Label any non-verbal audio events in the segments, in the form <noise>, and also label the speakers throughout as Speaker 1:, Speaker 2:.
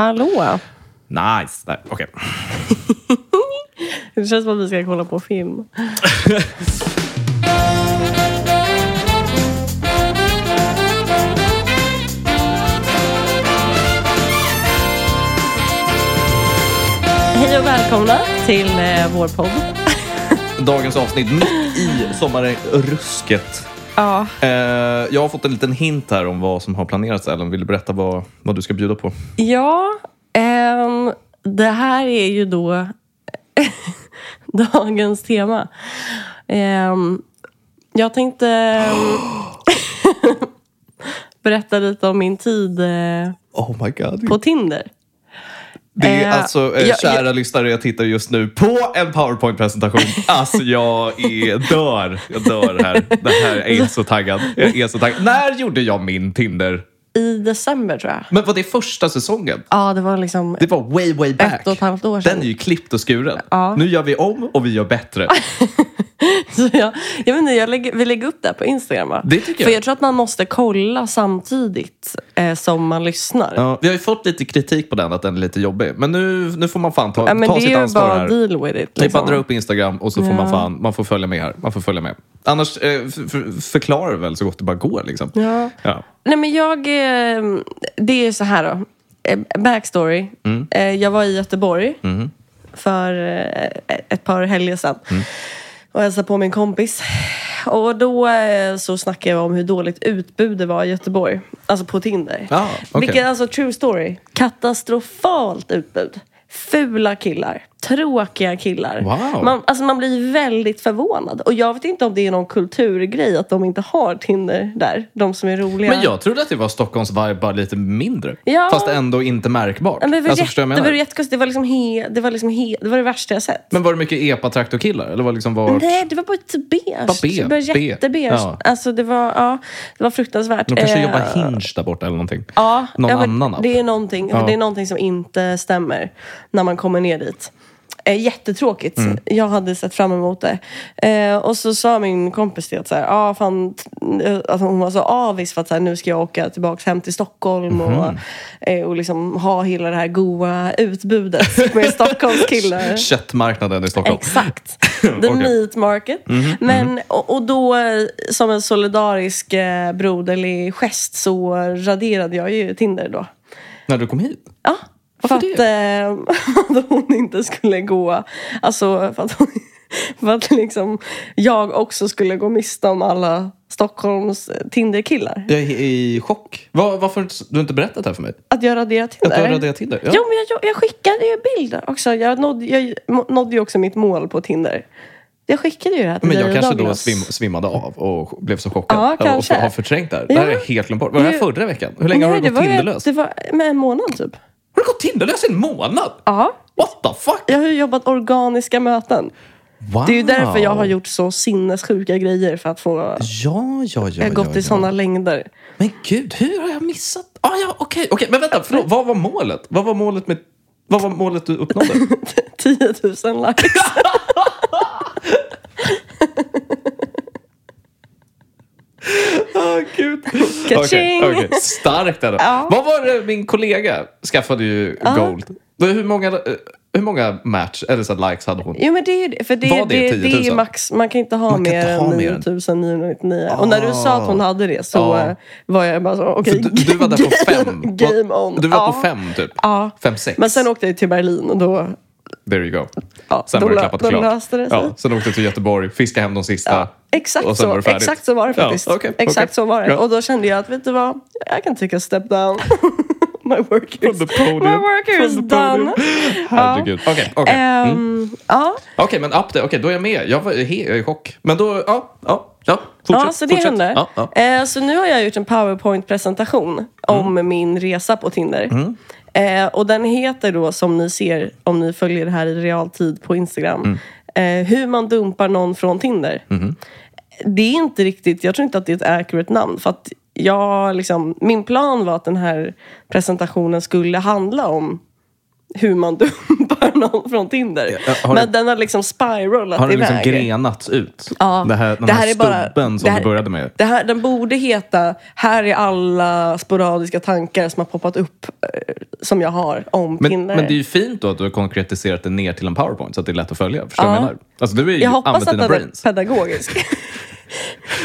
Speaker 1: Hallå!
Speaker 2: Nice! Nej, okej.
Speaker 1: Det känns som att vi ska kolla på film. Hej och välkomna till eh, vår podd.
Speaker 2: Dagens avsnitt mitt i sommarrusket.
Speaker 1: Ja,
Speaker 2: Eh, jag har fått en liten hint här om vad som har planerats. Ellen, vill du berätta vad, vad du ska bjuda på?
Speaker 1: ja ehm, det här är ju då <laughs> dagens tema. Ehm, jag tänkte ehm, <laughs> berätta lite om min tid eh,
Speaker 2: Oh my god.
Speaker 1: på Tinder.
Speaker 2: det är
Speaker 1: eh,
Speaker 2: alltså, eh,
Speaker 1: jag-
Speaker 2: kära lyssnare, jag tittar just nu på
Speaker 1: <laughs>
Speaker 2: en powerpoint-presentation. Alltså jag är, dör. Jag dör här. Det här jag är så taggad. Jag är så taggad. När gjorde jag min Tinder?
Speaker 1: I december tror jag.
Speaker 2: Men var det första säsongen?
Speaker 1: Ja, det var liksom...
Speaker 2: Det var way, way back.
Speaker 1: Ett och ett halvt år sedan.
Speaker 2: Den är ju klippt och skuren. Nu gör vi om och vi gör bättre.
Speaker 1: <laughs> Så jag, jag vet inte, jag lägger, vi lägger upp det här på Instagram va?
Speaker 2: Det tycker jag.
Speaker 1: För jag tror att man måste kolla samtidigt eh, som man lyssnar.
Speaker 2: Ja, vi har ju fått lite kritik på den, att den är lite jobbig. Men nu, nu får man fan ta,
Speaker 1: Ja, men
Speaker 2: ta
Speaker 1: det
Speaker 2: sitt
Speaker 1: är ju
Speaker 2: ansvar
Speaker 1: bara
Speaker 2: här.
Speaker 1: deal with it.
Speaker 2: Det är bara
Speaker 1: Liksom.
Speaker 2: att dra upp Instagram och så får man
Speaker 1: Ja.
Speaker 2: fan, man får följa med här. Man får följa med. Annars eh, f- f- förklarar väl så gott det bara går liksom.
Speaker 1: Ja.
Speaker 2: Ja.
Speaker 1: Nej men jag, eh, det är ju så här då. Eh, Backstory.
Speaker 2: Mm.
Speaker 1: Eh, Jag var i Göteborg för eh, ett par helger sedan.
Speaker 2: Mm.
Speaker 1: Och hälsade på min kompis. Och då eh, så snackade jag om hur dåligt utbud det var i Göteborg. Alltså på Tinder.
Speaker 2: Ja, okej.
Speaker 1: Vilket, alltså true story. Katastrofalt utbud. Fula killar. Tråkiga killar.
Speaker 2: Wow.
Speaker 1: Man, alltså man blir väldigt förvånad. Och jag vet inte om det är någon kulturgrej att de inte har Tinder där. De som är roliga.
Speaker 2: Men jag trodde att det var Stockholms vibe bara lite mindre.
Speaker 1: Ja.
Speaker 2: Fast ändå inte märkbart.
Speaker 1: Ja, Men det, var
Speaker 2: alltså,
Speaker 1: jätte,
Speaker 2: förstår jag vad
Speaker 1: det var
Speaker 2: jag menar?
Speaker 1: jättekonstigt. Det var liksom he, det var liksom he, det var det värsta jag sett.
Speaker 2: Men var det mycket epatraktorkillar? Eller var det liksom var...
Speaker 1: Nej, det var bara lite
Speaker 2: Bara
Speaker 1: beige. Det
Speaker 2: be-
Speaker 1: var
Speaker 2: be-
Speaker 1: jättebeige.
Speaker 2: ja.
Speaker 1: Alltså det var, ja, det var fruktansvärt.
Speaker 2: De kanske
Speaker 1: Eh,
Speaker 2: jobbar Hinge där borta eller någonting.
Speaker 1: Ja,
Speaker 2: Någon
Speaker 1: ja, men
Speaker 2: annan app.
Speaker 1: Det är, någonting, det är någonting som inte stämmer när man kommer ner dit. Eh, jättetråkigt.
Speaker 2: Mm.
Speaker 1: Jag hade sett fram emot det. Eh, och så sa min kompis det att, så här, ah, fan, t- eh, att hon var så avis för att så här, nu ska jag åka tillbaka hem till Stockholm och,
Speaker 2: Mhm.
Speaker 1: eh, och liksom ha hela det här goa utbudet <laughs> med Stockholms killar.
Speaker 2: Köttmarknaden i Stockholm.
Speaker 1: Exakt.
Speaker 2: <laughs>
Speaker 1: The
Speaker 2: Okej. Mhm,
Speaker 1: meat market. Men, och, och då eh, som en solidarisk eh, broderlig gest så raderade jag ju Tinder då.
Speaker 2: När du kom hit?
Speaker 1: Ja.
Speaker 2: Varför
Speaker 1: för att, eh, <laughs> att hon inte skulle gå... Alltså för att, hon, <laughs> för att liksom jag också skulle gå miste om alla Stockholms eh, Tinder-killar.
Speaker 2: Jag är i chock. Var, varför har du inte berättat det här för mig?
Speaker 1: Att jag raderade
Speaker 2: Att
Speaker 1: Tinder.
Speaker 2: du har raderat Tinder? Ja.
Speaker 1: Jo, men jag, jag, jag skickade ju bilder också. Jag nådde, jag nådde ju också mitt mål på Tinder. Jag skickade ju det här till
Speaker 2: Men
Speaker 1: dig
Speaker 2: jag
Speaker 1: och
Speaker 2: kanske då
Speaker 1: Douglas.
Speaker 2: svim, svimmade av och blev så chockad.
Speaker 1: Ja, kanske.
Speaker 2: Och har förträngt det här. Det här
Speaker 1: Ja.
Speaker 2: är helt glömt bort. Var det här
Speaker 1: Det-
Speaker 2: förra veckan? Hur länge har
Speaker 1: Nej,
Speaker 2: du
Speaker 1: det
Speaker 2: gått
Speaker 1: var ju-
Speaker 2: Tinderlös?
Speaker 1: Det var med en månad typ.
Speaker 2: Har du gått Tinderlös i en månad?
Speaker 1: Ja.
Speaker 2: What the fuck?
Speaker 1: Jag har ju jobbat organiska möten.
Speaker 2: Wow.
Speaker 1: Det är ju därför jag har gjort så sinnessjuka grejer för att få...
Speaker 2: Ah. Ja, ja, ja.
Speaker 1: jag har gått
Speaker 2: ja,
Speaker 1: i
Speaker 2: ja.
Speaker 1: sådana längder. <laughs>
Speaker 2: Men gud, hur har jag missat? Ah, ja, okej. okej. Men vänta, förlåt. Vad var målet? Vad var målet med... Vad var målet du uppnådde?
Speaker 1: <laughs> 10 000 likes.
Speaker 2: Ah, gud.
Speaker 1: Ka-ching.
Speaker 2: Okej, okej. Starkt ändå.
Speaker 1: Ja.
Speaker 2: Vad var det min kollega skaffade ju gold? Då, Hur många, eh, hur många match, eller så här likes hade hon?
Speaker 1: Jo men det är ju det. För det,
Speaker 2: Var
Speaker 1: det,
Speaker 2: det
Speaker 1: det,
Speaker 2: 10 000?
Speaker 1: är max. Man kan inte ha
Speaker 2: Man kan
Speaker 1: mer
Speaker 2: inte ha
Speaker 1: än
Speaker 2: mer än-
Speaker 1: 9 999. Och när du sa att hon hade det så
Speaker 2: Ja.
Speaker 1: eh, var jag bara så, okej.
Speaker 2: Du, du var där på fem.
Speaker 1: <laughs> Game on.
Speaker 2: Du var
Speaker 1: Ja.
Speaker 2: på fem typ.
Speaker 1: Ja.
Speaker 2: Fem, sex.
Speaker 1: Men sen åkte jag till Berlin och då...
Speaker 2: There you go.
Speaker 1: Ja,
Speaker 2: Sen
Speaker 1: då
Speaker 2: var det
Speaker 1: lö-
Speaker 2: klappat
Speaker 1: då
Speaker 2: klart.
Speaker 1: löste det sig.
Speaker 2: Ja, sen åkte du till Göteborg, fiskade hem de sista.
Speaker 1: Exakt
Speaker 2: och sen
Speaker 1: så.
Speaker 2: var det färdigt.
Speaker 1: Exakt så var det
Speaker 2: Ja,
Speaker 1: faktiskt.
Speaker 2: okej,
Speaker 1: Exakt
Speaker 2: okej.
Speaker 1: så var det.
Speaker 2: Ja.
Speaker 1: Och då kände jag att vet du vad, jag kan take a step down. <laughs> My work is,
Speaker 2: Från the podium.
Speaker 1: my work
Speaker 2: Från
Speaker 1: is
Speaker 2: the
Speaker 1: done.
Speaker 2: podium. <laughs> Herregud. Okej, okej. Mm.
Speaker 1: Ehm, ja.
Speaker 2: Okej, men up there. Okej, då är jag med. Jag var he- jag är i chock. Men då, ja, ja, ja. Fortsätt.
Speaker 1: ja, så det
Speaker 2: fortsätt.
Speaker 1: hände.
Speaker 2: Ja, ja.
Speaker 1: Eh, så nu har jag gjort en powerpoint-presentation
Speaker 2: Mm.
Speaker 1: om min resa på Tinder. Eh, och den heter då, som ni ser om ni följer det här i realtid på Instagram,
Speaker 2: Mm.
Speaker 1: eh, Hur man dumpar någon från Tinder.
Speaker 2: Mm-hmm.
Speaker 1: Det är inte riktigt, jag tror inte att det är ett accurate namn. För att jag, liksom, min plan var att den här presentationen skulle handla om hur man <laughs> dumpar för någon från Tinder.
Speaker 2: Ja, har
Speaker 1: men
Speaker 2: det-
Speaker 1: den har liksom spiralat
Speaker 2: Har den liksom
Speaker 1: iväg.
Speaker 2: grenats ut?
Speaker 1: Ja.
Speaker 2: Det här, den
Speaker 1: Det
Speaker 2: här,
Speaker 1: här är bara-
Speaker 2: stubben som
Speaker 1: det här-
Speaker 2: du började med.
Speaker 1: Det här, den borde heta Här är alla sporadiska tankar som har poppat upp eh, som jag har om
Speaker 2: Men,
Speaker 1: Tinder.
Speaker 2: men det är ju fint då att du har konkretiserat det ner till en powerpoint så att det är lätt att följa. Förstår du vad jag
Speaker 1: Ja.
Speaker 2: menar? Alltså du är ju
Speaker 1: jag hoppas
Speaker 2: använt
Speaker 1: att
Speaker 2: dina
Speaker 1: den är
Speaker 2: brains. <laughs>
Speaker 1: pedagogisk.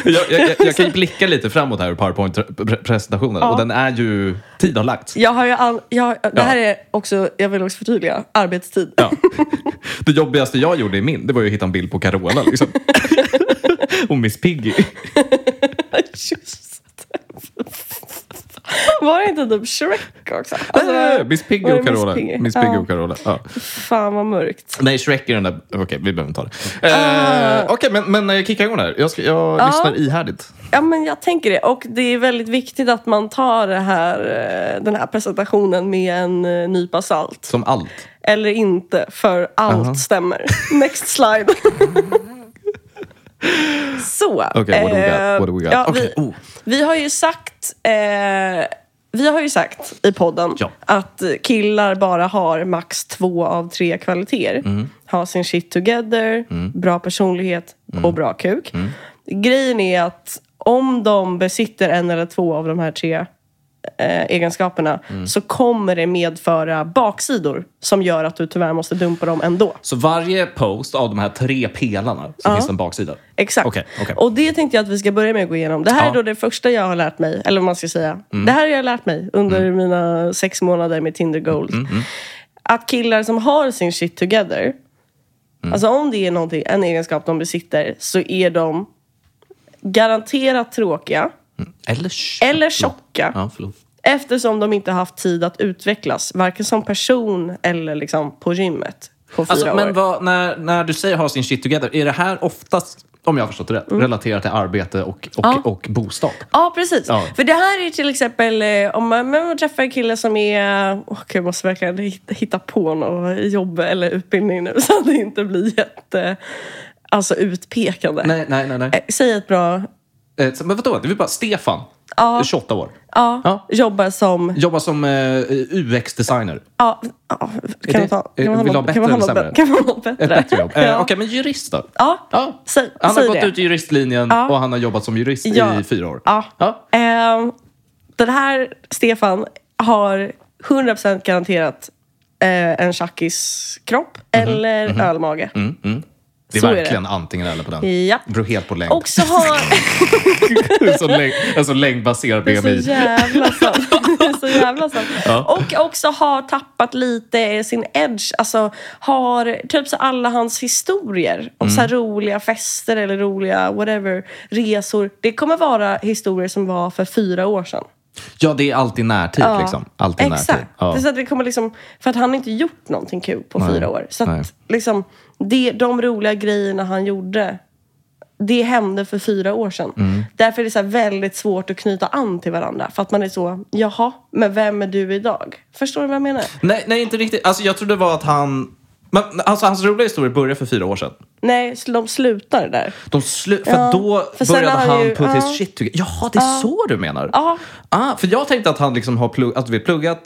Speaker 2: Jag, jag, jag,
Speaker 1: <laughs>
Speaker 2: jag kan ju blicka lite framåt här i powerpoint-presentationen och den är ju... Tid har lagts.
Speaker 1: Jag har ju all, jag, det här
Speaker 2: Ja.
Speaker 1: är också, jag vill också förtydliga, arbetstid. <laughs>
Speaker 2: Ja. <laughs> Det jobbigaste jag gjorde i min, det var ju att hitta en bild på Carola
Speaker 1: <laughs>
Speaker 2: liksom. och Miss Piggy.
Speaker 1: Ah, Just. Var det inte typ Shrek också? Alltså,
Speaker 2: Miss Piggy
Speaker 1: var det
Speaker 2: och Carola.
Speaker 1: Miss Piggy?
Speaker 2: Miss Piggy
Speaker 1: Ja.
Speaker 2: och Carola. Ja.
Speaker 1: Fan vad mörkt.
Speaker 2: Nej, Shrek är den där... Okej, vi behöver inte ta det.
Speaker 1: Ah.
Speaker 2: Eh, Okej, men, men eh, kicka igång där. Jag, ska, jag lyssnar ihärdigt.
Speaker 1: Ja men jag tänker det. Och det är väldigt viktigt att man tar det här, eh, den här presentationen med en eh, nypa salt.
Speaker 2: Som allt.
Speaker 1: Eller inte, för allt stämmer. <laughs> Next
Speaker 2: <laughs>
Speaker 1: slide. Så.
Speaker 2: Okej, what do we
Speaker 1: eh,
Speaker 2: got? What do we got?
Speaker 1: Ja,
Speaker 2: Okej,
Speaker 1: vi,
Speaker 2: oh.
Speaker 1: vi har ju sagt... Eh, vi har ju sagt i podden
Speaker 2: Ja.
Speaker 1: att killar bara har max två av tre kvaliteter. Ha sin shit together, bra personlighet och bra kuk. Grejen är att om de besitter en eller två av de här tre eh, egenskaperna så kommer det medföra baksidor som gör att du tyvärr måste dumpa dem ändå.
Speaker 2: Så varje post av de här tre pelarna så finns det en baksida?
Speaker 1: Exakt.
Speaker 2: Okej, okej.
Speaker 1: Och det tänkte jag att vi ska börja med att gå igenom. Det här
Speaker 2: Ja. Mm.
Speaker 1: är då det första jag har lärt mig, eller vad man ska säga. Det här har jag lärt mig under mina sex månader med Tinder Gold.
Speaker 2: Mm,
Speaker 1: Att killar som har sin shit together,
Speaker 2: Mm.
Speaker 1: alltså om det är någonting, en egenskap de besitter, så är de garanterat tråkiga
Speaker 2: Eller
Speaker 1: eller tjocka.
Speaker 2: Ja, förlåt.
Speaker 1: Eftersom de inte har haft tid att utvecklas, varken som person eller liksom på gymmet på fyra
Speaker 2: Alltså,
Speaker 1: år.
Speaker 2: men vad, när, när du säger ha sin shit together, är det här oftast, om jag har förstått det
Speaker 1: Mm.
Speaker 2: rätt, relaterat till arbete och, och, och bostad?
Speaker 1: Ja, precis.
Speaker 2: Ja.
Speaker 1: För det här är ju till exempel eh, om man, men man träffar en kille som är... Åh gud, jag måste verkligen hitta, hitta på något jobb eller utbildning nu <laughs> så att det inte blir jätte... Alltså utpekande.
Speaker 2: Nej, nej, nej. nej.
Speaker 1: Eh, Säg ett bra...
Speaker 2: Eh, så- Men vadå? Det är bara Stefan, 28 år.
Speaker 1: Ja,
Speaker 2: Ja.
Speaker 1: jobbar som...
Speaker 2: Jobbar som eh, UX-designer.
Speaker 1: Ja, ja,
Speaker 2: Är
Speaker 1: kan
Speaker 2: det-
Speaker 1: man ta...
Speaker 2: eh,
Speaker 1: Kan man ha
Speaker 2: vill du ha
Speaker 1: något-
Speaker 2: bättre
Speaker 1: kan man ha något
Speaker 2: eller sämre?
Speaker 1: bä- kan man ha något
Speaker 2: Ett
Speaker 1: bättre?
Speaker 2: bättre jobb. Eh,
Speaker 1: Ja.
Speaker 2: Okej, men jurist då?
Speaker 1: Ja,
Speaker 2: Ja.
Speaker 1: Säg,
Speaker 2: Han har
Speaker 1: säg
Speaker 2: gått
Speaker 1: det.
Speaker 2: ut juristlinjen och han har jobbat som jurist
Speaker 1: Ja.
Speaker 2: i fyra år.
Speaker 1: Ja.
Speaker 2: Ja.
Speaker 1: Ehm, den här Stefan har 100% garanterat eh, en tjackis kropp
Speaker 2: Mhm.
Speaker 1: eller ölmage.
Speaker 2: Mm. Det är
Speaker 1: Så är det.
Speaker 2: verkligen antingen eller på den.
Speaker 1: Ja.
Speaker 2: Det beror helt på längd.
Speaker 1: Och så har...
Speaker 2: <laughs> så längd alltså längd baserad
Speaker 1: Det är <laughs> så
Speaker 2: BMI.
Speaker 1: jävla
Speaker 2: <laughs>
Speaker 1: sant. Det är så jävla sant.
Speaker 2: Ja.
Speaker 1: Och också har tappat lite sin edge. Alltså har typ så alla hans historier om så här
Speaker 2: Mm.
Speaker 1: roliga fester eller roliga whatever, resor. Det kommer vara historier som var för fyra år sedan.
Speaker 2: Ja, det är alltid närtid.
Speaker 1: Ja,
Speaker 2: Liksom. Alltid närtid.
Speaker 1: Exakt. Det är så att det kommer liksom, för att han har inte gjort någonting kul på fyra år. Så
Speaker 2: Nej.
Speaker 1: att liksom, det, de roliga grejerna han gjorde, det hände för fyra år sedan.
Speaker 2: Mm.
Speaker 1: Därför är det så här väldigt svårt att knyta an till varandra. För att man är så, jaha, men vem är du idag? Förstår du vad jag menar?
Speaker 2: Nej, nej, inte riktigt. Alltså, jag trodde det var att han... Men, alltså, hans roliga historia började för fyra år sedan.
Speaker 1: Nej, så de slutar där.
Speaker 2: De slu- för
Speaker 1: Ja,
Speaker 2: då
Speaker 1: för sen
Speaker 2: började
Speaker 1: har
Speaker 2: han,
Speaker 1: han ju-
Speaker 2: put
Speaker 1: ja.
Speaker 2: his shit together. Jaha, det är så du menar?
Speaker 1: Ja.
Speaker 2: Ah, för jag tänkte att han liksom har plugg- att vi pluggat,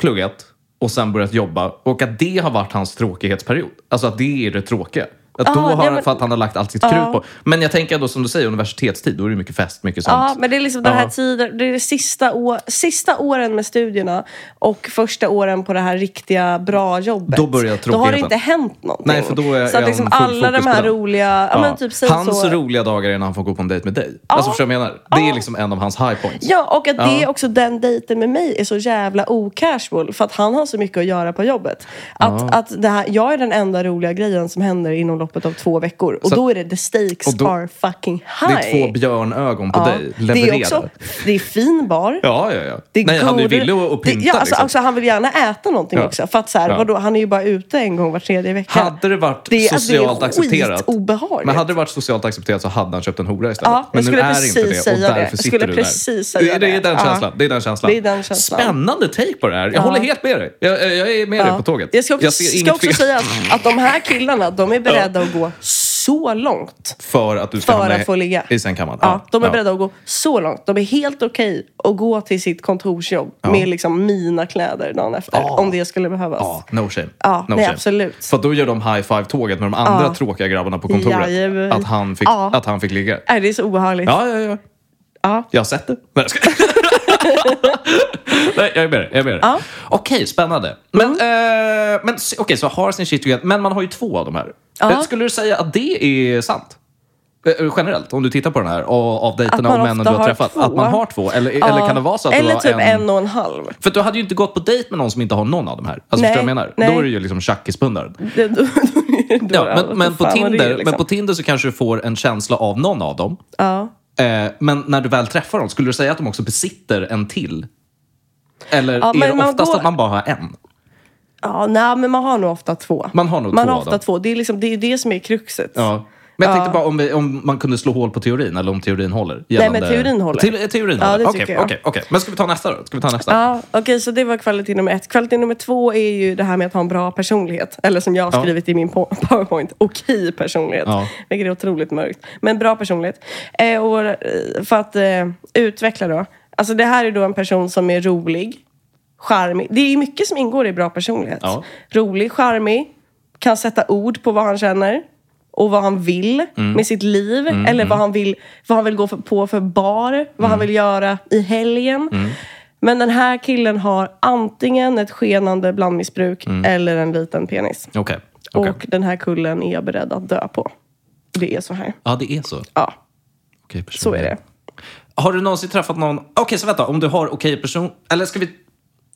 Speaker 2: pluggat och sen börjat jobba och att det har varit hans tråkighetsperiod. Alltså att det är det tråkiga. Att då
Speaker 1: Ah,
Speaker 2: har
Speaker 1: nej,
Speaker 2: han,
Speaker 1: men-
Speaker 2: för att han har lagt allt sitt krut på. Men jag tänker då som du säger, universitetstid, då är det mycket fest, mycket sånt.
Speaker 1: Ja, men det är liksom den här
Speaker 2: Ja.
Speaker 1: tiden, det är det sista, å, sista åren med studierna och första åren på det här riktiga bra jobbet.
Speaker 2: Då börjar
Speaker 1: Då har det
Speaker 2: tråkigheten.
Speaker 1: inte hänt någonting.
Speaker 2: Nej, för då är-
Speaker 1: så
Speaker 2: är
Speaker 1: att liksom
Speaker 2: han full
Speaker 1: alla de
Speaker 2: fokus på
Speaker 1: här
Speaker 2: den.
Speaker 1: roliga, ja, men typ säg
Speaker 2: hans
Speaker 1: så.
Speaker 2: roliga dagar är när han får gå på en dejt med dig. Alltså förstår du vad jag menar? Det är liksom en av hans high points.
Speaker 1: Ja, och att det är också den dejten med mig är så jävla ocasual för att han har så mycket att göra på jobbet. Att, att det här, jag är den enda roliga grejen som händer inom loppet av två veckor och
Speaker 2: Så-
Speaker 1: då är det the stakes
Speaker 2: och då-
Speaker 1: are fucking
Speaker 2: Det
Speaker 1: high.
Speaker 2: är två björnögon på dig.
Speaker 1: ja, det
Speaker 2: Levererar.
Speaker 1: är också, det är fin bar.
Speaker 2: Ja, ja, ja.
Speaker 1: Det är
Speaker 2: Nej, han är ju
Speaker 1: goda-
Speaker 2: villig att att
Speaker 1: det-
Speaker 2: pynta.
Speaker 1: ja, alltså,
Speaker 2: liksom.
Speaker 1: alltså, han vill gärna äta någonting
Speaker 2: Ja.
Speaker 1: också. För att så här,
Speaker 2: Ja.
Speaker 1: vadå, han är ju bara ute en gång var tredje vecka.
Speaker 2: Hade det varit
Speaker 1: Det är- alltså, det är
Speaker 2: socialt accepterat.
Speaker 1: skitobehagligt.
Speaker 2: Men hade det varit socialt accepterat så hade han köpt en hora istället.
Speaker 1: Ja, jag
Speaker 2: men
Speaker 1: skulle
Speaker 2: nu är
Speaker 1: precis
Speaker 2: inte det och
Speaker 1: säga det.
Speaker 2: därför
Speaker 1: Jag
Speaker 2: sitter
Speaker 1: skulle
Speaker 2: du
Speaker 1: precis
Speaker 2: där.
Speaker 1: säga
Speaker 2: det, det, är
Speaker 1: det.
Speaker 2: den
Speaker 1: Ja.
Speaker 2: känslan, det är den känslan.
Speaker 1: Det är den känslan.
Speaker 2: Spännande take på det här. Jag håller helt med dig. Jag, jag- jag är med dig på tåget.
Speaker 1: Jag ska också,
Speaker 2: jag ser
Speaker 1: ska
Speaker 2: inget
Speaker 1: också
Speaker 2: fel.
Speaker 1: säga att, att de här killarna, de är beredda att gå så så långt.
Speaker 2: För att du ska
Speaker 1: För
Speaker 2: hamna
Speaker 1: att få ligga.
Speaker 2: i sängkammaren?
Speaker 1: Ja, de är beredda att gå så långt. De är helt okej att gå till sitt kontorsjobb med liksom mina kläder dagen efter.
Speaker 2: Ja.
Speaker 1: Om det skulle behövas.
Speaker 2: Ja, no shame.
Speaker 1: Ja,
Speaker 2: no
Speaker 1: nej,
Speaker 2: shame.
Speaker 1: absolut.
Speaker 2: För att då gör de high five-tåget med de andra
Speaker 1: Ja.
Speaker 2: tråkiga grabbarna på kontoret.
Speaker 1: Jajamän.
Speaker 2: Att, han fick,
Speaker 1: Ja.
Speaker 2: att han fick ligga.
Speaker 1: Nej, det är så obehagligt.
Speaker 2: Ja, ja, ja.
Speaker 1: Ja.
Speaker 2: Jag har sett det. Nej,
Speaker 1: <laughs>
Speaker 2: jag skojar. Nej, jag är med dig. Jag är med dig.
Speaker 1: Ja.
Speaker 2: Okej, spännande. Men, eh, men s- okej, så har sin shit together. Men man har ju två av de här.
Speaker 1: Ja.
Speaker 2: Eh, Skulle du säga att det är sant? Eh, eh, Generellt, om du tittar på den här och av dejterna
Speaker 1: Att man
Speaker 2: och männen
Speaker 1: ofta
Speaker 2: du har
Speaker 1: har
Speaker 2: träffat.
Speaker 1: två.
Speaker 2: Att man har två? Eller, eller
Speaker 1: Ja.
Speaker 2: kan det vara så att
Speaker 1: Eller
Speaker 2: det var
Speaker 1: typ
Speaker 2: en...
Speaker 1: en och en halv. <laughs>
Speaker 2: För du hade ju inte gått på dejt med någon som inte har någon av de här. Alltså,
Speaker 1: Nej,
Speaker 2: förstår du vad jag menar?
Speaker 1: nej.
Speaker 2: Då är det ju liksom tjackispundaren.
Speaker 1: Det, då, då är det då
Speaker 2: Ja,
Speaker 1: allt.
Speaker 2: men, men, på
Speaker 1: Fan vad det är,
Speaker 2: Tinder,
Speaker 1: liksom.
Speaker 2: men på Tinder så kanske du får en känsla av någon av dem.
Speaker 1: Ja.
Speaker 2: Eh, men när du väl träffar dem, skulle du säga att de också besitter en till? Eller
Speaker 1: Ja,
Speaker 2: är
Speaker 1: men
Speaker 2: det
Speaker 1: man
Speaker 2: oftast
Speaker 1: går-
Speaker 2: att man bara har en?
Speaker 1: Ja, nej, men man har nog ofta två.
Speaker 2: Man har nog
Speaker 1: man
Speaker 2: två
Speaker 1: har
Speaker 2: av
Speaker 1: ofta
Speaker 2: dem.
Speaker 1: två. Det är, liksom, det, är det som är kruxet.
Speaker 2: Ja. Men jag tänkte bara om, vi, om man kunde slå hål på teorin, eller om teorin håller. gällande-
Speaker 1: teorin håller.
Speaker 2: Te- teorin
Speaker 1: Ja,
Speaker 2: håller.
Speaker 1: det
Speaker 2: Okej,
Speaker 1: tycker jag.
Speaker 2: okej, okej. Men ska vi ta nästa då? Ska vi ta nästa?
Speaker 1: Ja, Okej, så det var kvalitet nummer ett. Kvalitet nummer två är ju det här med att ha en bra personlighet. Eller som jag har
Speaker 2: Ja.
Speaker 1: skrivit i min po- <laughs> powerpoint, okej personlighet.
Speaker 2: Ja.
Speaker 1: Vilket är otroligt mörkt. Men bra personlighet. Eh, och eh, för att eh, utveckla då. Alltså det här är då en person som är rolig, charmig. Det är mycket som ingår i bra personlighet.
Speaker 2: Ja.
Speaker 1: Rolig, charmig, kan sätta ord på vad han känner. Och vad han vill
Speaker 2: Mm.
Speaker 1: med sitt liv. Eller vad han vill, vad han vill gå för, på för bar. Vad han
Speaker 2: Mm.
Speaker 1: vill göra i helgen. Men den här killen har antingen ett skenande blandmissbruk eller en liten penis.
Speaker 2: Okej. Mm. okej.
Speaker 1: Och den här kullen är jag beredd att dö på. Det är så här.
Speaker 2: Ja, det är så.
Speaker 1: Ja,
Speaker 2: Okej,
Speaker 1: så är det.
Speaker 2: Mm. Har du någonsin träffat någon... Okej, så vänta. Om du har okej person... Eller ska vi,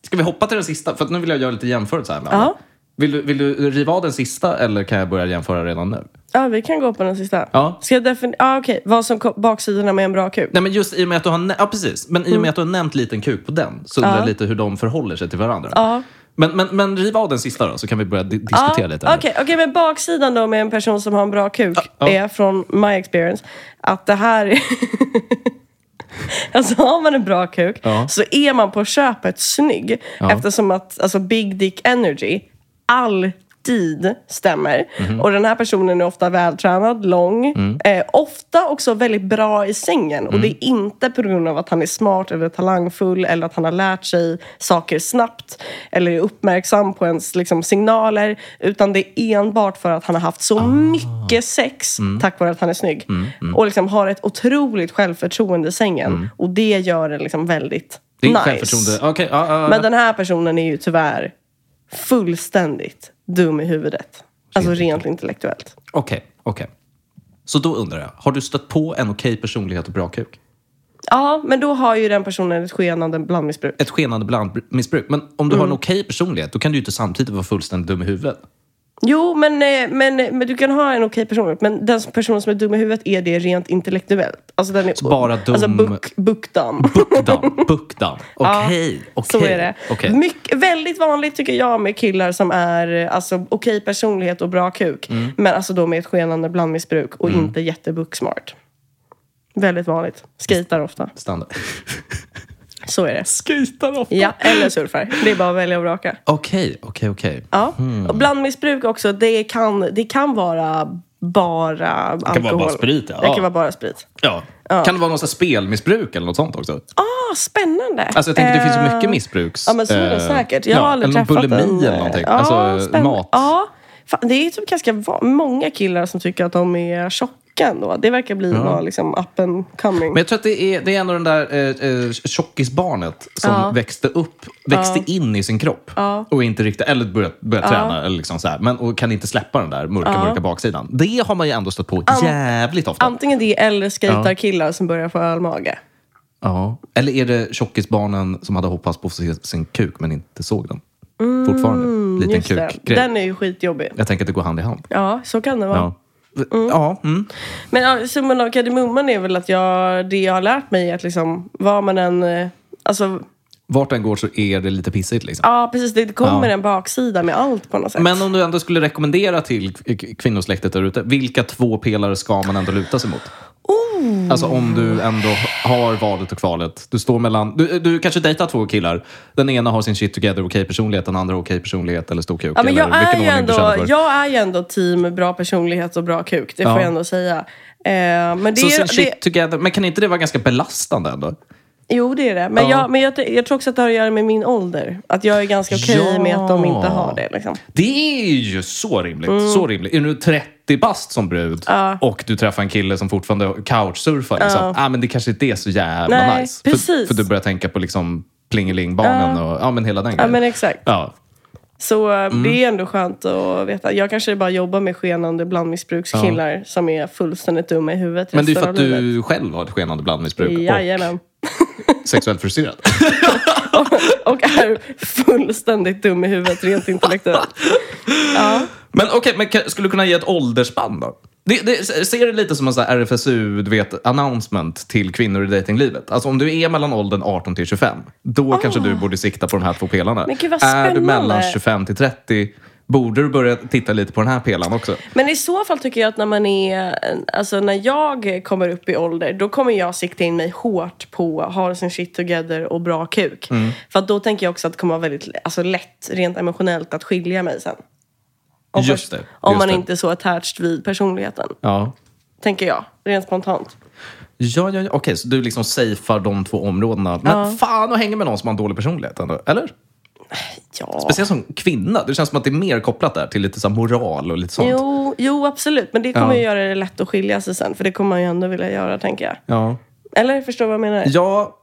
Speaker 2: ska vi hoppa till den sista? För att nu vill jag göra lite jämförelse här med alla.
Speaker 1: Ja.
Speaker 2: Vill, du- vill du riva av den sista eller kan jag börja jämföra redan nu?
Speaker 1: Ja, vi kan gå på den sista.
Speaker 2: Ja.
Speaker 1: Ska jag definiera... Ja, okej. Vad som kom- baksidorna med en bra kuk.
Speaker 2: Nej, men just i och med att du har, nä- ja, precis. Men i och med att du har nämnt liten kuk på den så undrar jag lite hur de förhåller sig till varandra.
Speaker 1: Ja.
Speaker 2: Men, men, men riva av den sista då, så kan vi börja di- diskutera
Speaker 1: Ja,
Speaker 2: lite. här nu.
Speaker 1: Okej, okej, men baksidan då med en person som har en bra kuk
Speaker 2: ja.
Speaker 1: är från my experience att det här är... <laughs> Alltså har man en bra kuk
Speaker 2: Ja.
Speaker 1: så är man på köpet snygg.
Speaker 2: Ja.
Speaker 1: Eftersom att alltså, big dick energy alltid stämmer.
Speaker 2: Mhm.
Speaker 1: Och den här personen är ofta vältränad, lång.
Speaker 2: Mm.
Speaker 1: Eh, ofta också väldigt bra i sängen. Och det är inte på grund av att han är smart eller talangfull eller att han har lärt sig saker snabbt eller är uppmärksam på ens liksom, signaler. Utan det är enbart för att han har haft så
Speaker 2: Ah.
Speaker 1: mycket sex
Speaker 2: Mm.
Speaker 1: tack vare att han är snygg. Och liksom har ett otroligt självförtroende i sängen. Och det gör det liksom väldigt
Speaker 2: Mm. Det är
Speaker 1: nice.
Speaker 2: självförtroende. Okej, ja, ja, ja.
Speaker 1: Men den här personen är ju tyvärr fullständigt dum i huvudet. Alltså rent intellektuellt.
Speaker 2: Okej, okej. Så då undrar jag, har du stött på en okej personlighet och bra kuk?
Speaker 1: Ja, men då har ju den personen ett skenande blandmissbruk.
Speaker 2: Ett skenande blandmissbruk. Men om du har en
Speaker 1: Mm.
Speaker 2: okej personlighet, då kan du ju inte samtidigt vara fullständigt dum i huvudet.
Speaker 1: Jo, men, eh, men, men du kan ha en okej personlighet. Men den personen som är dum i huvudet är det rent intellektuellt. Alltså den är...
Speaker 2: bara dum-
Speaker 1: Alltså buck, buckdam. <laughs>
Speaker 2: Buckdam, buckdam.
Speaker 1: Ja,
Speaker 2: Okej, okej.
Speaker 1: Så är det.
Speaker 2: okej.
Speaker 1: Mycket, väldigt vanligt tycker jag med killar som är eh, alltså, okej personlighet och bra kuk.
Speaker 2: Mm.
Speaker 1: Men alltså då med ett skenande blandmissbruk och inte jättebucksmart. Väldigt vanligt. Skejtar ofta.
Speaker 2: Standard.
Speaker 1: Så är det.
Speaker 2: Skejtar ofta.
Speaker 1: Ja, eller surfar. Det är bara att välja och vraka.
Speaker 2: Okej, okej, okej.
Speaker 1: Ja.
Speaker 2: Hmm.
Speaker 1: Och blandmissbruk också, det kan, det kan vara bara alkohol. Det
Speaker 2: kan vara bara sprit, ja.
Speaker 1: Det kan vara bara sprit.
Speaker 2: Ja. Kan det vara något så här spelmissbruk eller något sånt också?
Speaker 1: Ah, spännande!
Speaker 2: Alltså jag tänker det finns ju mycket
Speaker 1: Eh,
Speaker 2: missbruks...
Speaker 1: Ja, men så är det
Speaker 2: eh,
Speaker 1: säkert. Jag har aldrig
Speaker 2: eller någon
Speaker 1: träffat
Speaker 2: bulimi
Speaker 1: en, eh,
Speaker 2: eller någonting.
Speaker 1: Ja,
Speaker 2: alltså
Speaker 1: spänn-
Speaker 2: mat.
Speaker 1: Ja, fan, det är typ ganska va- många killar som tycker att de är tjocka ändå. Det verkar bli vara liksom up and coming.
Speaker 2: Men jag tror att det är, det är en av den där eh, eh, tjockisbarnet som
Speaker 1: Ja.
Speaker 2: växte upp, växte in i sin kropp. Och inte riktigt, eller började, började träna eller liksom så här, men, och kan inte släppa den där mörka, mörka baksidan. Det har man ju ändå stött på jävligt ofta.
Speaker 1: Antingen det eller skejtarkillar som börjar få ölmage.
Speaker 2: ja. Eller är det tjockisbarnen som hade hoppats på att få se sin kuk men inte såg den? Fortfarande. Liten
Speaker 1: Mm, Just det.
Speaker 2: kuk-grej.
Speaker 1: Den är ju skitjobbig.
Speaker 2: Jag tänker att det går hand i hand.
Speaker 1: Ja, så kan det vara.
Speaker 2: Ja. Ja, mm.
Speaker 1: Men ja, summan av kardemumman är väl att jag, det jag har lärt mig är att liksom, vad man än... eh, Alltså,
Speaker 2: Vart den går så är det lite pissigt. Liksom.
Speaker 1: ja precis, det kommer
Speaker 2: Ja.
Speaker 1: en baksida med allt på något sätt.
Speaker 2: Men om du ändå skulle rekommendera till k- kvinnosläktet där ute, vilka två pelare ska man ändå luta sig mot?
Speaker 1: Oh,
Speaker 2: Alltså om du ändå har valet och kvalet. Du står mellan, du, du kanske dejtar två killar. Den ena har sin shit together okej personlighet, den andra okej personlighet eller stor kuk.
Speaker 1: Ja, men jag,
Speaker 2: eller
Speaker 1: är ju
Speaker 2: ordning du
Speaker 1: ändå,
Speaker 2: känner för.
Speaker 1: jag är ju ändå team bra personlighet och bra kuk. Det
Speaker 2: Ja.
Speaker 1: får jag ändå säga. Eh, men det
Speaker 2: Så
Speaker 1: är,
Speaker 2: sin shit
Speaker 1: det,
Speaker 2: together, men kan inte det vara ganska belastande ändå?
Speaker 1: jo, det är det. Men,
Speaker 2: Ja.
Speaker 1: jag, men jag, jag tror också att det har att göra med min ålder. Att jag är ganska okej
Speaker 2: Ja.
Speaker 1: med att de inte har det. Liksom.
Speaker 2: Det är ju så rimligt.
Speaker 1: Mm.
Speaker 2: Så rimligt. Är du 30 bast som brud och du träffar en kille som fortfarande couchsurfar. Liksom. Ah, men det kanske inte är så jävla
Speaker 1: Nej,
Speaker 2: nice. För,
Speaker 1: precis.
Speaker 2: för du börjar tänka på liksom plingelingbanan och ja, men hela den
Speaker 1: Ja,
Speaker 2: grejen.
Speaker 1: men exakt.
Speaker 2: Ja.
Speaker 1: Så eh,
Speaker 2: Mm.
Speaker 1: det är ändå skönt att veta. Jag kanske bara jobbar med skenande blandmissbrukskillar som är fullständigt dumma i huvudet
Speaker 2: Men det är ju
Speaker 1: resten
Speaker 2: för att
Speaker 1: av livet.
Speaker 2: du själv har ett skenande blandmissbruk
Speaker 1: Jajamän.
Speaker 2: och sexuellt frustrerad.
Speaker 1: Och är <laughs> fullständigt dum i huvudet rent intellektuellt.
Speaker 2: Men okej, men kan- skulle du kunna ge ett åldersspann då? Det, det, ser det lite som en sån här RFSU, du vet, announcement till kvinnor i datinglivet. Alltså om du är mellan åldern 18 till 25, då kanske du borde sikta på de här två pelarna.
Speaker 1: Ah. Men gud, vad
Speaker 2: är du mellan
Speaker 1: spännande.
Speaker 2: 25 till 30, borde du börja titta lite på den här pelaren också?
Speaker 1: Men i så fall tycker jag att när man är, alltså när jag kommer upp i ålder, då kommer jag sikta in mig hårt på att ha sin shit together och bra kuk.
Speaker 2: Mm.
Speaker 1: För att då tänker jag också att det kommer vara väldigt alltså, lätt, rent emotionellt, att skilja mig sen. Om
Speaker 2: Just det,
Speaker 1: Om
Speaker 2: just
Speaker 1: man
Speaker 2: det.
Speaker 1: inte är så attached vid personligheten,
Speaker 2: Ja.
Speaker 1: tänker jag. Rent spontant.
Speaker 2: Ja, ja, ja. Okej, så du liksom safear de två områdena. Men fan att hänga med någon som har en dålig personlighet ändå, eller?
Speaker 1: Ja.
Speaker 2: Speciellt som kvinna. Det känns som att det är mer kopplat där till lite så här moral och lite sånt.
Speaker 1: Jo, jo, absolut. Men det kommer
Speaker 2: Ja.
Speaker 1: ju göra det lätt att skilja sig sen. För det kommer man ju ändå vilja göra, tänker jag.
Speaker 2: Ja.
Speaker 1: Eller? Förstår du vad jag menar?
Speaker 2: Ja.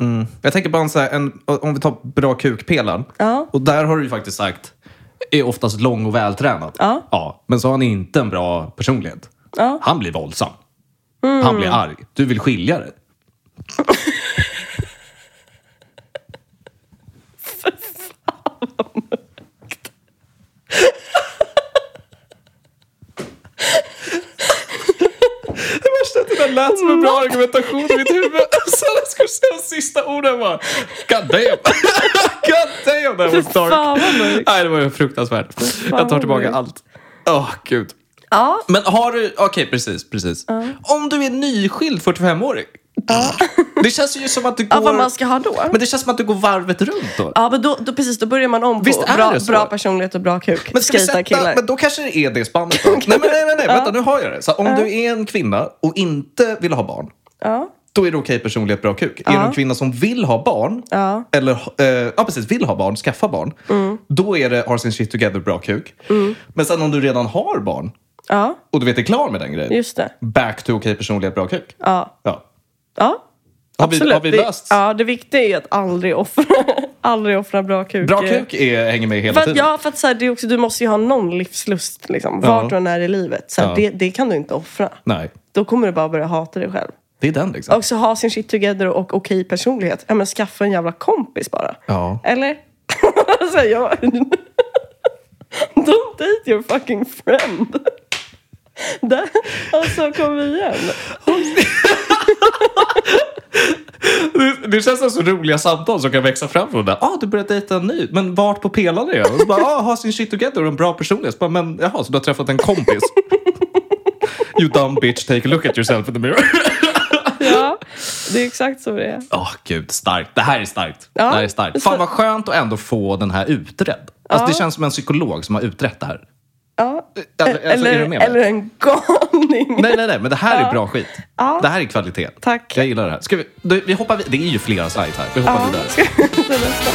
Speaker 2: Mm. Jag tänker bara en, så här, en, om vi tar bra kukpelaren.
Speaker 1: Ja.
Speaker 2: Och där har du ju faktiskt sagt, är oftast lång och vältränad.
Speaker 1: Ja.
Speaker 2: men så har han inte en bra personlighet.
Speaker 1: Ja.
Speaker 2: Han blir våldsam.
Speaker 1: Mm.
Speaker 2: Han blir arg. Du vill skilja dig. Det värsta är att det där lät som en bra argumentation i mitt huvud. Sen när jag skulle säga sista orden var God damn! <laughs> God damn that was dark!
Speaker 1: Fan, vad mörkt.
Speaker 2: Nej, det var ju fruktansvärt. jag tar
Speaker 1: vad
Speaker 2: tillbaka
Speaker 1: mörkt.
Speaker 2: allt. Åh, gud.
Speaker 1: Ja.
Speaker 2: Men har du... Okej, precis. precis. Om du är nyskild 45-åring. Det känns ju som att du
Speaker 1: <laughs>
Speaker 2: går...
Speaker 1: ja vad man ska ha då?
Speaker 2: Men det känns som att du går varvet runt då.
Speaker 1: Ja, men då, då, precis, då börjar man om på
Speaker 2: Visst är
Speaker 1: bra,
Speaker 2: det så?
Speaker 1: bra personlighet och bra kuk.
Speaker 2: Men ska vi
Speaker 1: Skejta
Speaker 2: sätta,
Speaker 1: killar.
Speaker 2: Men då kanske det är det
Speaker 1: <laughs>
Speaker 2: spannet då. nej, men nej, nej, nej. Vänta, nu har jag det. Så om du är en kvinna och inte vill ha barn,
Speaker 1: Ja.
Speaker 2: då är det okej personlighet, bra kuk. Är du en kvinna som vill ha barn,
Speaker 1: Ja. Mm.
Speaker 2: eller eh, ja, precis, vill ha barn, skaffa barn, då är det har sin shit together, bra kuk. Men sen om du redan har barn
Speaker 1: Ja,
Speaker 2: och du vet är klar med den grejen,
Speaker 1: just det.
Speaker 2: back to okej personlighet, bra kuk.
Speaker 1: Ja,
Speaker 2: Ja.
Speaker 1: ja.
Speaker 2: Har, vi,
Speaker 1: absolut.
Speaker 2: har vi löst?
Speaker 1: Det, ja, det viktiga är ju att aldrig offra, <laughs> aldrig offra bra kuk.
Speaker 2: Bra kuk är, hänger med hela
Speaker 1: För att,
Speaker 2: tiden.
Speaker 1: ja, för att så här, det är också, du måste ju ha någon livslust, liksom, vart du än är i livet. Så här,
Speaker 2: Ja.
Speaker 1: det, det kan du inte offra.
Speaker 2: Nej,
Speaker 1: Då kommer du bara börja hata dig själv.
Speaker 2: det är den liksom.
Speaker 1: Och så ha sin shit together och okej personlighet. Ja, men skaffa en jävla kompis bara.
Speaker 2: Ja.
Speaker 1: Eller? <laughs> alltså, jag... Don't date your fucking friend. <laughs> Där- alltså, kom igen.
Speaker 2: Det, det känns som så roliga samtal som kan växa fram från det. Ah, du börjar dejta en ny, men vart på pelaren är jag? Och så bara, ah, ha sin shit together och en bra personlighet. Så bara, men jaha, så du har träffat
Speaker 1: <laughs>
Speaker 2: en kompis? You dumb bitch, take a look at yourself in the mirror.
Speaker 1: Ja, det är exakt så det är.
Speaker 2: <laughs> Åh, gud, starkt. Det här är starkt.
Speaker 1: Ja.
Speaker 2: Det här är starkt. Fan vad skönt att ändå få den här utredd. Alltså, Det
Speaker 1: Ja.
Speaker 2: känns som en psykolog som har utrett det här.
Speaker 1: Ja.
Speaker 2: Alltså, alltså, är du
Speaker 1: eller,
Speaker 2: med mig?
Speaker 1: eller en galning.
Speaker 2: Nej, nej, nej, men det här är bra skit.
Speaker 1: Ja.
Speaker 2: Det här är kvalitet.
Speaker 1: Tack.
Speaker 2: Jag gillar det här. Ska vi, du, vi hoppar vid- Det är ju flera sites här. Vi hoppar
Speaker 1: Ja.
Speaker 2: vidare.
Speaker 1: <laughs> Ska vi ta nästa?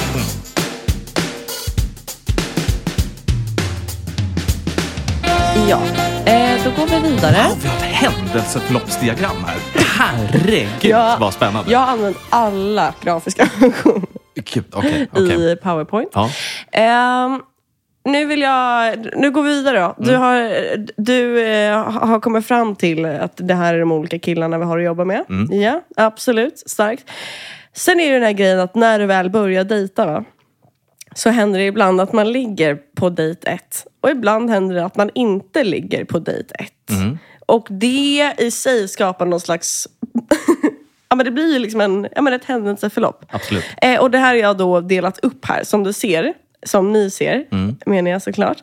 Speaker 1: Ja, eh, då går vi vidare.
Speaker 2: Wow, vi har ett händelseförloppsdiagram här. Herregud
Speaker 1: Ja.
Speaker 2: vad spännande.
Speaker 1: Jag har använt alla grafiska funktioner
Speaker 2: Gud, okej, okej.
Speaker 1: i Powerpoint.
Speaker 2: Ja.
Speaker 1: Ehm, nu vill jag... Nu går vi vidare då.
Speaker 2: Mm.
Speaker 1: Du, har, du eh, har kommit fram till att det här är de olika killarna vi har att jobba med.
Speaker 2: Mm.
Speaker 1: Ja, absolut. Starkt. Sen är det den här grejen att när du väl börjar dejta va, så händer det ibland att man ligger på dejt ett. Och ibland händer det att man inte ligger på dejt ett.
Speaker 2: Mm.
Speaker 1: Och det i sig skapar någon slags... <laughs> ja, men det blir ju liksom en, ja, men ett händelseförlopp.
Speaker 2: Absolut.
Speaker 1: Eh, och det
Speaker 2: Mm.
Speaker 1: här har jag då delat upp här, som du ser. Som ni ser, menar jag såklart.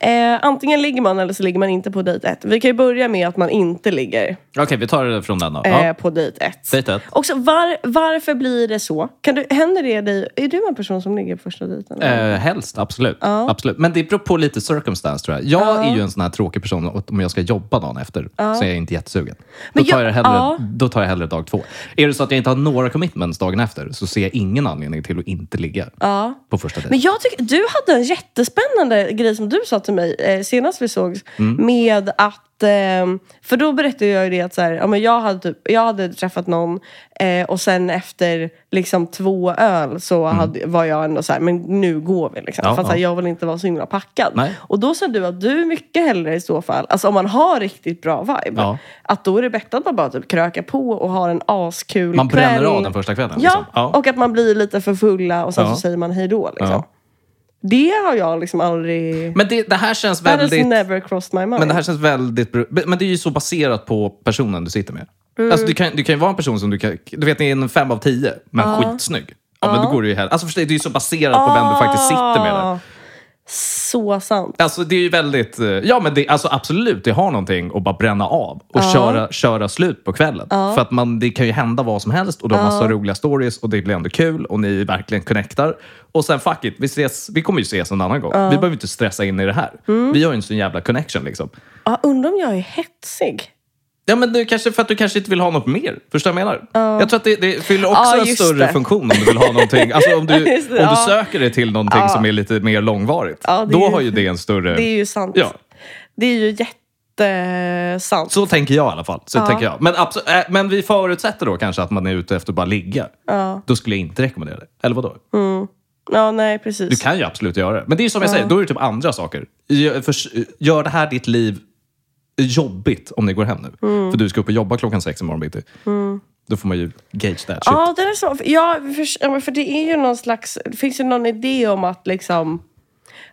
Speaker 1: Eh, antingen ligger man eller så ligger man inte på dejt ett. Vi kan ju börja med att man inte ligger
Speaker 2: Okej, vi tar det från den då.
Speaker 1: eh,
Speaker 2: Ja.
Speaker 1: på dejt ett.
Speaker 2: Dejt ett.
Speaker 1: Också, var, varför blir det så? Kan du, händer det dig? Är du en person som ligger på första dejten?
Speaker 2: Eh, helst, absolut. absolut. Men det beror på lite circumstance tror jag. Jag är ju en sån här tråkig person och om jag ska jobba dagen efter så är jag inte jättesugen.
Speaker 1: Men
Speaker 2: då, tar
Speaker 1: jag-
Speaker 2: jag, hellre,
Speaker 1: ja.
Speaker 2: då tar jag hellre dag två. Är det så att jag inte har några commitments dagen efter så ser jag ingen anledning till att inte ligga på första dejten.
Speaker 1: Men jag tycker, du hade en jättespännande grej som du sa till mig eh, senast vi sågs.
Speaker 2: Mm.
Speaker 1: Med att, eh, för då berättade jag ju det att så här, ja, men jag, hade typ, jag hade träffat någon eh, och sen efter liksom två öl så hade, var jag ändå så här, men nu går vi. Liksom.
Speaker 2: Mm. Ja,
Speaker 1: För att, så här,
Speaker 2: ja.
Speaker 1: jag vill inte vara så himla packad.
Speaker 2: Nej.
Speaker 1: Och då sa du att du mycket hellre i så fall, alltså om man har riktigt bra vibe,
Speaker 2: Ja.
Speaker 1: att då är det bättre att man bara typ krökar på och har en askul
Speaker 2: Man bränner
Speaker 1: kväll.
Speaker 2: av den första kvällen,
Speaker 1: Ja,
Speaker 2: liksom. Ja.
Speaker 1: och att man blir lite för fulla och sen
Speaker 2: Ja.
Speaker 1: så säger man hej då. Liksom.
Speaker 2: Ja.
Speaker 1: Det har jag liksom aldrig...
Speaker 2: Men det, det här känns
Speaker 1: That has
Speaker 2: väldigt...
Speaker 1: never crossed my mind.
Speaker 2: Men det här känns väldigt... bru- Men det är ju så baserat på personen du sitter med. Alltså, du, kan, du kan ju vara en person som du kan... Du vet, ni är en fem av tio, men skitsnygg. Ja, men då går det ju här. Alltså, förstår du, det är ju så baserat på vem du faktiskt sitter med. Där.
Speaker 1: Ah, Så sant.
Speaker 2: Alltså, det är ju väldigt... eh, Ja, men det, alltså, absolut, det har någonting att bara bränna av och köra, köra slut på kvällen. För att man, det kan ju hända vad som helst och du har massa roliga stories och det blir ändå kul och ni verkligen connectar. Och sen, fuck it, vi, ses, vi kommer ju ses en annan gång. Vi behöver inte stressa in i det här.
Speaker 1: Mm.
Speaker 2: Vi har ju en sån jävla connection liksom.
Speaker 1: Ah, undrar om jag är hetsig.
Speaker 2: Ja, men du kanske, för att du kanske inte vill ha något mer. Förstår du vad jag menar? Jag tror att det, det fyller också
Speaker 1: Ja,
Speaker 2: en
Speaker 1: just
Speaker 2: större
Speaker 1: det.
Speaker 2: funktion om du vill ha någonting. Alltså om du,
Speaker 1: <laughs> Just det,
Speaker 2: om du
Speaker 1: ja.
Speaker 2: söker dig till någonting som är lite mer långvarigt.
Speaker 1: Ja, det är
Speaker 2: då
Speaker 1: ju-
Speaker 2: har ju det en större...
Speaker 1: Det är ju sant.
Speaker 2: Ja.
Speaker 1: Det är ju jättesant.
Speaker 2: Så tänker jag i alla fall. Så tänker jag. Men, absolut, äh, men vi förutsätter då kanske att man är ute efter att bara ligga. Då skulle jag inte rekommendera det. Eller vadå?
Speaker 1: Ja, nej precis.
Speaker 2: Du kan ju absolut göra det. Men det är ju som jag säger, då är det typ andra saker. Gör, förs- gör det här ditt liv jobbigt om ni går hem nu.
Speaker 1: Mm.
Speaker 2: För du ska upp och jobba klockan sex imorgon bitti. Då får man ju gauge that shit.
Speaker 1: Ja, den är så, ja, för, ja, men för det är ju någon slags... Det finns ju någon idé om att liksom...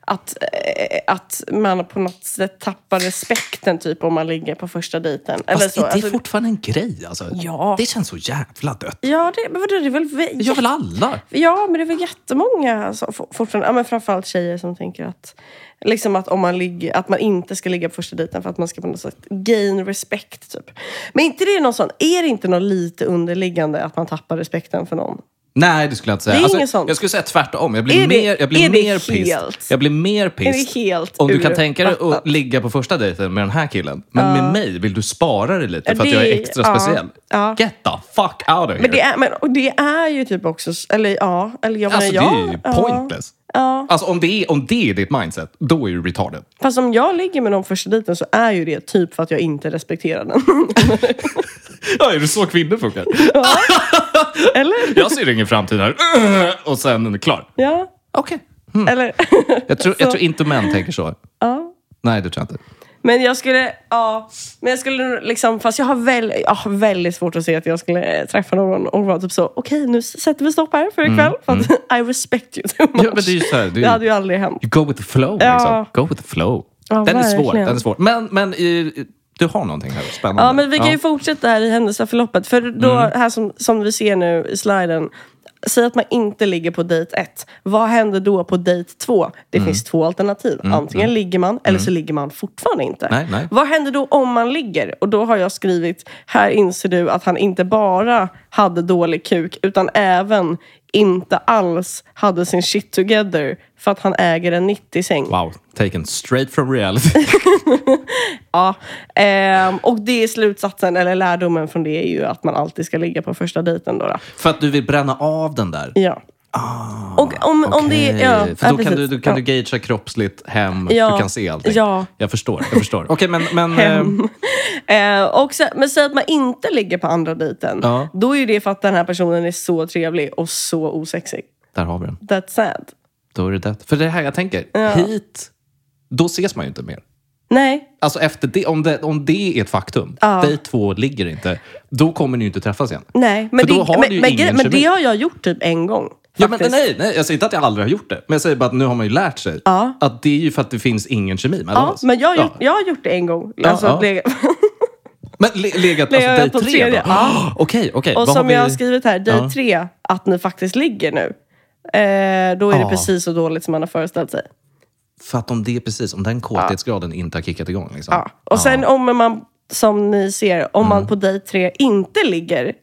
Speaker 1: Att, eh, att man på något sätt tappar respekten typ om man ligger på första dejten. Eller
Speaker 2: Fast
Speaker 1: så.
Speaker 2: det är
Speaker 1: Alltså,
Speaker 2: fortfarande en grej. Alltså.
Speaker 1: Ja.
Speaker 2: Det känns så jävla dött.
Speaker 1: ja, det, men vadå, det är väl... vä-
Speaker 2: Jag vill alla.
Speaker 1: Ja, men det är väl jättemånga alltså, for- fortfarande, ja, men framförallt tjejer som tänker att, liksom att, om man ligger, att man inte ska ligga på första dejten för att man ska på något sätt gain respect. Typ. Men inte det är någon sån, är det inte något lite underliggande att man tappar respekten för någon?
Speaker 2: Nej, det skulle jag inte säga. Alltså,
Speaker 1: Det är inget sånt.
Speaker 2: Jag skulle säga tvärtom. Jag
Speaker 1: Är
Speaker 2: blir
Speaker 1: det-
Speaker 2: mer, jag blir
Speaker 1: är det
Speaker 2: mer
Speaker 1: helt-
Speaker 2: pissed. Jag blir mer pissed.
Speaker 1: Är det helt
Speaker 2: om du
Speaker 1: ur
Speaker 2: kan tänka dig att
Speaker 1: vattnet?
Speaker 2: ligga på första dejten med den här killen, men med mig vill du spara dig lite för att
Speaker 1: Det-
Speaker 2: jag är extra
Speaker 1: ja,
Speaker 2: speciell.
Speaker 1: ja.
Speaker 2: Get the fuck out of here.
Speaker 1: Men det är, men, och det är ju typ också, s- eller ja, eller jag
Speaker 2: alltså,
Speaker 1: menar jag.
Speaker 2: det är ju pointless.
Speaker 1: Ja.
Speaker 2: Alltså, om, det är, om det är ditt mindset, då är du retarded.
Speaker 1: Fast om jag ligger med någon första dejten så är ju det typ för att jag inte respekterar den. <laughs>
Speaker 2: Ja, är det så kvinnor funkar?
Speaker 1: eller?
Speaker 2: Jag ser ingen framtid här. <clears throat> Och sen är det klar.
Speaker 1: Ja.
Speaker 2: Okej. Mm.
Speaker 1: Eller?
Speaker 2: Jag, tror, jag tror inte män tänker så.
Speaker 1: ja.
Speaker 2: Nej, det tror jag inte.
Speaker 1: Men jag skulle, ja. Men jag skulle nog liksom, fast jag har, väl, jag har väldigt svårt att se att jag skulle eh, träffa någon och vara typ så, okej nu s- sätter vi stopp här för ikväll. För att <laughs> I respect you too much.
Speaker 2: Mm, Ja, men det är ju så här, det är ju-
Speaker 1: hade ju aldrig hänt.
Speaker 2: You go with the flow.
Speaker 1: Ja.
Speaker 2: Liksom. Go with the flow.
Speaker 1: Ja,
Speaker 2: den, är svår,
Speaker 1: verkligen.
Speaker 2: den är svår. Men, men eh, du har någonting här spännande. Mm.
Speaker 1: Ja, men vi kan ju fortsätta här i händelseförloppet. För då, här som, som vi ser nu i sliden. Säg att man inte ligger på dejt ett. Vad händer då på dejt två? Det
Speaker 2: Mm.
Speaker 1: finns två alternativ. Antingen ligger man eller så ligger man fortfarande inte.
Speaker 2: Nej, nej.
Speaker 1: Vad händer då om man ligger? Och då har jag skrivit, här inser du att han inte bara hade dålig kuk utan även inte alls hade sin shit together för att han äger en 90-säng.
Speaker 2: Wow, taken straight from reality. <laughs>
Speaker 1: Ja, ehm, och det är slutsatsen, eller lärdomen från det är ju att man alltid ska ligga på första dejten. Då, då.
Speaker 2: För att du vill bränna av den där.
Speaker 1: Ja. och om, om det är... Ja,
Speaker 2: Ah, För då
Speaker 1: ja,
Speaker 2: kan, du,
Speaker 1: precis.
Speaker 2: då kan
Speaker 1: ja.
Speaker 2: du gagea kroppsligt hem,
Speaker 1: Ja.
Speaker 2: du kan se allting.
Speaker 1: Ja.
Speaker 2: Jag förstår.
Speaker 1: <laughs>
Speaker 2: Jag förstår. Okej, men... men eh,
Speaker 1: Eh, och sen, men säg att man inte ligger på andra dejten.
Speaker 2: Ja.
Speaker 1: Då är ju det för att den här personen är så trevlig och så osexig.
Speaker 2: där har vi den.
Speaker 1: That's sad.
Speaker 2: Då är det det. För det är här jag tänker. Hit, då ses man ju inte mer.
Speaker 1: Nej,
Speaker 2: Alltså efter det, om, det, om det är ett faktum, ja. dig två ligger inte, då kommer ni ju inte träffas igen.
Speaker 1: nej. Men,
Speaker 2: För
Speaker 1: det,
Speaker 2: då har
Speaker 1: men,
Speaker 2: du ju
Speaker 1: men,
Speaker 2: ingen
Speaker 1: gre- men det
Speaker 2: kemi.
Speaker 1: har jag gjort typ en gång.
Speaker 2: Ja, men,
Speaker 1: faktiskt.
Speaker 2: nej, nej, jag säger inte att jag aldrig har gjort det. Men jag säger bara att nu har man ju lärt sig. Att det är ju för att det finns ingen kemi mellan
Speaker 1: Ja,
Speaker 2: oss.
Speaker 1: men jag har,
Speaker 2: Ja.
Speaker 1: gjort, jag har gjort det en gång. Alltså,
Speaker 2: ja.
Speaker 1: det-
Speaker 2: Men le, legat
Speaker 1: Nej, jag
Speaker 2: alltså,
Speaker 1: har på
Speaker 2: dig tre
Speaker 1: tredje.
Speaker 2: då? Ah, <gasps> Okej, okej.
Speaker 1: Och
Speaker 2: Vad
Speaker 1: som
Speaker 2: vi-
Speaker 1: jag har skrivit här, dejt
Speaker 2: Ja.
Speaker 1: tre, att ni faktiskt ligger nu. Eh, då är det
Speaker 2: Ja.
Speaker 1: precis så dåligt som man har föreställt sig.
Speaker 2: För att om det precis, om den kåthetsgraden inte har kickat igång. Liksom.
Speaker 1: Ja. Och sen om man, som ni ser, om man
Speaker 2: Mm.
Speaker 1: på dejt tre inte ligger.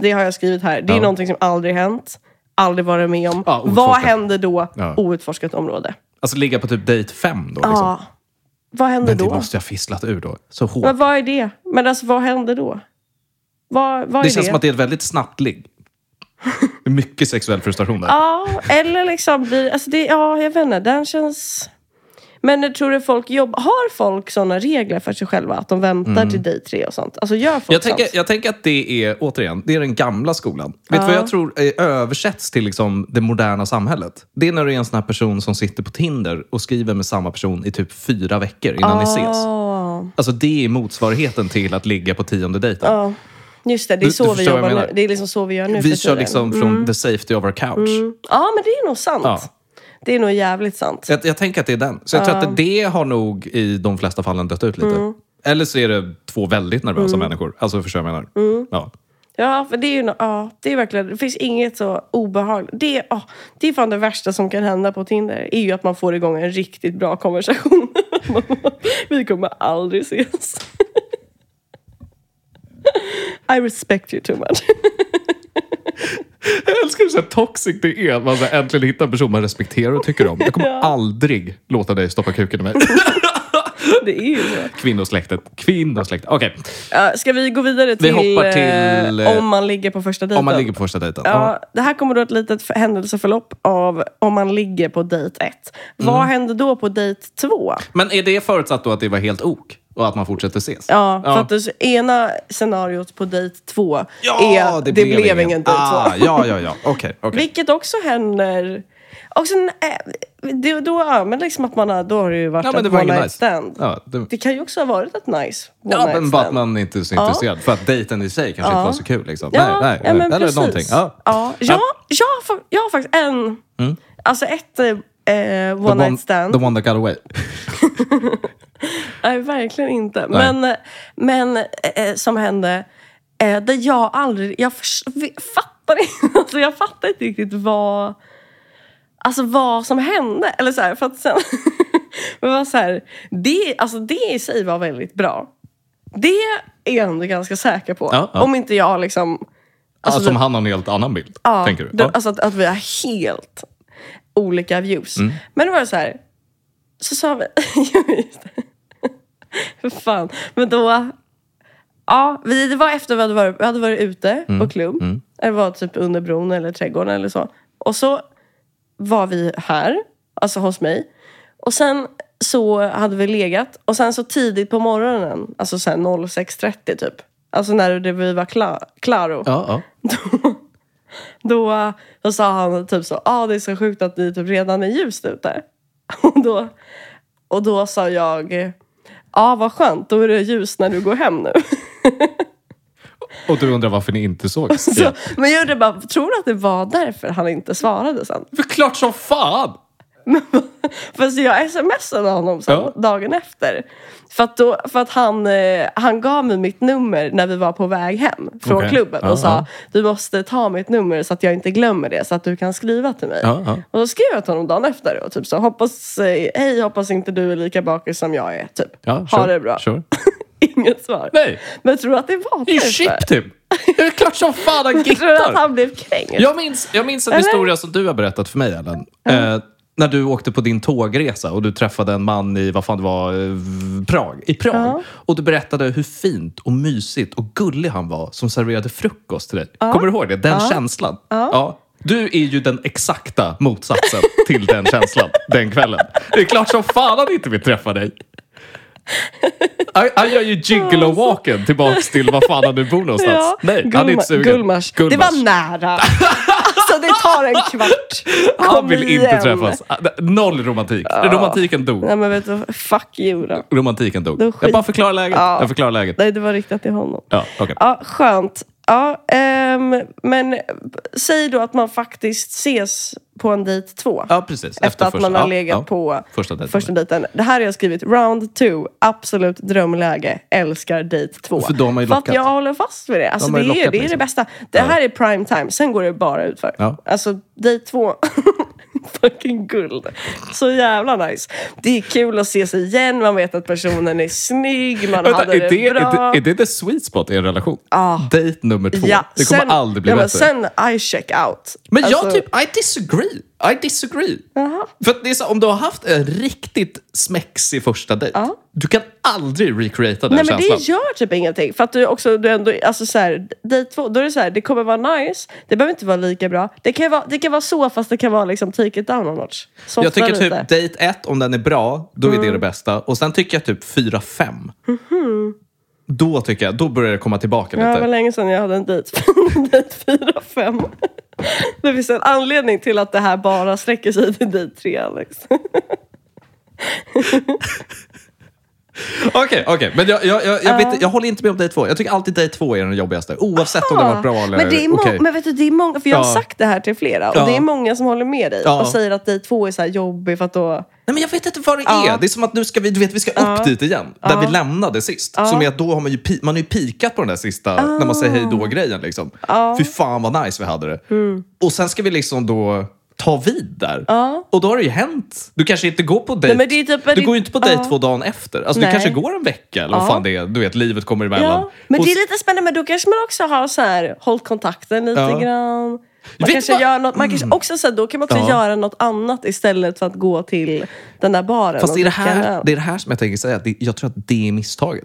Speaker 1: Det har jag skrivit här. Det är
Speaker 2: Ja.
Speaker 1: någonting som aldrig hänt. Aldrig varit med om.
Speaker 2: Ja, outforskat.
Speaker 1: Vad händer då?
Speaker 2: Ja.
Speaker 1: Outforskat område.
Speaker 2: Alltså ligga på typ dejt fem då. Liksom.
Speaker 1: Ja. Vad händer
Speaker 2: Men det
Speaker 1: då?
Speaker 2: måste jag ha fisslat ur då. Så hårt.
Speaker 1: Men vad är det? Men alltså vad händer då? Vad, vad
Speaker 2: det
Speaker 1: är
Speaker 2: känns
Speaker 1: det?
Speaker 2: som att det är ett väldigt
Speaker 1: <laughs>
Speaker 2: snabbt ligg. Det är mycket sexuell frustration där.
Speaker 1: Ja, eller liksom blir... Alltså det, ja, jag vet inte. Den känns... Men jag tror du folk jobb, har folk såna regler för sig själva? Att de väntar till dig tre och sånt? Alltså gör folk
Speaker 2: Mm. Jag tänker,
Speaker 1: sånt?
Speaker 2: jag tänker att det är, återigen, det är den gamla skolan. Vet du vad jag tror eh, översätts till liksom det moderna samhället? Det är när du är en sån här person som sitter på Tinder och skriver med samma person i typ fyra veckor innan ni ses.
Speaker 1: Ja,
Speaker 2: Alltså det är motsvarigheten till att ligga på tionde dejten.
Speaker 1: ja. Just det, det är
Speaker 2: Du-
Speaker 1: så
Speaker 2: du
Speaker 1: vi
Speaker 2: förstår vad jag
Speaker 1: jobbar nu.
Speaker 2: menar.
Speaker 1: Det är liksom så vi gör nu
Speaker 2: Vi
Speaker 1: för
Speaker 2: kör
Speaker 1: tiden.
Speaker 2: liksom från the safety of our couch.
Speaker 1: Ja, men det är nog sant.
Speaker 2: Ja.
Speaker 1: Det är nog jävligt sant.
Speaker 2: Jag, jag tänker att det är den. Så jag tror att det har nog i de flesta fallen dött ut lite. Eller så är det två väldigt nervösa människor. Alltså förstår jag vad jag menar? Ja.
Speaker 1: Ja, för det är ju no- ja, det är verkligen, det finns inget så obehagligt. Det, ja, det är fan det värsta som kan hända på Tinder. är ju att man får igång en riktigt bra konversation. <laughs> Man bara, Vi kommer aldrig ses. I respect you too much.
Speaker 2: Jag älskar hur så här toxic det är att man så här äntligen hittar en person man respekterar och tycker om.
Speaker 1: <laughs>
Speaker 2: Jag kommer aldrig låta dig stoppa kuken i mig.
Speaker 1: Det är ju så.
Speaker 2: Kvinnosläktet. Kvinnosläktet. Okej,
Speaker 1: Ja, ska vi gå vidare till,
Speaker 2: hoppar till,
Speaker 1: eh,
Speaker 2: eh,
Speaker 1: om man ligger på första dejten?
Speaker 2: om man ligger på första dejten.
Speaker 1: Ja, det här kommer då ett litet f- händelseförlopp av om man ligger på dejt ett. Vad
Speaker 2: Mm.
Speaker 1: händer då på dejt två?
Speaker 2: Men är det förutsatt då att det var helt ok? Och att man fortsätter ses?
Speaker 1: Ja, för att det ena scenariot på dejt två
Speaker 2: Ja,
Speaker 1: är det, blev ingen dejt två.
Speaker 2: ah, Ja, ja, ja. Okej,
Speaker 1: <laughs>
Speaker 2: okej.
Speaker 1: Vilket också händer... Också, nej, det, då, ja, men liksom att man har, då har det ju varit
Speaker 2: Ja, men
Speaker 1: ett
Speaker 2: det var
Speaker 1: one
Speaker 2: inget
Speaker 1: night
Speaker 2: nice.
Speaker 1: stand.
Speaker 2: Ja, det,
Speaker 1: Det kan ju också ha varit ett nice one
Speaker 2: ja,
Speaker 1: night
Speaker 2: men bara att
Speaker 1: stand.
Speaker 2: man inte är så intresserad. För att dejten i sig kanske inte var så kul. Liksom.
Speaker 1: Ja,
Speaker 2: nej, nej.
Speaker 1: ja, men
Speaker 2: Eller
Speaker 1: precis.
Speaker 2: någonting. Ja.
Speaker 1: Ja, jag, jag, har, fa- jag har faktiskt en... Alltså ett eh, one
Speaker 2: The
Speaker 1: night stand.
Speaker 2: The one that got away.
Speaker 1: Nej, verkligen inte.
Speaker 2: Nej.
Speaker 1: Men, men eh, som hände, eh, det jag aldrig... Jag förs- vi- fattar inte, <laughs> alltså, jag fattar inte riktigt vad, alltså, vad som hände. Eller så här, för att sen, <laughs> men var så här, det, alltså, det i sig var väldigt bra. Det är jag ändå ganska säker på.
Speaker 2: Ja, ja.
Speaker 1: Om inte jag liksom...
Speaker 2: Alltså,
Speaker 1: Alltså,
Speaker 2: som han har en helt annan bild,
Speaker 1: Ja,
Speaker 2: tänker du?
Speaker 1: det-
Speaker 2: Ja.
Speaker 1: Alltså att, att vi har helt olika views.
Speaker 2: Mm.
Speaker 1: Men det var så här, så sa vi... <laughs> Jo, just det. För fan. Men då... Ja, vi, det var efter vi hade varit, vi hade varit ute
Speaker 2: Mm.
Speaker 1: på klubb. Eller var typ under bron eller trädgården eller så. Och så var vi här, alltså hos mig. Och sen så hade vi legat. Och sen så tidigt på morgonen, alltså så här 06.30 typ. Alltså när det, vi var kla, klaro
Speaker 2: Ja, ja.
Speaker 1: då, då sa han typ så, ah, det är så sjukt att det typ redan är ljust ute. <laughs> Och då, och då sa jag, ja ah, vad skönt, då är det ljus när du går hem nu. <laughs>
Speaker 2: Och du undrar varför ni inte sågs?
Speaker 1: Så,
Speaker 2: Ja.
Speaker 1: men jag undrar bara, tror du att det var därför han inte svarade sen?
Speaker 2: För klart som fan!
Speaker 1: För så jag smsade honom sen,
Speaker 2: Ja.
Speaker 1: dagen efter. För att, då, för att han, eh, han gav mig mitt nummer när vi var på väg hem från
Speaker 2: Okej.
Speaker 1: klubben och
Speaker 2: Ja,
Speaker 1: sa
Speaker 2: ja.
Speaker 1: du måste ta mitt nummer så att jag inte glömmer det så att du kan skriva till mig.
Speaker 2: Ja, ja.
Speaker 1: Och då skrev jag till honom dagen efter och typ så hoppas, eh, hej hoppas inte du är lika bakis som jag är. Typ.
Speaker 2: Ja,
Speaker 1: ha
Speaker 2: sure,
Speaker 1: det bra.
Speaker 2: Sure.
Speaker 1: <laughs> Inget svar.
Speaker 2: Nej.
Speaker 1: Men tror du att det var typ
Speaker 2: Det är ju chip, Tim! Det är klart som fan
Speaker 1: Tror
Speaker 2: han
Speaker 1: du att
Speaker 2: gittar!
Speaker 1: han blev kränkt?
Speaker 2: Jag minns, jag minns en
Speaker 1: Eller?
Speaker 2: historia som du har berättat för mig, Ellen. Eh, när du åkte på din tågresa och du träffade en man i, vad fan det var, eh, v- Prag. I Prag. Och du berättade hur fint och mysigt och gullig han var som serverade frukost till dig. Kommer du ihåg det? Den känslan. Ja. Du är ju den exakta motsatsen till
Speaker 1: <laughs>
Speaker 2: den känslan den kvällen. Det är klart som fan han inte vill träffa dig. Han- Han gör ju gigolo-walken tillbaks till var fan han nu bor någonstans.
Speaker 1: alltså. Ja.
Speaker 2: Nej, han är inte
Speaker 1: Gullma-
Speaker 2: sugen.
Speaker 1: Gullmars. Det
Speaker 2: Gullmars.
Speaker 1: var nära. alltså det tar en kvart.
Speaker 2: <laughs> Han
Speaker 1: Kom
Speaker 2: vill inte
Speaker 1: igen.
Speaker 2: träffas. Ah, Noll romantik. Romantiken dog.
Speaker 1: Nej men vet du, fuck you då.
Speaker 2: Romantiken dog.
Speaker 1: Då skit-
Speaker 2: Jag bara förklarar läget.
Speaker 1: Ja.
Speaker 2: Jag förklarar läget.
Speaker 1: Nej, det var riktat till honom.
Speaker 2: Ja, okej.
Speaker 1: Ja, skönt. Ja, ehm, men säg då att man faktiskt ses på en dejt två.
Speaker 2: Ja, precis. Efter,
Speaker 1: efter, att
Speaker 2: första.
Speaker 1: man har
Speaker 2: Ja,
Speaker 1: legat
Speaker 2: ja.
Speaker 1: på
Speaker 2: Första dejten.
Speaker 1: första dejten. Det här har jag skrivit. Round two. Absolut drömläge. Älskar dejt två.
Speaker 2: För de har ju
Speaker 1: För att
Speaker 2: lockat.
Speaker 1: jag håller fast vid det. Alltså, det,
Speaker 2: De har ju
Speaker 1: är,
Speaker 2: lockat
Speaker 1: det är det
Speaker 2: liksom.
Speaker 1: bästa. Det här är prime time. Sen går det bara utför.
Speaker 2: Ja.
Speaker 1: Alltså dejt två. <laughs> fucking guld. Så jävla nice. Det är kul att ses igen, man vet att personen är snygg, man
Speaker 2: Vänta,
Speaker 1: hade
Speaker 2: är,
Speaker 1: det,
Speaker 2: det, är,
Speaker 1: bra.
Speaker 2: det, är det the sweet spot i en relation?
Speaker 1: Ja.
Speaker 2: Date nummer två.
Speaker 1: Ja,
Speaker 2: det kommer
Speaker 1: sen-
Speaker 2: aldrig bli
Speaker 1: ja, men
Speaker 2: bättre.
Speaker 1: Sen I check out.
Speaker 2: Men jag
Speaker 1: Alltså,
Speaker 2: typ, I disagree. I disagree.
Speaker 1: Jaha.
Speaker 2: För att det är så, om du har haft en riktigt smexig första dejt, du kan aldrig recreata den
Speaker 1: Nej men
Speaker 2: känslan.
Speaker 1: det gör typ ingenting. För att du också, du ändå, alltså så här, dejt två, då är det så här, det kommer vara nice, det behöver inte vara lika bra. Det kan ju vara, det kan vara så fast det kan vara liksom take it down a notch. Softa
Speaker 2: jag tycker
Speaker 1: lite. Mm.
Speaker 2: typ dejt ett, om den är bra, då är det det bästa. Och sen tycker jag typ fyra, fem. Då tycker jag, då börjar det komma tillbaka
Speaker 1: Mm-hmm. Ja, det var
Speaker 2: lite.
Speaker 1: länge sedan jag hade en <laughs> dejt. dejt fyra fem. <laughs> Det finns en anledning till att det här bara sträcker sig till dejt tre Alex.
Speaker 2: Okej, okej. Men jag, jag, jag, jag, vet, jag håller inte med om dejt två. Jag tycker alltid dejt två är den jobbigaste. Oavsett om den var bra eller
Speaker 1: men, det är må-
Speaker 2: okej.
Speaker 1: men vet du, det är många, för jag har
Speaker 2: Ja.
Speaker 1: sagt det här till flera och
Speaker 2: Ja.
Speaker 1: det är många som håller med dig
Speaker 2: Ja.
Speaker 1: och säger att dejt två är så här jobbig för att då...
Speaker 2: Nej, men jag vet inte vad det
Speaker 1: Ja.
Speaker 2: är. Det är som att nu ska vi, du vet, vi ska upp dit igen, där vi lämnade sist. Som är att då har man ju, pi- man har ju pikat på den där sista,
Speaker 1: Ah.
Speaker 2: när man säger hej då-grejen. Liksom. Fy fan vad nice vi hade det.
Speaker 1: Mm.
Speaker 2: Och sen ska vi liksom då ta vid där. Och då har det ju hänt. Du kanske inte går på dejt.
Speaker 1: men det är typ-
Speaker 2: du
Speaker 1: det-
Speaker 2: går ju inte på dejt
Speaker 1: ja.
Speaker 2: två dagen efter. Alltså, du
Speaker 1: Nej.
Speaker 2: kanske går en vecka eller vad
Speaker 1: Ja.
Speaker 2: fan det är. Du vet, livet kommer emellan.
Speaker 1: Ja. Men
Speaker 2: Och
Speaker 1: det är lite spännande, men då kanske man också har så här, hållit kontakten lite
Speaker 2: Ja.
Speaker 1: grann.
Speaker 2: Vet
Speaker 1: Man
Speaker 2: du
Speaker 1: kanske
Speaker 2: vad- Mm.
Speaker 1: gör något, man kanske också, så här, då kan man också
Speaker 2: Ja.
Speaker 1: göra något annat istället för att gå till den där baren.
Speaker 2: Fast
Speaker 1: och
Speaker 2: det är det,
Speaker 1: dricka en
Speaker 2: här,
Speaker 1: öl.
Speaker 2: det är det här som jag tänker säga. Det, jag tror att det är misstaget.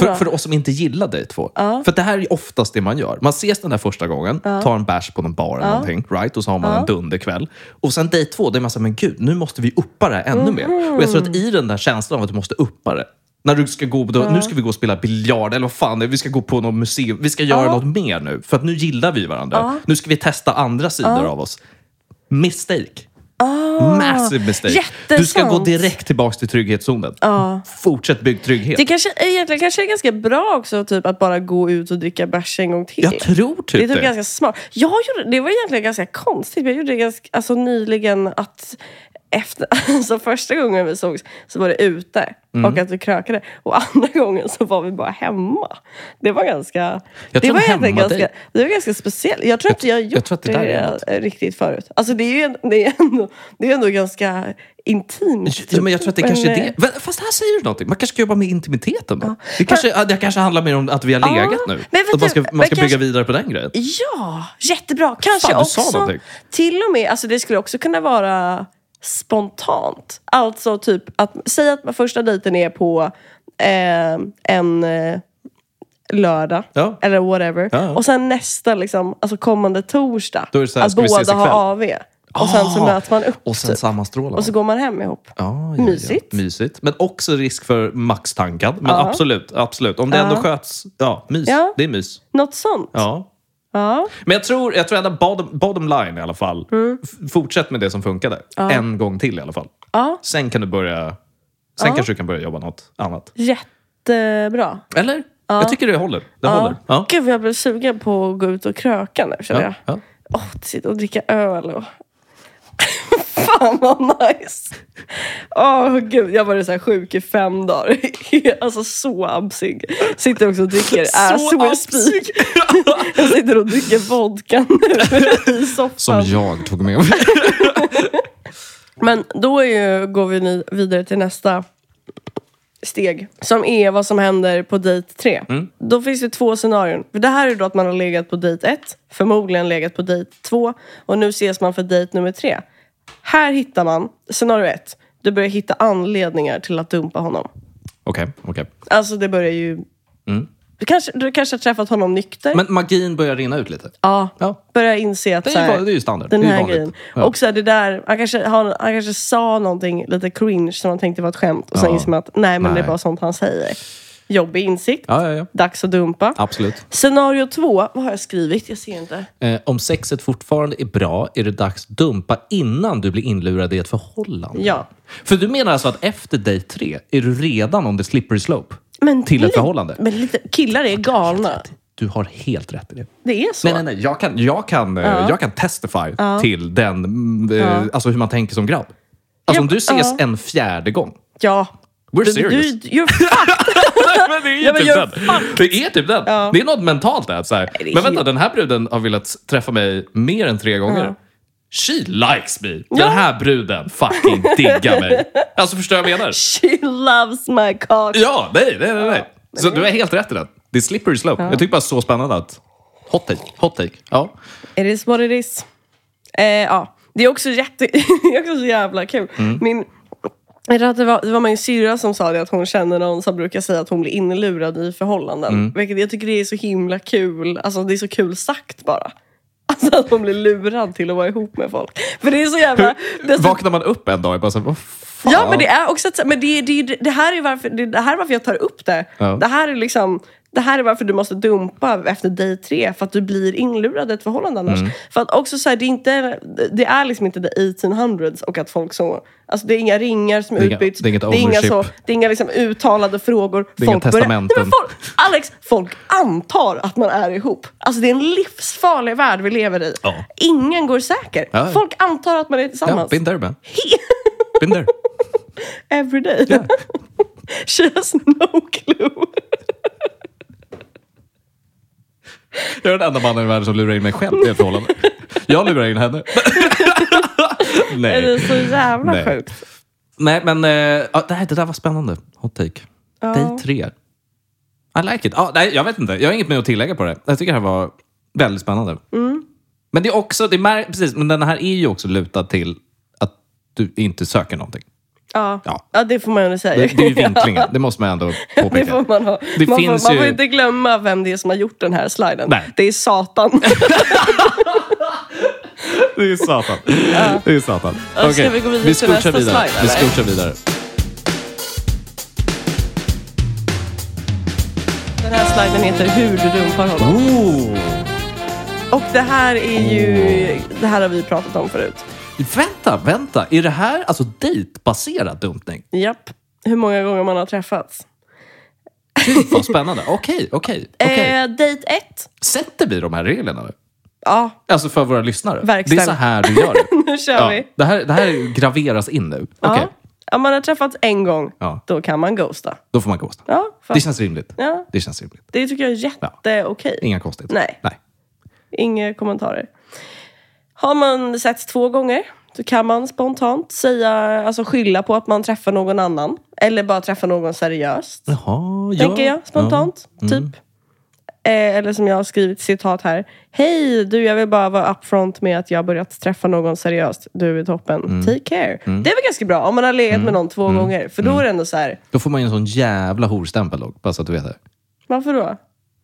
Speaker 2: För,
Speaker 1: då?
Speaker 2: för oss som inte gillar dejt två. För det här är oftast det man gör. Man ses den där första gången, tar en bärs på någon bar eller någonting, right? Och så har man en dunderkväll. Och sen dejt två, det är man såhär, men gud, nu måste vi uppa det här ännu mer. Och jag tror att i den där känslan av att du måste uppa det, när du ska gå, på- då, nu ska vi gå och spela biljard, eller vad fan det är, vi ska gå på något museum, vi ska göra något mer nu. För att nu gillar vi varandra. Nu ska vi testa andra sidor av oss. Mistake. Massive mistake.
Speaker 1: jättesant.
Speaker 2: Du ska gå direkt tillbaka till trygghetszonen. Fortsätt bygg trygghet.
Speaker 1: Det kanske, egentligen kanske är ganska bra också typ, att bara gå ut och dricka bärs en gång till.
Speaker 2: Jag tror typ
Speaker 1: det är
Speaker 2: det.
Speaker 1: typ ganska smart. Jag gjorde, det var egentligen ganska konstigt. men Jag gjorde det ganska, alltså, nyligen att efter, <laughs> alltså, första gången vi sågs så var det ute
Speaker 2: Mm.
Speaker 1: och att vi krökade. Och andra gången så var vi bara hemma. Det var ganska...
Speaker 2: Jag
Speaker 1: det
Speaker 2: tror
Speaker 1: var
Speaker 2: en
Speaker 1: egentligen
Speaker 2: hemmadejt-
Speaker 1: ganska, det var ganska speciellt. Jag tror inte jag har gjort
Speaker 2: jag tror att det där är något.
Speaker 1: eh, riktigt förut. Alltså det är ju en- det är ändå, det är ändå ganska intimt.
Speaker 2: Ja, men jag tror att det
Speaker 1: Men,
Speaker 2: kanske är
Speaker 1: eh,
Speaker 2: det. Men, Fast här säger du någonting. Man kanske ska jobba med intimiteten då. Det, kanske, ja, det kanske handlar mer om att vi har legat nu.
Speaker 1: men vet
Speaker 2: Att man ska,
Speaker 1: du,
Speaker 2: man ska bygga
Speaker 1: kanske-
Speaker 2: vidare på den grejen.
Speaker 1: Ja, jättebra. Kanske
Speaker 2: Fan, du sa
Speaker 1: också,
Speaker 2: någonting.
Speaker 1: till och med, alltså det skulle också kunna vara spontant. Alltså typ, att, säg att första dejten är på eh, en eh, lördag.
Speaker 2: Ja.
Speaker 1: Eller whatever.
Speaker 2: Ja.
Speaker 1: Och sen nästa, liksom, alltså kommande torsdag.
Speaker 2: Då är det så här,
Speaker 1: att
Speaker 2: ska vi ses
Speaker 1: båda har
Speaker 2: ikväll?
Speaker 1: AV. Och sen så
Speaker 2: Ah,
Speaker 1: möts man upp.
Speaker 2: Och sen
Speaker 1: typ.
Speaker 2: sammanstrålar
Speaker 1: och så går man hem ihop.
Speaker 2: Ja, ja,
Speaker 1: Mysigt.
Speaker 2: Ja. Mysigt. Men också risk för maxtankad. Men absolut, absolut. Om det ändå sköts, ja, mys.
Speaker 1: Ja.
Speaker 2: Det är mys.
Speaker 1: Något sånt.
Speaker 2: Ja.
Speaker 1: Ja.
Speaker 2: Men jag tror, jag tror ändå bottom, bottom line i alla fall.
Speaker 1: Mm.
Speaker 2: F- Fortsätt med det som funkade. En gång till i alla fall.
Speaker 1: Ja.
Speaker 2: Sen kan du börja... Sen kanske du kan börja jobba något annat.
Speaker 1: Jättebra.
Speaker 2: Eller? Jag tycker det håller. Det håller. Ja.
Speaker 1: Gud vad jag blev sugen på att gå ut och kröka nu känner
Speaker 2: Ja.
Speaker 1: jag.
Speaker 2: Ja.
Speaker 1: Åh, sitta och dricka öl och... <laughs> Fan vad nice! Åh gud, jag var så här sjuk i fem dagar. <laughs> alltså så absig. Sitter också och dricker, är
Speaker 2: <laughs> Så
Speaker 1: så we
Speaker 2: absig.
Speaker 1: speak. <laughs> jag sitter och dricker vodka nu <laughs> i soffan.
Speaker 2: Som jag tog med mig.
Speaker 1: Men då är ju, går vi nu vidare till nästa steg. Som är vad som händer på dejt tre. Då finns det två scenarion. För det här är då att man har legat på dejt ett. Förmodligen legat på dejt två. Och nu ses man för dejt nummer tre. Här hittar man, scenario ett. Du börjar hitta anledningar till att dumpa honom.
Speaker 2: <laughs> Okej, okej.
Speaker 1: Alltså det börjar ju... Du, kanske, du kanske har träffat honom nykter.
Speaker 2: Men magin börjar rinna ut lite.
Speaker 1: ja.
Speaker 2: Ja.
Speaker 1: Börjar inse att
Speaker 2: Det är
Speaker 1: så här,
Speaker 2: ju- det är ju standard.
Speaker 1: den
Speaker 2: Det är ju
Speaker 1: här
Speaker 2: vanligt.
Speaker 1: grejen.
Speaker 2: Ja.
Speaker 1: Och så här, det där, han kanske, han, han kanske sa någonting lite cringe som han tänkte var ett skämt. Och sen
Speaker 2: Ja.
Speaker 1: inser man att nej, men
Speaker 2: Nej.
Speaker 1: det är bara sånt han säger. Jobbig insikt.
Speaker 2: Ja, ja, ja.
Speaker 1: Dags att dumpa.
Speaker 2: Absolut.
Speaker 1: Scenario två, vad har jag skrivit? Jag ser inte.
Speaker 2: Eh, om sexet fortfarande är bra är det dags att dumpa innan du blir inlurad i ett förhållande.
Speaker 1: Ja.
Speaker 2: För du menar alltså att efter day tre är du redan on the slippery slope
Speaker 1: Men
Speaker 2: till ett
Speaker 1: lite-
Speaker 2: förhållande?
Speaker 1: Men lite, killar är galna.
Speaker 2: Du har helt rätt i det.
Speaker 1: Det är så.
Speaker 2: Nej, nej, nej. Jag kan, jag kan, eh, jag kan testify till den, mm, eh, alltså hur man tänker som grabb. Alltså
Speaker 1: Ja,
Speaker 2: om du ses
Speaker 1: ja.
Speaker 2: en fjärde gång.
Speaker 1: Ja.
Speaker 2: We're
Speaker 1: Du,
Speaker 2: serious.
Speaker 1: du,
Speaker 2: <laughs>
Speaker 1: you're fucked.
Speaker 2: men det är ju
Speaker 1: <laughs> Ja, men
Speaker 2: typ
Speaker 1: you're
Speaker 2: den. Det är typ den. Det är något mentalt där. Så här.
Speaker 1: det är
Speaker 2: men vänta,
Speaker 1: helt-
Speaker 2: den här bruden har velat träffa mig mer än tre gånger. She likes me. Den här bruden fucking diggar mig.
Speaker 1: <laughs>
Speaker 2: Alltså förstår jag vad jag menar?
Speaker 1: She loves my cock.
Speaker 2: Ja, nej, nej, nej. nej. Så du har helt rätt i den. Det är slippery slope. Jag tycker bara så spännande att... Hot take, hot take. Ja.
Speaker 1: It is what it is. Eh, ja. Det är också jätte... <laughs> det är också så jävla kul. Min... jag tror att Det var, det var min syrra som sa det, att hon känner någon som brukar säga att hon blir inlurad i förhållanden. Vilket jag tycker det är så himla kul. Alltså det är så kul sagt bara. <laughs> Alltså att hon blir lurad till att vara ihop med folk. För det är så jävla... det är så
Speaker 2: Vaknar man upp en dag och bara så här, vad fan?
Speaker 1: Ja, men det är också att, men det, det, det här är varför, det, det här är varför jag tar upp det.
Speaker 2: Ja.
Speaker 1: Det här är liksom... Det här är varför du måste dumpa efter day tre, för att du blir inlurad i ett förhållande annars.
Speaker 2: Mm.
Speaker 1: För att också så här, det, är inte, det är liksom inte the 1800s och att folk så... Alltså det är inga ringar som
Speaker 2: är inga-
Speaker 1: utbyts.
Speaker 2: det är inget
Speaker 1: inga,
Speaker 2: ownership.
Speaker 1: så, det är inga liksom uttalade frågor.
Speaker 2: Det är inga testamenten.
Speaker 1: Nej, men folk, Alex, folk antar att man är ihop. Alltså det är en livsfarlig värld vi lever i.
Speaker 2: Ja.
Speaker 1: Ingen går säker.
Speaker 2: Ja.
Speaker 1: Folk antar att man är
Speaker 2: Ja,
Speaker 1: tillsammans.
Speaker 2: been there man.
Speaker 1: <laughs>
Speaker 2: Been there.
Speaker 1: Every day.
Speaker 2: Yeah.
Speaker 1: She has no clue.
Speaker 2: Jag är den enda mannen i världen som lurar in mig själv i ett förhållande. Jag lurar in <laughs> henne.
Speaker 1: Det är
Speaker 2: Nej.
Speaker 1: så jävla
Speaker 2: Nej.
Speaker 1: sjukt.
Speaker 2: Nej, men eh, ja, det, här, det där var spännande. Hot take. Day tre. I like it. Ja, nej, jag vet inte. Jag har inget mer att tillägga på det. Jag tycker det här var väldigt spännande.
Speaker 1: Mm.
Speaker 2: Men det är också, det är mär- precis, men den här är ju också lutad till att du inte söker någonting.
Speaker 1: Ja.
Speaker 2: Ja.
Speaker 1: Ja. det får man ju ändå säga.
Speaker 2: Det, det
Speaker 1: <laughs>
Speaker 2: är ju vinklingen. Det måste man ändå
Speaker 1: Det
Speaker 2: påpeka.
Speaker 1: får man ha.
Speaker 2: Det
Speaker 1: man,
Speaker 2: finns
Speaker 1: får, man
Speaker 2: ju-
Speaker 1: får inte glömma vem det är som har gjort den här sliden.
Speaker 2: Nej.
Speaker 1: Det är Satan. <laughs>
Speaker 2: Det är satan. Det är satan.
Speaker 1: ska
Speaker 2: Okej,
Speaker 1: vi gå vidare till
Speaker 2: skuchar
Speaker 1: nästa
Speaker 2: vidare.
Speaker 1: slide,
Speaker 2: Vi
Speaker 1: eller?
Speaker 2: skuchar vidare.
Speaker 1: Den här sliden heter Hur du dumpar honom.
Speaker 2: Ooh.
Speaker 1: Och det här är ju...
Speaker 2: Oh.
Speaker 1: Det här har vi pratat om förut.
Speaker 2: Vänta, vänta. Är det här alltså dejtbaserad dumpning?
Speaker 1: Japp. Hur många gånger man har träffats.
Speaker 2: Gud, vad spännande. Okej, okej. okej.
Speaker 1: Eh, date ett.
Speaker 2: Sätter vi de här reglerna nu?
Speaker 1: Ja, <laughs>
Speaker 2: Alltså för våra lyssnare.
Speaker 1: Verkställ.
Speaker 2: Det är så här du gör
Speaker 1: <laughs>
Speaker 2: det.
Speaker 1: nu kör
Speaker 2: Ja,
Speaker 1: vi.
Speaker 2: det, här, det här graveras in nu. Okej,
Speaker 1: Ja. Om man har träffats en gång,
Speaker 2: Ja.
Speaker 1: då kan man ghosta.
Speaker 2: då får man ghosta.
Speaker 1: Ja, fast,
Speaker 2: Det känns rimligt.
Speaker 1: ja,
Speaker 2: Det känns rimligt.
Speaker 1: det tycker jag är jätteokej.
Speaker 2: Inga konstigheter.
Speaker 1: Nej.
Speaker 2: Nej.
Speaker 1: Inga kommentarer. Har man setts två gånger så kan man spontant säga, alltså skylla på att man träffar någon annan. Eller bara träffa någon seriöst.
Speaker 2: Jaha, ja. Mm.
Speaker 1: Tänker jag spontant. Typ. Eh, eller som jag har skrivit citat här. Hej, du jag vill bara vara upfront med att jag har börjat träffa någon seriöst. Du är toppen.
Speaker 2: Mm.
Speaker 1: Take care. Det är väl ganska bra om man har legat med någon två gånger. För då
Speaker 2: Mm.
Speaker 1: är det ändå så här,
Speaker 2: Ja. Då får man ju en sån jävla horstämpel dock, bara så att du vet det.
Speaker 1: varför då?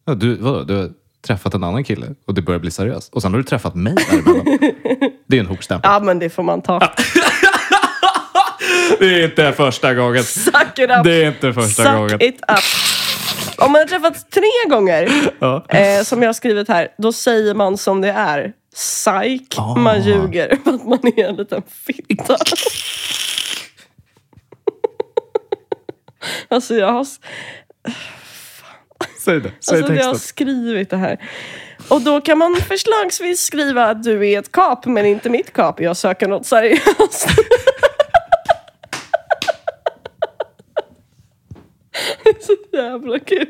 Speaker 2: Ja, du, vadå, du har träffat en annan kille och det börjar bli seriöst. Och sen har du träffat mig
Speaker 1: <laughs>
Speaker 2: däremellan. det är en horstämpel.
Speaker 1: Ja men det får man ta. <laughs>
Speaker 2: Det är inte första gången.
Speaker 1: Suck it up.
Speaker 2: Det är inte första
Speaker 1: Suck
Speaker 2: gången.
Speaker 1: it up. Om man har träffats tre gånger,
Speaker 2: Ja.
Speaker 1: eh, som jag har skrivit här, då säger man som det är. Psyk,
Speaker 2: Ah.
Speaker 1: man ljuger för att man är en liten
Speaker 2: <laughs>
Speaker 1: fitta. alltså jag har,
Speaker 2: Säg det. Säg
Speaker 1: alltså jag har skrivit det här. Och då kan man förslagsvis skriva att du är ett kap, men inte mitt kap. Jag söker något seriöst. <laughs> det är så jävla kul.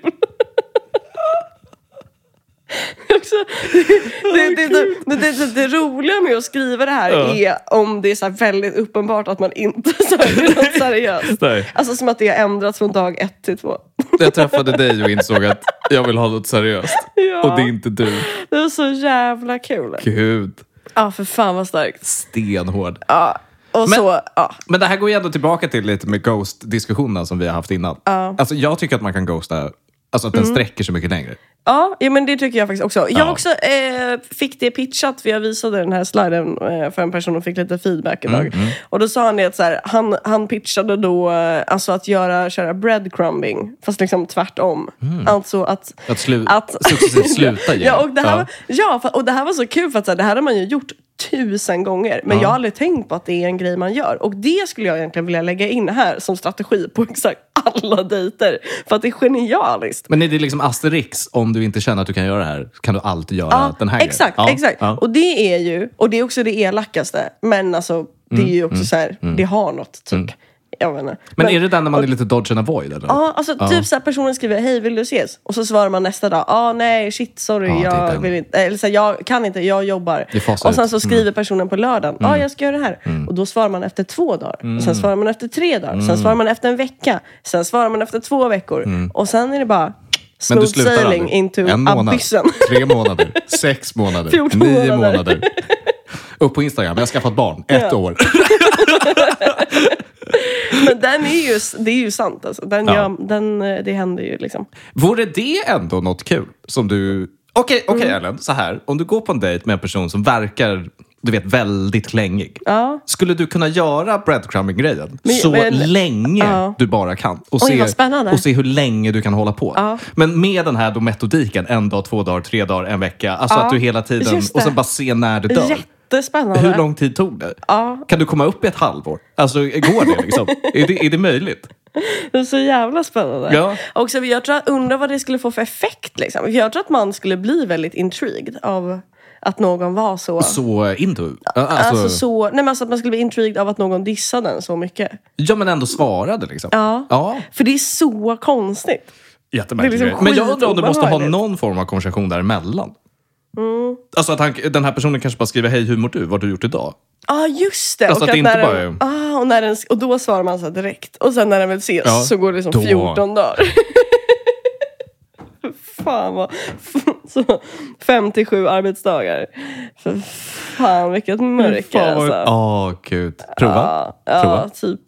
Speaker 1: Det är också- det, det, det, det, det, det, det roliga med att skriva det här
Speaker 2: Ja.
Speaker 1: är om det är så här väldigt uppenbart att man inte <laughs> söker något seriöst.
Speaker 2: Nej.
Speaker 1: Alltså som att det har ändrats från dag ett till två.
Speaker 2: Jag träffade dig och insåg att jag vill ha något seriöst.
Speaker 1: Ja.
Speaker 2: Och det är inte du.
Speaker 1: Det var så jävla kul.
Speaker 2: Gud.
Speaker 1: Ja, för fan vad starkt.
Speaker 2: Stenhård.
Speaker 1: Ja. Och
Speaker 2: Men-
Speaker 1: så, ja.
Speaker 2: Men det här går ju ändå tillbaka till lite med ghost-diskussionen som vi har haft innan. Alltså jag tycker att man kan ghosta, alltså att den
Speaker 1: Mm.
Speaker 2: sträcker så mycket längre.
Speaker 1: Ja, ja, men det tycker jag faktiskt också. Jag
Speaker 2: Ja.
Speaker 1: också eh, fick det pitchat, för jag visade den här sliden eh, för en person och fick lite feedback
Speaker 2: Mm,
Speaker 1: idag. Och då sa han det att så här, han, han pitchade då eh, alltså att göra, köra breadcrumbing, fast liksom tvärtom. Alltså att...
Speaker 2: Mm. Att, slu-
Speaker 1: Att- <laughs>
Speaker 2: successivt sluta igen.
Speaker 1: Ja, och det här, Var, ja för, och det här var så kul för att så här, det här har man ju gjort tusen gånger. Men jag har aldrig tänkt på att det är en grej man gör. Och det skulle jag egentligen vilja lägga in här som strategi på <laughs> exakt alla dejter. För att det är genialiskt.
Speaker 2: Men är det liksom Asterix, om du inte känner att du kan göra det här, kan du alltid göra
Speaker 1: Ja,
Speaker 2: den här
Speaker 1: exakt,
Speaker 2: grejen? Ja,
Speaker 1: exakt.
Speaker 2: ja.
Speaker 1: Och det är ju, och det är också det elakaste. Men alltså, det är ju också så här, det har något typ. Jag menar.
Speaker 2: Mm, Men, är det den när man är lite dodge and avoid? Eller?
Speaker 1: Ja, alltså typ så här, personen skriver hej vill du ses? Och så svarar man nästa dag, ah, nej shit sorry,
Speaker 2: Ja, det är
Speaker 1: jag,
Speaker 2: den.
Speaker 1: vill inte, eller så här, jag kan inte, jag jobbar.
Speaker 2: Det fasar
Speaker 1: Och sen
Speaker 2: ut. Mm.
Speaker 1: så skriver personen på lördagen, ja ah, jag ska göra det här. Och då svarar man efter två dagar, och
Speaker 2: Mm.
Speaker 1: sen svarar man efter tre dagar, sen svarar man efter en vecka, sen svarar man efter två veckor. Och sen är det bara
Speaker 2: Mm. Men
Speaker 1: smooth
Speaker 2: du slutar
Speaker 1: sailing
Speaker 2: aldrig.
Speaker 1: into
Speaker 2: En månad,
Speaker 1: abyssen.
Speaker 2: <laughs> tre månader,
Speaker 1: <laughs>
Speaker 2: sex månader,
Speaker 1: 14
Speaker 2: nio
Speaker 1: månader.
Speaker 2: månader. Upp på Instagram, jag har skaffat barn, ett år.
Speaker 1: Men den är ju, det är ju sant alltså. Den,
Speaker 2: Ja.
Speaker 1: gör, den, eh, det händer ju liksom.
Speaker 2: Vore det ändå något kul som du... Okej, okej
Speaker 1: Mm.
Speaker 2: Ellen, så här. Om du går på en dejt med en person som verkar, du vet, väldigt klängig.
Speaker 1: Ja.
Speaker 2: Skulle du kunna göra breadcrumbing-grejen
Speaker 1: Men-
Speaker 2: så
Speaker 1: men-
Speaker 2: länge
Speaker 1: Ja.
Speaker 2: du bara kan? Och,
Speaker 1: Oj, vad
Speaker 2: se,
Speaker 1: spännande.
Speaker 2: och se hur länge du kan hålla på. Men med den här då metodiken, en dag, två dagar, tre dagar, en vecka. Alltså
Speaker 1: Ja,
Speaker 2: att du hela tiden...
Speaker 1: just det.
Speaker 2: Och sen bara se när det dör.
Speaker 1: Jättespännande.
Speaker 2: Hur lång tid tog det?
Speaker 1: Ja.
Speaker 2: Kan du komma upp i ett halvår? Alltså, går
Speaker 1: <laughs>
Speaker 2: det liksom? är, det, är det möjligt?
Speaker 1: Det är så jävla spännande.
Speaker 2: Ja.
Speaker 1: Och så jag tror, undrar vad det skulle få för effekt. Liksom. För Jag tror att man skulle bli väldigt intrigued av att någon var så...
Speaker 2: Så into? Alltså,
Speaker 1: Alltså, så, nej men alltså att man skulle bli intrigued av att någon dissade den så mycket.
Speaker 2: Ja, men ändå svarade liksom.
Speaker 1: Ja.
Speaker 2: ja.
Speaker 1: För det är så konstigt.
Speaker 2: Jättemärkligt.
Speaker 1: Det är liksom
Speaker 2: men jag undrar om du måste ha
Speaker 1: skitobehagligt.
Speaker 2: någon form av konversation däremellan.
Speaker 1: Mm.
Speaker 2: Alltså att han, den här personen kanske bara skriver hej hur mår du, vad har du gjort idag?
Speaker 1: Ja ah, just det.
Speaker 2: Alltså, att det inte
Speaker 1: när
Speaker 2: bara
Speaker 1: den, ah, och, när den, och då svarar man så här direkt. Och sen när den väl ses
Speaker 2: Ja,
Speaker 1: så går det liksom
Speaker 2: då.
Speaker 1: 14 dagar. <laughs> fan vad... <laughs> Så, 57 arbetsdagar. För fan vilket mörker
Speaker 2: Fan, vad-
Speaker 1: alltså.
Speaker 2: Åh gud. Prova.
Speaker 1: Ja, ja
Speaker 2: Prova.
Speaker 1: typ.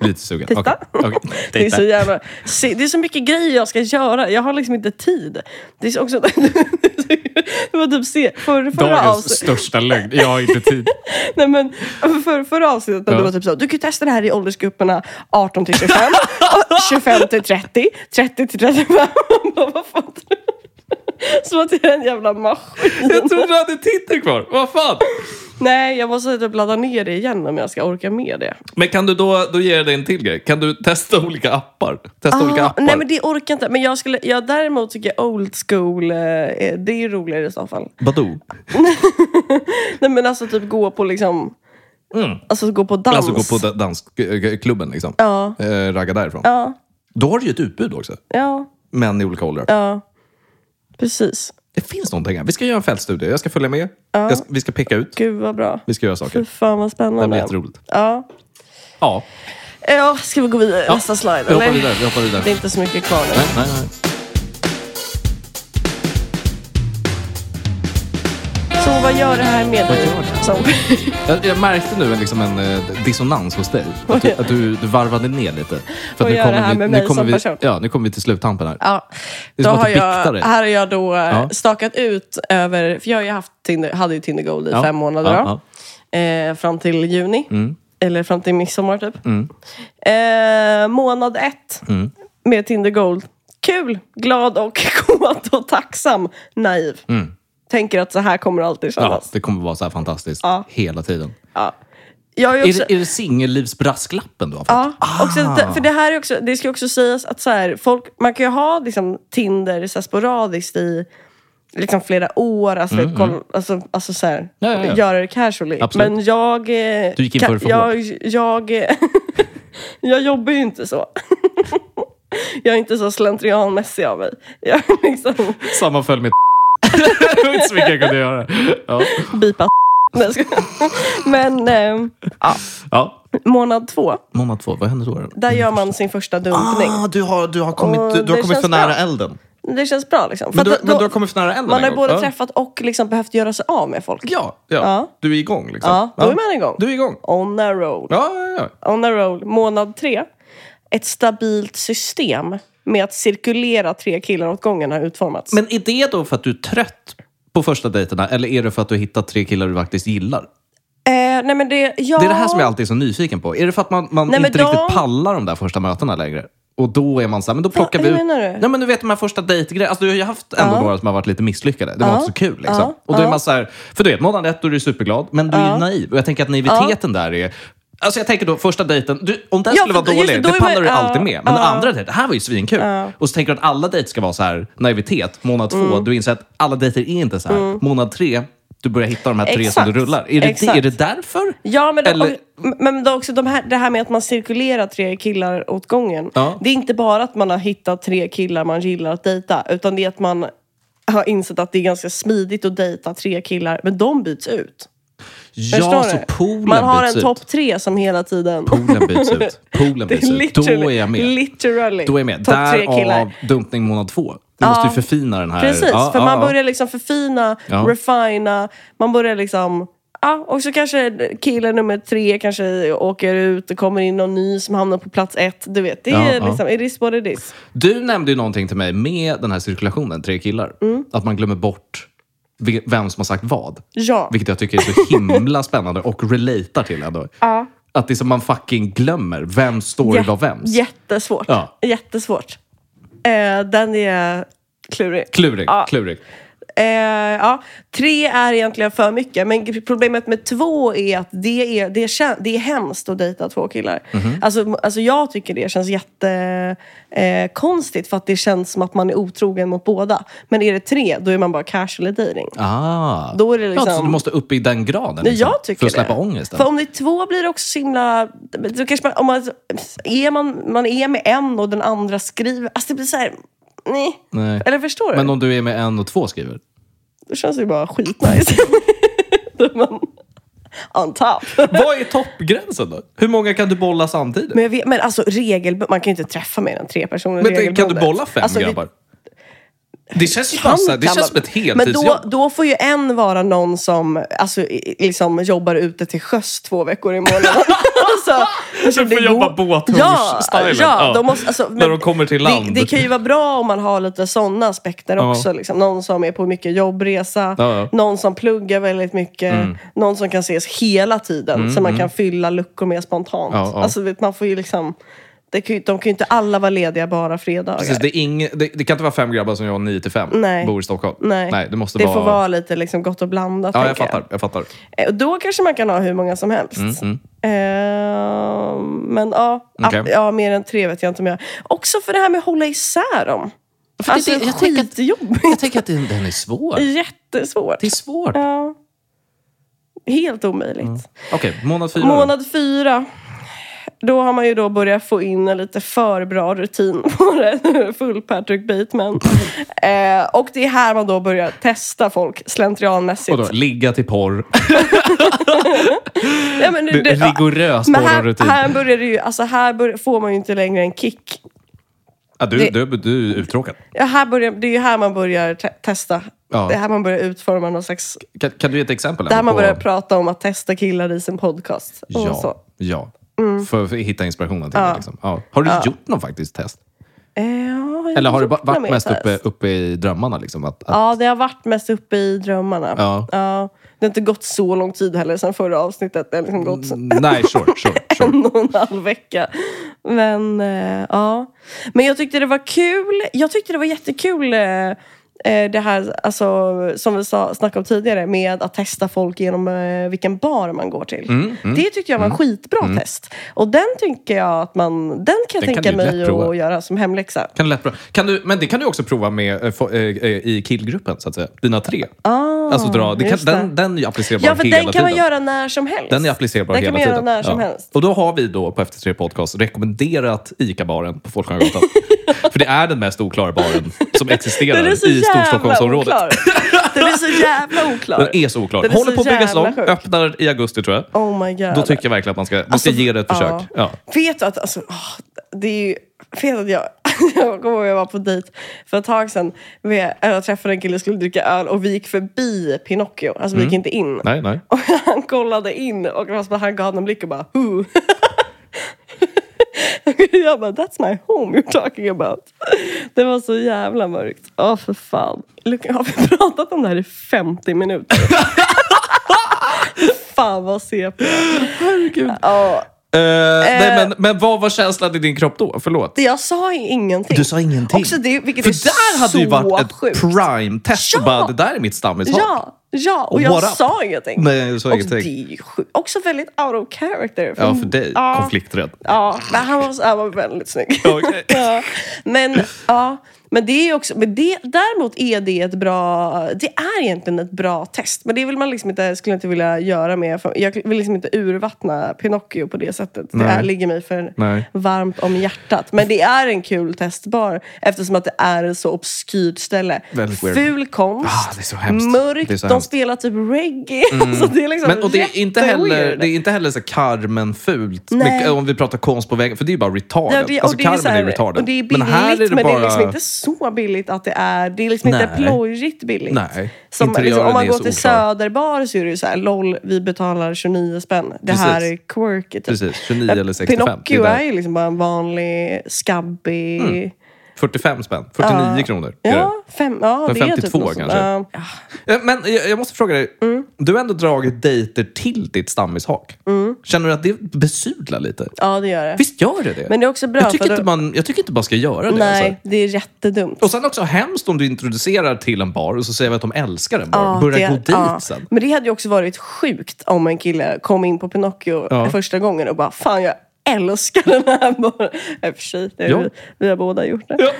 Speaker 2: Lite sugen. Titta.
Speaker 1: <laughs> Det är, typ så jävla, se, det är så mycket grejer jag ska göra. Jag har liksom inte tid. Det är så också... <laughs> Det var typ se, för, förra,
Speaker 2: Dagens
Speaker 1: avsnitt,
Speaker 2: största lögn. Jag har inte
Speaker 1: <laughs>
Speaker 2: tid.
Speaker 1: nej men, för, förra avsnittet när
Speaker 2: Ja.
Speaker 1: du var typ så, du kan ju testa det här i åldersgrupperna 18 till 25, <laughs> och 25 till 30, 30 till 35. Man bara, <laughs> Vad fan tror du? Som att jag är en jävla maskin.
Speaker 2: Jag trodde du hade Tinder kvar. Vad fan?
Speaker 1: Nej, jag måste typ ladda ner det igen om jag ska orka med det.
Speaker 2: Men kan du då, då ger jag dig en till grej. Kan du testa olika appar? Testa olika
Speaker 1: Ah,
Speaker 2: appar.
Speaker 1: Nej men det orkar jag inte. Men jag skulle, jag däremot tycker jag old school, eh, är- det är roligare i så fall.
Speaker 2: Badoo.
Speaker 1: Nej men alltså typ gå på liksom,
Speaker 2: Mm.
Speaker 1: alltså gå på dans.
Speaker 2: Alltså gå på da- dansklubben liksom.
Speaker 1: Ja.
Speaker 2: Eh, ragga därifrån.
Speaker 1: Ja,
Speaker 2: Då har du ju ett utbud också.
Speaker 1: ja,
Speaker 2: Män i olika åldrar.
Speaker 1: ja. Precis.
Speaker 2: Det finns någonting här. Vi ska göra en fältstudie. Jag ska följa med. Jag ska, vi ska peka ut.
Speaker 1: Gud vad bra.
Speaker 2: Vi ska göra
Speaker 1: Fy
Speaker 2: saker.
Speaker 1: fan vad
Speaker 2: Det blir
Speaker 1: spännande.
Speaker 2: jätteroligt.
Speaker 1: Ja.
Speaker 2: Ja,
Speaker 1: ja, ska vi gå vidare
Speaker 2: Ja,
Speaker 1: nästa slide?
Speaker 2: vi hoppar
Speaker 1: eller?
Speaker 2: vidare. Vi hoppar vidare.
Speaker 1: Det är inte så mycket kvar nu.
Speaker 2: Nej, nej, nej.
Speaker 1: Så vad gör det här med dig?
Speaker 2: gör det?
Speaker 1: Som...
Speaker 2: Jag, jag märkte nu en- liksom en eh, dissonans hos dig. Att du, att du, du varvade ner lite. För
Speaker 1: Vad
Speaker 2: att
Speaker 1: gör det här
Speaker 2: vi,
Speaker 1: med
Speaker 2: nu
Speaker 1: mig
Speaker 2: kommer
Speaker 1: som person?
Speaker 2: vi, ja, nu kommer vi till sluttampen här.
Speaker 1: <laughs> Ja.
Speaker 2: Det är
Speaker 1: Då
Speaker 2: som att
Speaker 1: har
Speaker 2: du biktar
Speaker 1: jag,
Speaker 2: dig.
Speaker 1: här har jag då eh,
Speaker 2: Ja.
Speaker 1: stakat ut över, för jag har ju haft Tinder, hade ju Tinder Gold i
Speaker 2: Ja.
Speaker 1: fem månader
Speaker 2: Ja, Mm.
Speaker 1: då. eh, fram till juni. Eller fram till midsommar typ. Eh, månad ett
Speaker 2: Mm.
Speaker 1: med Tinder Gold. Kul, glad och <laughs> kåt och tacksam. Naiv.
Speaker 2: Mm.
Speaker 1: Tänker att så här kommer det alltid
Speaker 2: ja,
Speaker 1: kännas.
Speaker 2: det kommer vara så här fantastiskt
Speaker 1: Ja.
Speaker 2: hela tiden.
Speaker 1: Ja. Jag är
Speaker 2: Är
Speaker 1: också,
Speaker 2: det, är det singellivsbrasklappen du har fått?
Speaker 1: Ja, också,
Speaker 2: Ah.
Speaker 1: lite- för det här är också, det ska också sägas att så här, folk, man kan ju ha liksom, Tinder så här, sporadiskt i liksom, flera år. Alltså, koll, alltså, alltså så här,
Speaker 2: Mm, Ja, ja, ja.
Speaker 1: göra det casually.
Speaker 2: Absolut.
Speaker 1: Men jag... eh,
Speaker 2: Du gick in
Speaker 1: kan-
Speaker 2: för det för
Speaker 1: jag, jag, eh, <laughs> jag jobbar ju inte så. <laughs> jag är inte så slentrianmässig av mig. <laughs> Jag är liksom
Speaker 2: Sammanföll med <laughs> Det var inte så mycket jag kunde göra. Ja.
Speaker 1: bipa <laughs> Nej, jag skojar. <laughs> Men eh,
Speaker 2: Ja.
Speaker 1: månad två,
Speaker 2: Månad två, vad hände då? då?
Speaker 1: där gör man sin första dumpning.
Speaker 2: Ah, du har, du har kommit,
Speaker 1: Och
Speaker 2: du, du har
Speaker 1: det
Speaker 2: kommit för
Speaker 1: känns
Speaker 2: nära
Speaker 1: bra.
Speaker 2: elden.
Speaker 1: Det känns bra liksom. För
Speaker 2: Men du,
Speaker 1: att
Speaker 2: men
Speaker 1: då-
Speaker 2: du har kommit för nära elden
Speaker 1: Man har
Speaker 2: en
Speaker 1: ju
Speaker 2: gång.
Speaker 1: både
Speaker 2: Ja.
Speaker 1: träffat och liksom behövt göra sig av med folk.
Speaker 2: Ja, ja.
Speaker 1: Ja.
Speaker 2: du är igång liksom.
Speaker 1: Ja, då är man igång.
Speaker 2: Du är igång.
Speaker 1: On a roll.
Speaker 2: Ja, ja, ja.
Speaker 1: On a roll. Månad tre. Ett stabilt system med att cirkulera tre killar åt gången har utformats.
Speaker 2: Men är det då för att du är trött på första dejterna eller är det för att du har hittat tre killar du faktiskt gillar?
Speaker 1: eh, nej men det, ja,
Speaker 2: Det är det här som jag alltid är så nyfiken på. Är det för att man, man
Speaker 1: Nej, men
Speaker 2: inte
Speaker 1: de-
Speaker 2: riktigt pallar de där första mötena längre? Och då är man så här, men då plockar
Speaker 1: hur
Speaker 2: vi ut...
Speaker 1: menar du?
Speaker 2: Nej men du vet de här första dejtgrejerna. Alltså du har ju haft ändå några som har varit lite misslyckade. Det var inte så kul liksom.
Speaker 1: Ja.
Speaker 2: Och då är
Speaker 1: Ja.
Speaker 2: man så här, för du vet månad ett då är du superglad, men du är ju naiv. Och jag tänker att naiviteten där är... Alltså jag tänker då första dejten, du, om den
Speaker 1: Ja,
Speaker 2: skulle
Speaker 1: för-
Speaker 2: vara
Speaker 1: just
Speaker 2: dålig,
Speaker 1: det, då
Speaker 2: det
Speaker 1: är man-
Speaker 2: pallar du
Speaker 1: ja,
Speaker 2: alltid med. Men
Speaker 1: ja.
Speaker 2: andra dejten, det här var ju svinkul. Och så tänker du att
Speaker 1: Mm.
Speaker 2: alla dejter ska vara så här naivitet. Månad två, du inser att alla dejter är inte så här. Månad tre, du börjar hitta de här tre som
Speaker 1: Exakt.
Speaker 2: du rullar. Är det,
Speaker 1: Exakt.
Speaker 2: är det därför?
Speaker 1: Ja, men,
Speaker 2: Eller-
Speaker 1: och, men det, är också de här, det här med att man cirkulerar tre killar åt gången.
Speaker 2: Ja.
Speaker 1: Det är inte bara att man har hittat tre killar man gillar att dejta. Utan det är att man har insett att det är ganska smidigt att dejta tre killar. Men de byts ut. Förstår
Speaker 2: Ja, så
Speaker 1: du?
Speaker 2: poolen
Speaker 1: Man har
Speaker 2: byts
Speaker 1: en
Speaker 2: ut.
Speaker 1: topp tre som hela tiden...
Speaker 2: Poolen byts ut.
Speaker 1: <laughs>
Speaker 2: Poolen
Speaker 1: Det är
Speaker 2: byts ut. Då är jag med.
Speaker 1: Literally.
Speaker 2: Då är jag med.
Speaker 1: Topp tre
Speaker 2: Därav
Speaker 1: killar.
Speaker 2: dumpning månad två. Du måste ju förfina den här.
Speaker 1: Precis,
Speaker 2: Ja,
Speaker 1: för
Speaker 2: ja,
Speaker 1: man
Speaker 2: ja.
Speaker 1: börjar liksom förfina,
Speaker 2: Ja.
Speaker 1: refina, man börjar liksom... Ja, och så kanske kille nummer tre kanske åker ut, det kommer in någon ny som hamnar på plats ett. Du vet, det
Speaker 2: Ja,
Speaker 1: är
Speaker 2: ja.
Speaker 1: liksom, it is what it is.
Speaker 2: Du nämnde ju någonting till mig med den här cirkulationen, tre killar.
Speaker 1: Mm.
Speaker 2: Att man glömmer bort vi- vem som har sagt vad.
Speaker 1: Ja,
Speaker 2: Vilket jag tycker är så
Speaker 1: <laughs>
Speaker 2: himla spännande och relatar till ändå. Att det är som man fucking glömmer. Vem står i
Speaker 1: Jä-
Speaker 2: vad vems?
Speaker 1: jättesvårt.
Speaker 2: Ja.
Speaker 1: Jättesvårt. Eh, den är klurig.
Speaker 2: Klurig,
Speaker 1: Ja.
Speaker 2: klurig.
Speaker 1: Eh, ja, tre är egentligen för mycket. Men g- problemet med två är att det är, det är, det är hemskt att dejta två killar.
Speaker 2: Mhm.
Speaker 1: Alltså, alltså jag tycker det känns jättekonstigt eh, konstigt för att det känns som att man är otrogen mot båda. Men är det tre, då är man bara casually dating.
Speaker 2: Ah.
Speaker 1: Då är det
Speaker 2: ja, så
Speaker 1: liksom-
Speaker 2: du måste upp i den graden
Speaker 1: Nej,
Speaker 2: liksom,
Speaker 1: jag tycker
Speaker 2: för att släppa
Speaker 1: det.
Speaker 2: ångesten.
Speaker 1: För om det är två blir det också så himla... Då kanske man, om man, är man, man är med en och den andra skriver... Alltså det blir så här... Nej.
Speaker 2: Nej.
Speaker 1: Eller förstår du?
Speaker 2: Men om du är med en och
Speaker 1: <laughs>
Speaker 2: två skriver?
Speaker 1: Då känns det ju bara skitnice. <laughs> Då är man on top.
Speaker 2: Vad är toppgränsen då? Hur många kan du bolla samtidigt?
Speaker 1: Men, jag vet, men alltså regelbundet, man kan ju inte träffa mer än tre personer
Speaker 2: Men, tänk, kan du
Speaker 1: regelbundet.
Speaker 2: bolla fem
Speaker 1: Alltså, det
Speaker 2: grabbar? Det känns ju
Speaker 1: kan-
Speaker 2: bara så här, det
Speaker 1: kan
Speaker 2: känns som
Speaker 1: man-
Speaker 2: ett
Speaker 1: Men då,
Speaker 2: heltidsjobb.
Speaker 1: då får ju en vara någon som alltså, i- liksom, jobbar ute till sjöss två veckor i
Speaker 2: <laughs>
Speaker 1: månaden. alltså, alltså,
Speaker 2: Du
Speaker 1: det
Speaker 2: får
Speaker 1: går-
Speaker 2: jobba båthunds-
Speaker 1: ja,
Speaker 2: stylen.
Speaker 1: ja,
Speaker 2: Ja.
Speaker 1: de måste, alltså,
Speaker 2: När de kommer till land.
Speaker 1: Det, det kan ju vara bra om man har lite sådana aspekter
Speaker 2: Ja.
Speaker 1: också. Liksom. Någon som är på mycket jobbresa,
Speaker 2: Ja, Mm. ja.
Speaker 1: någon som pluggar väldigt mycket, någon som kan ses hela tiden så man kan fylla luckor mer spontant.
Speaker 2: Mm, Ja, ja.
Speaker 1: Alltså, vet, man får ju liksom... Det kan ju, de kan ju inte alla vara lediga bara fredagar.
Speaker 2: Precis, det, är ing, det, det kan inte vara fem grabbar som jag 9 till 5
Speaker 1: Nej.
Speaker 2: bor i Stockholm.
Speaker 1: Nej,
Speaker 2: det måste
Speaker 1: det
Speaker 2: vara...
Speaker 1: får vara lite liksom gott och blandat.
Speaker 2: Ja, jag
Speaker 1: tänker
Speaker 2: fattar. Jag fattar.
Speaker 1: Eh, Och då kanske man kan ha hur många som helst. Eh, men ja,
Speaker 2: mm. Okej.
Speaker 1: att- ja, mer än tre vet jag inte om jag... Också för det här med att hålla isär dem. Alltså
Speaker 2: det- jag tänker att-
Speaker 1: skitjobbigt.
Speaker 2: Jag tänker att den, den är svår.
Speaker 1: <laughs> Jättesvårt.
Speaker 2: Det är svårt.
Speaker 1: Ja. Helt omöjligt.
Speaker 2: Okej, månad fyra. då.
Speaker 1: Månad fyra. Då har man ju då börjat få in en lite för bra rutin <laughs> på det. Full Patrick
Speaker 2: <laughs>
Speaker 1: Bateman. eh, och det är här man då börjar testa folk slentrianmässigt.
Speaker 2: Och då, ligga till porr.
Speaker 1: Ja, men, <laughs>
Speaker 2: Det,
Speaker 1: det-
Speaker 2: rigorös
Speaker 1: Men här,
Speaker 2: porrrutin.
Speaker 1: här börjar det ju, alltså här börjar, får man ju inte längre en kick.
Speaker 2: Ja, du,
Speaker 1: det-
Speaker 2: du, du är uttråkad.
Speaker 1: Ja, här börjar, det är ju här man börjar te- testa.
Speaker 2: Ja.
Speaker 1: Det är här man börjar utforma någon slags...
Speaker 2: Kan, kan du ge ett exempel?
Speaker 1: Det här
Speaker 2: även
Speaker 1: man
Speaker 2: på-
Speaker 1: börjar prata om att testa killar i sin podcast. Och så. Mm.
Speaker 2: Ja, ja. För, för att hitta inspirationen till det. Liksom. Ja. Har du gjort någon faktiskt test?
Speaker 1: Eh, ja, jag
Speaker 2: Eller har du
Speaker 1: gjort
Speaker 2: ba- varit
Speaker 1: några
Speaker 2: mest
Speaker 1: mer
Speaker 2: uppe,
Speaker 1: test.
Speaker 2: uppe i drömmarna? Liksom, att, att,
Speaker 1: Ja, det har varit mest uppe i drömmarna.
Speaker 2: Ja.
Speaker 1: Det har inte gått så lång tid heller sedan förra avsnittet. Det har liksom
Speaker 2: Mm.
Speaker 1: gått
Speaker 2: Nej, sure,
Speaker 1: <laughs>
Speaker 2: sure, sure.
Speaker 1: en och en halv vecka. Men eh, ja. Men jag tyckte det var kul. Jag tyckte det var jättekul eh, eh, det här alltså, som vi sa, snackade om tidigare med att testa folk genom eh, vilken bar man går till.
Speaker 2: Mm,
Speaker 1: det tyckte jag var en skitbra test. Och den tycker jag att man, den kan jag
Speaker 2: Den kan
Speaker 1: tänka
Speaker 2: du lätt
Speaker 1: mig
Speaker 2: prova.
Speaker 1: att göra som hemläxa.
Speaker 2: Kan du lätt prova- kan du, men det kan du också prova med, eh, få- eh, eh, i killgruppen, så att säga. Dina tre.
Speaker 1: Ah,
Speaker 2: Alltså dra, det kan,
Speaker 1: just det.
Speaker 2: den, den är ju applicerbar
Speaker 1: Ja, för
Speaker 2: hela
Speaker 1: den kan man
Speaker 2: tiden.
Speaker 1: göra när som helst.
Speaker 2: Den är applicerbar
Speaker 1: Den
Speaker 2: hela
Speaker 1: kan man
Speaker 2: tiden.
Speaker 1: göra när som helst.
Speaker 2: Och då har vi då på Efter Tre Podcast rekommenderat ICA-baren
Speaker 1: <laughs>
Speaker 2: på Folkungagatan. För det är den mest oklara baren som
Speaker 1: Den
Speaker 2: existerar
Speaker 1: är så
Speaker 2: i
Speaker 1: jävla
Speaker 2: Storstockholmsområdet.
Speaker 1: oklar. Den är så jävla oklar.
Speaker 2: <laughs> Den är så oklar.
Speaker 1: Den är
Speaker 2: Håller
Speaker 1: så
Speaker 2: på att byggas
Speaker 1: jävla
Speaker 2: om,
Speaker 1: sjuk.
Speaker 2: öppnar i augusti tror jag.
Speaker 1: Oh my god.
Speaker 2: Då tycker jag verkligen att man ska, man ska
Speaker 1: Alltså,
Speaker 2: ge det ett
Speaker 1: ja.
Speaker 2: försök. Ja.
Speaker 1: Vet du att, alltså, åh, det är ju, vet att jag, <laughs> jag kommer ihåg jag var på dejt för ett tag sedan. Med, jag träffade en kille och skulle dricka öl och vi gick förbi Pinocchio. Alltså vi
Speaker 2: Mm.
Speaker 1: gick inte in. <laughs>
Speaker 2: Nej, nej.
Speaker 1: Och han kollade in och det var som att han gav en blick och bara Who? <laughs> Jag bara, that's my home you're talking about. Det var så jävla mörkt. Åh, för fan. Luka, har vi <laughs> pratat om det här i 50 minuter? <laughs> fan vad CP.
Speaker 2: Herregud.
Speaker 1: Ja,
Speaker 2: Eh,
Speaker 1: Eh.
Speaker 2: nej, men, men vad var känslan i din kropp då? Förlåt.
Speaker 1: Det- Jag sa ju ingenting.
Speaker 2: Du sa ingenting.
Speaker 1: Också det, vilket
Speaker 2: För
Speaker 1: är
Speaker 2: där hade
Speaker 1: så
Speaker 2: ju varit ett
Speaker 1: sjukt.
Speaker 2: prime-test.
Speaker 1: Ja!
Speaker 2: och Bara, det där är mitt stammistak.
Speaker 1: Ja, ja. Och
Speaker 2: Och
Speaker 1: jag
Speaker 2: what up?
Speaker 1: sa ingenting.
Speaker 2: Nej, du sa
Speaker 1: och
Speaker 2: ingenting.
Speaker 1: det är ju sjukt. Också väldigt out of character.
Speaker 2: Ja, för dig.
Speaker 1: Ja.
Speaker 2: Konflikträdd. <laughs>
Speaker 1: Ja, men han var, så- han var väldigt snygg.
Speaker 2: Ja, okej.
Speaker 1: ja. Men, ja. Men det är ju också, men det, däremot är det ett bra, det är egentligen ett bra test. Men det vill man liksom inte, skulle jag inte vilja göra med, för jag vill liksom inte urvattna Pinocchio på det sättet. Det
Speaker 2: Nej.
Speaker 1: är, ligger mig för
Speaker 2: Nej.
Speaker 1: varmt om hjärtat. Men det är en kul testbar eftersom att det är ett så obskyrt ställe.
Speaker 2: Väldigt weird.
Speaker 1: Ful konst,
Speaker 2: Ah, det är så hemskt.
Speaker 1: mörkt,
Speaker 2: Det är så
Speaker 1: de
Speaker 2: hemskt. Mm.
Speaker 1: spelar typ reggae. <laughs> Alltså, det är liksom
Speaker 2: Men, och det är inte heller,
Speaker 1: jätteweird.
Speaker 2: det är inte heller så Carmen-fult.
Speaker 1: Nej.
Speaker 2: Mycket- Om vi pratar konst på vägen. För det är ju bara retarded.
Speaker 1: Ja, det, och
Speaker 2: alltså
Speaker 1: det är
Speaker 2: Carmen
Speaker 1: så här-
Speaker 2: är ju retarded.
Speaker 1: Och det är billigt, men, det är liksom inte så billigt att det är... Det är liksom inte
Speaker 2: Nej.
Speaker 1: plojrigt billigt.
Speaker 2: Nej.
Speaker 1: Som,
Speaker 2: Interiören
Speaker 1: liksom, om man
Speaker 2: är
Speaker 1: går
Speaker 2: så
Speaker 1: till
Speaker 2: oklar.
Speaker 1: Söderbar så är det ju så här, LOL, vi betalar 29 spänn. Det här är quirky. Typ.
Speaker 2: Precis, 29 eller 65.
Speaker 1: Pinocchio
Speaker 2: Det är
Speaker 1: är,
Speaker 2: där.
Speaker 1: ju liksom bara en vanlig, skabbig...
Speaker 2: 45 spänn. 49 kronor. är det.
Speaker 1: Ja, fem, ja
Speaker 2: Men
Speaker 1: det är typ
Speaker 2: 52
Speaker 1: något sånt.
Speaker 2: kanske.
Speaker 1: Ja. Ja.
Speaker 2: Eh, Men jag jag måste fråga dig.
Speaker 1: Mm.
Speaker 2: Du har ändå dragit dejter till ditt stammishak.
Speaker 1: Mm.
Speaker 2: Känner du att det besudlar lite?
Speaker 1: ja, det gör det.
Speaker 2: Visst gör det det?
Speaker 1: Men det är också bra,
Speaker 2: jag, tycker
Speaker 1: för
Speaker 2: inte
Speaker 1: då-
Speaker 2: man, jag tycker inte man ska göra det. alltså.
Speaker 1: Nej, det är jättedumt.
Speaker 2: Och sen också hemskt om du introducerar till en bar och så säger vi att de älskar den baren. Börja
Speaker 1: det-
Speaker 2: gå dit
Speaker 1: ja.
Speaker 2: sen.
Speaker 1: Men det hade ju också varit sjukt om en kille kom in på Pinocchio
Speaker 2: Ja.
Speaker 1: första gången och bara fan jag älskar den här <laughs> bara. Nej, för sig, det är
Speaker 2: Ja.
Speaker 1: vi, vi har båda gjort det.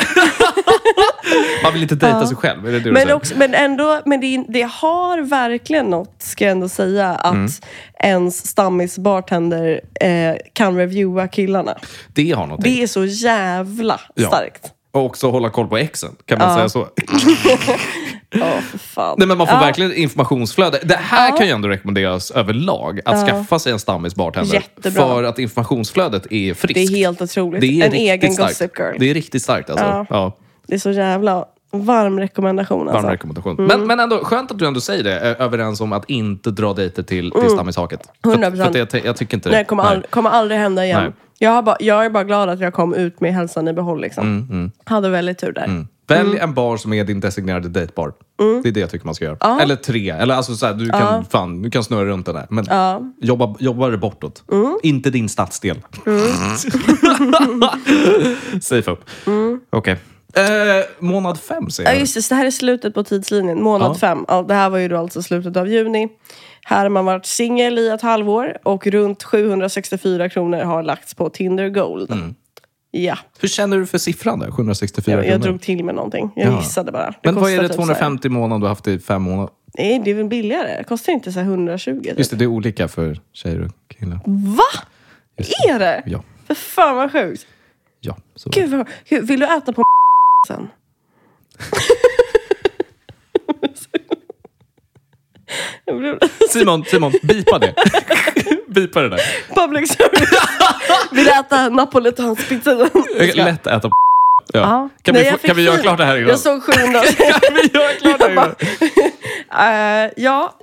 Speaker 2: Man vill inte dejta sig själv. Är det det du
Speaker 1: Men,
Speaker 2: säger?
Speaker 1: också, men, ändå, men det, det har verkligen något, ska jag ändå säga, att
Speaker 2: Mm.
Speaker 1: ens stammisbartender eh, kan reviewa killarna.
Speaker 2: det har någonting.
Speaker 1: Det är så jävla
Speaker 2: Ja.
Speaker 1: starkt.
Speaker 2: Och också hålla koll på exen. Kan man säga så?
Speaker 1: Ja, för fan.
Speaker 2: Nej, men man får
Speaker 1: Ja.
Speaker 2: verkligen informationsflöde. Det här kan ju ändå rekommenderas överlag. Att skaffa sig en stammis bartender.
Speaker 1: Jättebra.
Speaker 2: För att informationsflödet är friskt.
Speaker 1: Det är helt otroligt.
Speaker 2: Det är
Speaker 1: en
Speaker 2: riktigt
Speaker 1: egen
Speaker 2: starkt.
Speaker 1: Gossip Girl.
Speaker 2: Det är riktigt starkt alltså. Ja.
Speaker 1: Ja. Det är så jävla varm rekommendation.
Speaker 2: Varm
Speaker 1: Alltså.
Speaker 2: rekommendation. Men, men ändå, skönt att du ändå säger det. Är överens om att inte dra dejter till, till stammishaket. För att-
Speaker 1: 100%.
Speaker 2: För att jag, ty- jag tycker inte
Speaker 1: Mm. Nej, det kommer, ald- kommer aldrig hända
Speaker 2: Nej.
Speaker 1: igen. Jag, har bara, jag är bara glad att jag kom ut med hälsan i behåll. Liksom.
Speaker 2: Mm,
Speaker 1: Hade väldigt tur där.
Speaker 2: Välj
Speaker 1: Mm.
Speaker 2: en bar som är din designerade dejtbar. Det är det jag tycker man ska göra. Eller tre. Eller alltså så här, du, kan, fan, du kan snurra runt den där. Men jobba, jobba det bortåt.
Speaker 1: Mm.
Speaker 2: Inte din stadsdel. <laughs> Safe up.
Speaker 1: Mm.
Speaker 2: Okej. Eh, månad fem säger
Speaker 1: Ja,
Speaker 2: jag.
Speaker 1: just det, så det här är slutet på tidslinjen, månad
Speaker 2: mm. Ja.
Speaker 1: fem. Ja, det här var ju då alltså slutet av juni. Här har man varit singel i ett halvår och runt 764 kronor har lagts på Tinder Gold.
Speaker 2: Mm.
Speaker 1: Ja,
Speaker 2: Hur känner du för siffran där? 764
Speaker 1: jag, jag
Speaker 2: kronor?
Speaker 1: drog till med någonting. Jag
Speaker 2: Ja.
Speaker 1: gissade bara. Det
Speaker 2: Men vad är
Speaker 1: kostar
Speaker 2: det
Speaker 1: typ så här- Eh.
Speaker 2: 250 i månaden du har haft i fem månader?
Speaker 1: Nej, det är väl billigare? Det kostar inte så här 120? Typ.
Speaker 2: Just det, det är olika för tjejer och killar.
Speaker 1: Mm. Va?
Speaker 2: Just
Speaker 1: Är det?
Speaker 2: Ja.
Speaker 1: För fan vad sjukt.
Speaker 2: ja så.
Speaker 1: Gud, vad, Gud, vill du äta på <laughs>
Speaker 2: <laughs>
Speaker 1: sen? Jag blev- <laughs>
Speaker 2: Simon, Simon, bipa det. bipa det där.
Speaker 1: Public service. Vill du äta napoletanspizza sen?
Speaker 2: Jag kan lätt äta p- ja.
Speaker 1: Ja.
Speaker 2: Kan,
Speaker 1: Nej,
Speaker 2: vi,
Speaker 1: jag
Speaker 2: få-
Speaker 1: fick
Speaker 2: kan vi göra
Speaker 1: fil.
Speaker 2: klart det här innan?
Speaker 1: Jag såg 700.
Speaker 2: <laughs> Kan
Speaker 1: <laughs>
Speaker 2: vi göra klart det här
Speaker 1: Jag bara, <laughs>
Speaker 2: innan?
Speaker 1: eh, ja.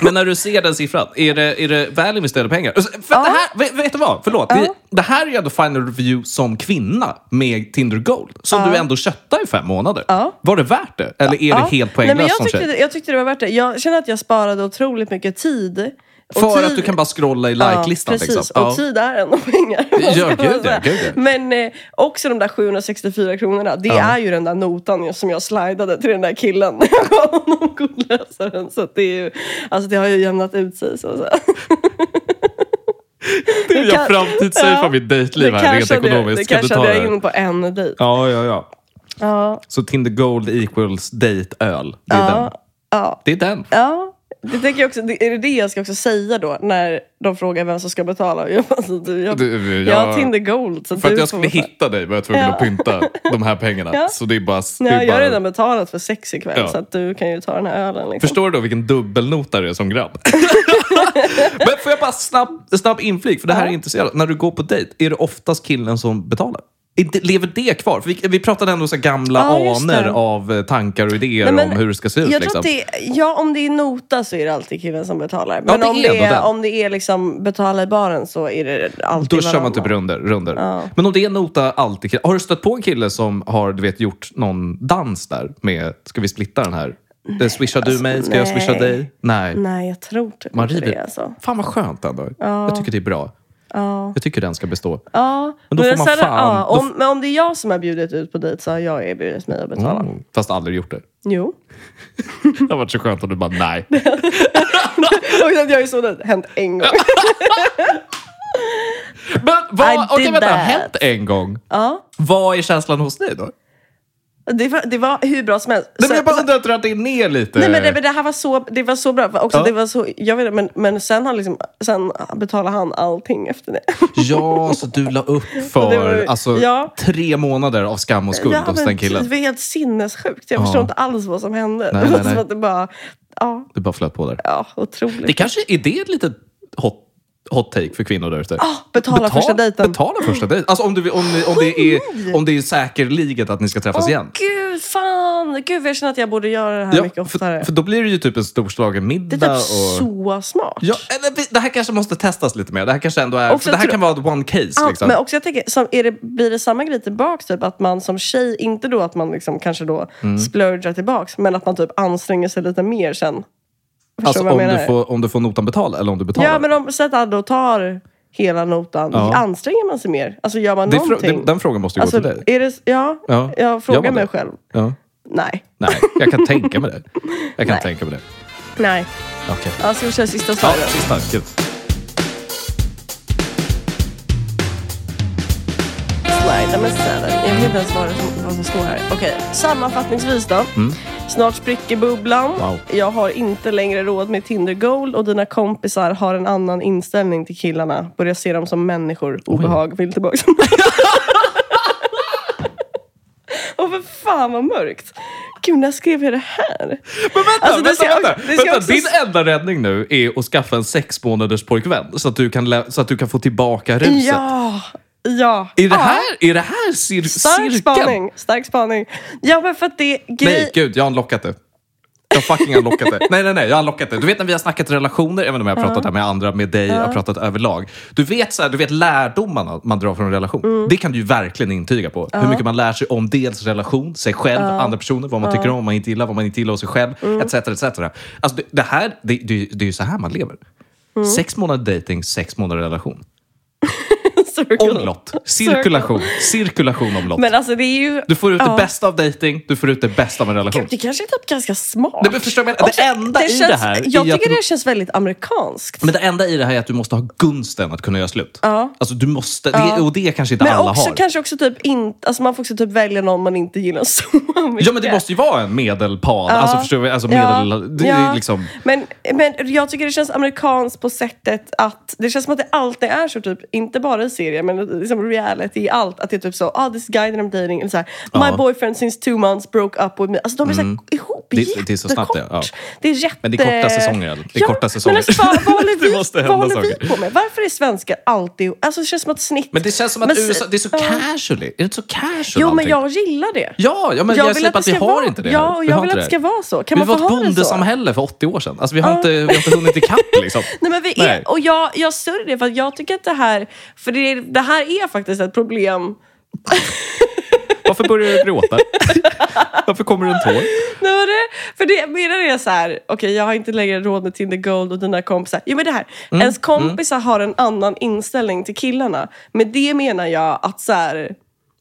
Speaker 2: Men när du ser den siffran, är det, är det väl investerade pengar? Alltså, För det här, vet, vet du vad? Förlåt. Det, det här är ju ändå final review som kvinna med Tinder Gold. Som du ändå köttade i fem månader. Var det värt det? Eller är
Speaker 1: ja.
Speaker 2: det helt
Speaker 1: Nej, men
Speaker 2: poänglöst
Speaker 1: jag,
Speaker 2: som
Speaker 1: tyckte,
Speaker 2: tjej?
Speaker 1: det- jag tyckte det var värt det. Jag känner att jag sparade otroligt mycket tid. Och
Speaker 2: För
Speaker 1: tid-
Speaker 2: att du kan bara scrolla i
Speaker 1: Ja,
Speaker 2: like-listan.
Speaker 1: Precis,
Speaker 2: liksom.
Speaker 1: och tid är ändå pengar. vad ska man
Speaker 2: gud ja,
Speaker 1: säga.
Speaker 2: gud ja.
Speaker 1: Men eh, också de där 764 kronorna, det är ju den där notan som jag slidade till den där killen <laughs> när jag gav honom kodläsaren. Så att det, är ju, alltså det har ju jämnat ut sig. Så att säga.
Speaker 2: det är jag
Speaker 1: kan-
Speaker 2: framtidssafear
Speaker 1: Ja.
Speaker 2: mitt dejtliv här rent
Speaker 1: cashade jag-
Speaker 2: ekonomiskt.
Speaker 1: det
Speaker 2: Ska du ta
Speaker 1: cashade
Speaker 2: det?
Speaker 1: jag
Speaker 2: här?
Speaker 1: in på en dejt.
Speaker 2: Ja, ja, ja.
Speaker 1: Ja.
Speaker 2: Så Tinder Gold equals dejtöl. Det är den.
Speaker 1: Ja.
Speaker 2: Det är den.
Speaker 1: ja. Det tänker jag också, det, är det det jag ska också säga då när de frågar vem som ska betala? <laughs> Och Jag, bara, alltså, du, jag,
Speaker 2: Du,
Speaker 1: jag har
Speaker 2: jag-
Speaker 1: Tinder Gold. Så
Speaker 2: För att
Speaker 1: du
Speaker 2: jag
Speaker 1: får
Speaker 2: skulle
Speaker 1: betala.
Speaker 2: hitta dig var jag tvungen
Speaker 1: Ja.
Speaker 2: att pynta de här pengarna.
Speaker 1: <laughs> Ja.
Speaker 2: Så det är bara... Det
Speaker 1: Nej,
Speaker 2: är
Speaker 1: jag har
Speaker 2: bara...
Speaker 1: redan betalat för sex ikväll
Speaker 2: Ja.
Speaker 1: så att du kan ju ta den här ölen. Liksom.
Speaker 2: Förstår du då vilken dubbelnota du är
Speaker 1: <laughs>
Speaker 2: som grabb? Men får jag bara snabb, snabb inflik, för det här är intresserat. När du går på dejt, är det oftast killen som betalar? Är det- Lever det kvar? För vi, vi pratade ändå så här gamla
Speaker 1: Ja, just det.
Speaker 2: aner av eh, tankar och idéer
Speaker 1: Nej, men
Speaker 2: om hur det ska se ut.
Speaker 1: Jag
Speaker 2: liksom.
Speaker 1: tror att det, ja, om det är nota så är det alltid killen som betalar. Men
Speaker 2: det
Speaker 1: om,
Speaker 2: är
Speaker 1: det
Speaker 2: ändå den.
Speaker 1: är, om det är liksom betala i baren så är det alltid
Speaker 2: Då kör man typ
Speaker 1: varannan.
Speaker 2: runder, runder. Men om det är nota alltid killen. Har du stött på en kille som har du vet, gjort någon dans där med ska vi splitta den här? Nej, Swishar du mig? Ska jag
Speaker 1: alltså, nej.
Speaker 2: swisha dig? Nej.
Speaker 1: Nej, jag tror typ
Speaker 2: Man
Speaker 1: inte
Speaker 2: river.
Speaker 1: det. Alltså.
Speaker 2: Fan vad skönt ändå. Jag tycker det är bra. Jag tycker den ska bestå.
Speaker 1: Ja,
Speaker 2: Men då får man
Speaker 1: sen-
Speaker 2: fan-
Speaker 1: ja,
Speaker 2: då
Speaker 1: om, men om det är jag som har bjudit ut på dejt så har jag erbjudit mig att betala.
Speaker 2: Mm. Fast aldrig gjort det.
Speaker 1: Jo. <laughs>
Speaker 2: Det hade varit så skönt om du bara nej.
Speaker 1: Och att jag är så det hänt en gång.
Speaker 2: Men vad,
Speaker 1: I
Speaker 2: okej
Speaker 1: did
Speaker 2: vänta,
Speaker 1: that.
Speaker 2: hänt en gång.
Speaker 1: Ja.
Speaker 2: Vad är känslan hos dig då?
Speaker 1: Det var, det var hur bra som helst.
Speaker 2: Nej,
Speaker 1: Så-
Speaker 2: men jag bara
Speaker 1: så-
Speaker 2: undrar att du har dragit ner lite.
Speaker 1: Nej, men det, men det här var så, det var så bra. Också,
Speaker 2: Ja.
Speaker 1: det var så, jag vet, inte, men, men sen, han liksom, sen betalade han allting efter det.
Speaker 2: Ja, så du la upp
Speaker 1: <laughs> Det
Speaker 2: för
Speaker 1: var ju-
Speaker 2: alltså,
Speaker 1: ja.
Speaker 2: tre månader av skam och skuld
Speaker 1: Ja,
Speaker 2: hos
Speaker 1: men typ.
Speaker 2: den
Speaker 1: Det
Speaker 2: killen.
Speaker 1: var helt sinnessjukt. Jag
Speaker 2: Ja.
Speaker 1: förstår inte alls vad som hände. <laughs>
Speaker 2: Nej,
Speaker 1: det var
Speaker 2: nej, nej.
Speaker 1: som att det bara... Ja,
Speaker 2: Det bara flöt på där.
Speaker 1: ja otroligt.
Speaker 2: Det kanske är det ett litet hot, hot take för kvinnor där ute.
Speaker 1: Ah, betala första dejten.
Speaker 2: Betala första dejten. Alltså om, du, om, ni- om, det är, om det är säkerligen att ni ska träffas
Speaker 1: Åh
Speaker 2: igen.
Speaker 1: gud, fan! Gud, jag känner att jag borde göra det här mycket oftare.
Speaker 2: för, för då blir det ju typ en storslagen middag.
Speaker 1: det är typ
Speaker 2: och...
Speaker 1: så smart.
Speaker 2: Ja, eller, vi- det här kanske måste testas lite mer. Det här kanske ändå är...
Speaker 1: Och
Speaker 2: För
Speaker 1: jag
Speaker 2: det här
Speaker 1: tror-
Speaker 2: kan vara ett one case.
Speaker 1: Ja,
Speaker 2: liksom.
Speaker 1: Ah, Men också jag tänker, som, är det, blir det samma grej tillbaks? Typ, att man som tjej, inte då att man liksom, kanske då
Speaker 2: Mm.
Speaker 1: splurgar tillbaks, men att man typ anstränger sig lite mer sen. Förstår
Speaker 2: alltså,
Speaker 1: vad jag
Speaker 2: om,
Speaker 1: menar?
Speaker 2: du får, om du får notan betald eller om du betalar.
Speaker 1: ja, men om så att han då tar hela notan,
Speaker 2: Ja.
Speaker 1: anstränger man sig mer? Alltså gör man
Speaker 2: det, är frå-
Speaker 1: någonting?
Speaker 2: det, den frågan måste ju
Speaker 1: alltså,
Speaker 2: gå till dig.
Speaker 1: är det, ja,
Speaker 2: Ja.
Speaker 1: jag
Speaker 2: Gör
Speaker 1: frågar
Speaker 2: man
Speaker 1: mig
Speaker 2: det?
Speaker 1: själv.
Speaker 2: Ja.
Speaker 1: Nej.
Speaker 2: Nej, jag kan tänka mig det. Jag kan
Speaker 1: Nej.
Speaker 2: tänka mig det.
Speaker 1: Nej.
Speaker 2: Okej.
Speaker 1: Ja, ska vi köra sista
Speaker 2: Ja,
Speaker 1: svaret?
Speaker 2: sista. Kul.
Speaker 1: Nej, nej, men snälla. Jag vet inte ens vad det som- vad som står här. Okej, sammanfattningsvis då. Snart spricker bubblan.
Speaker 2: Mm. Wow.
Speaker 1: Jag har inte längre råd med Tinder Gold och dina kompisar har en annan inställning till killarna. Börjar se dem som människor. Obehag vill tillbaka. <laughs> Åh, för fan vad mörkt. Gud, när skrev jag det här?
Speaker 2: Men vänta,
Speaker 1: Alltså, det
Speaker 2: vänta,
Speaker 1: ska-
Speaker 2: vänta.
Speaker 1: det ska
Speaker 2: vänta.
Speaker 1: också-
Speaker 2: Din enda räddning nu är att skaffa en sex månaders pojkvän så att du kan, lä- så att du kan få tillbaka ruset.
Speaker 1: Ja, ja.
Speaker 2: Är, det
Speaker 1: Ja.
Speaker 2: här, är det här cir-
Speaker 1: Stark
Speaker 2: cirkeln?
Speaker 1: spaning. Stark spaning. Ja, men för att det är grej...
Speaker 2: Nej, gud, jag har unlockat det. Jag har fucking unlockat det. Nej, nej, nej, jag har unlockat det. Du vet när vi har snackat relationer, även om jag har pratat här med andra, med dig, jag har pratat överlag. Du vet, så här, du vet lärdomarna man drar från en relation.
Speaker 1: Mm.
Speaker 2: Det kan du ju verkligen intyga på. Hur mycket man lär sig om dels relation, sig själv, andra personer, vad man tycker om, vad man inte gillar, vad man inte gillar hos sig själv,
Speaker 1: Mm.
Speaker 2: etc. etc. Alltså, det, det här, det, det, det är ju så här man lever.
Speaker 1: Mm.
Speaker 2: Sex månader dating, sex månader relation.
Speaker 1: <laughs> Circle.
Speaker 2: Omlott, cirkulation, cirkulation omlott.
Speaker 1: Men alltså det är ju...
Speaker 2: Du får ut
Speaker 1: Ja.
Speaker 2: det bästa av dating, du får ut det bästa av en relation.
Speaker 1: Det kanske är typ ganska smart.
Speaker 2: Nej, men förstår du vad jag menar? Det enda i
Speaker 1: känns,
Speaker 2: det här är
Speaker 1: Jag
Speaker 2: att
Speaker 1: tycker
Speaker 2: du-
Speaker 1: det känns väldigt amerikanskt.
Speaker 2: Men det enda i det här är att du måste ha gunsten att kunna göra slut.
Speaker 1: Ja.
Speaker 2: Alltså du måste, det, och det kanske inte
Speaker 1: Men
Speaker 2: alla
Speaker 1: också
Speaker 2: har.
Speaker 1: kanske också typ inte... Alltså man får också typ välja någon man inte gillar så <laughs> mycket.
Speaker 2: Ja men det måste ju vara en medelpad. Alltså förstår vi? Alltså medel... Det är liksom...
Speaker 1: men, men jag tycker det känns amerikanskt på sättet att det känns som att det alltid är så, typ, inte bara i serier men liksom reality i allt. Att det är typ så, ah this guy that I'm dating, eller så här, my
Speaker 2: Ja. Mm.
Speaker 1: boyfriend since two months broke up with me. Alltså de är så här, ihop
Speaker 2: Det- det är så snabbt,
Speaker 1: jättekort.
Speaker 2: ja.
Speaker 1: Det är jätte...
Speaker 2: Men det är korta säsonger, eller? Det är korta säsonger.
Speaker 1: Men alltså, vad, vad
Speaker 2: <laughs>
Speaker 1: håller
Speaker 2: Det
Speaker 1: vi,
Speaker 2: måste
Speaker 1: vad
Speaker 2: hända
Speaker 1: håller vi
Speaker 2: saker.
Speaker 1: på med? Varför är svenskar alltid... Alltså det känns som att snitt...
Speaker 2: Men det känns som att
Speaker 1: Men se-
Speaker 2: USA, det är så
Speaker 1: ja.
Speaker 2: casual. Är det inte så casual
Speaker 1: Jo men
Speaker 2: allting?
Speaker 1: jag gillar det.
Speaker 2: Ja, ja, men jag, jag slipper att, vi
Speaker 1: ska
Speaker 2: har
Speaker 1: vara,
Speaker 2: inte det här.
Speaker 1: Ja, och
Speaker 2: Vi
Speaker 1: jag
Speaker 2: har
Speaker 1: vill
Speaker 2: inte
Speaker 1: att det ska vara så. Kan
Speaker 2: vi
Speaker 1: man få
Speaker 2: var ett
Speaker 1: ha det så?
Speaker 2: bondesamhälle för 80 år sedan. Alltså, vi, har inte, vi har inte hunnit ikapp liksom.
Speaker 1: <laughs> Nej, men vi
Speaker 2: Nej.
Speaker 1: är, och jag, jag sörjer det för att jag tycker att det här, för det, är- det här är faktiskt ett problem.
Speaker 2: Varför börjar
Speaker 1: <laughs>
Speaker 2: du gråta? Varför kommer du en tår?
Speaker 1: Nej, men det, för det menar det är så här, okej jag har inte längre råd med Tinder Gold och dina kompisar. Jo men det här,
Speaker 2: Mm,
Speaker 1: ens kompisar har en annan inställning till killarna. Med det menar jag att så här,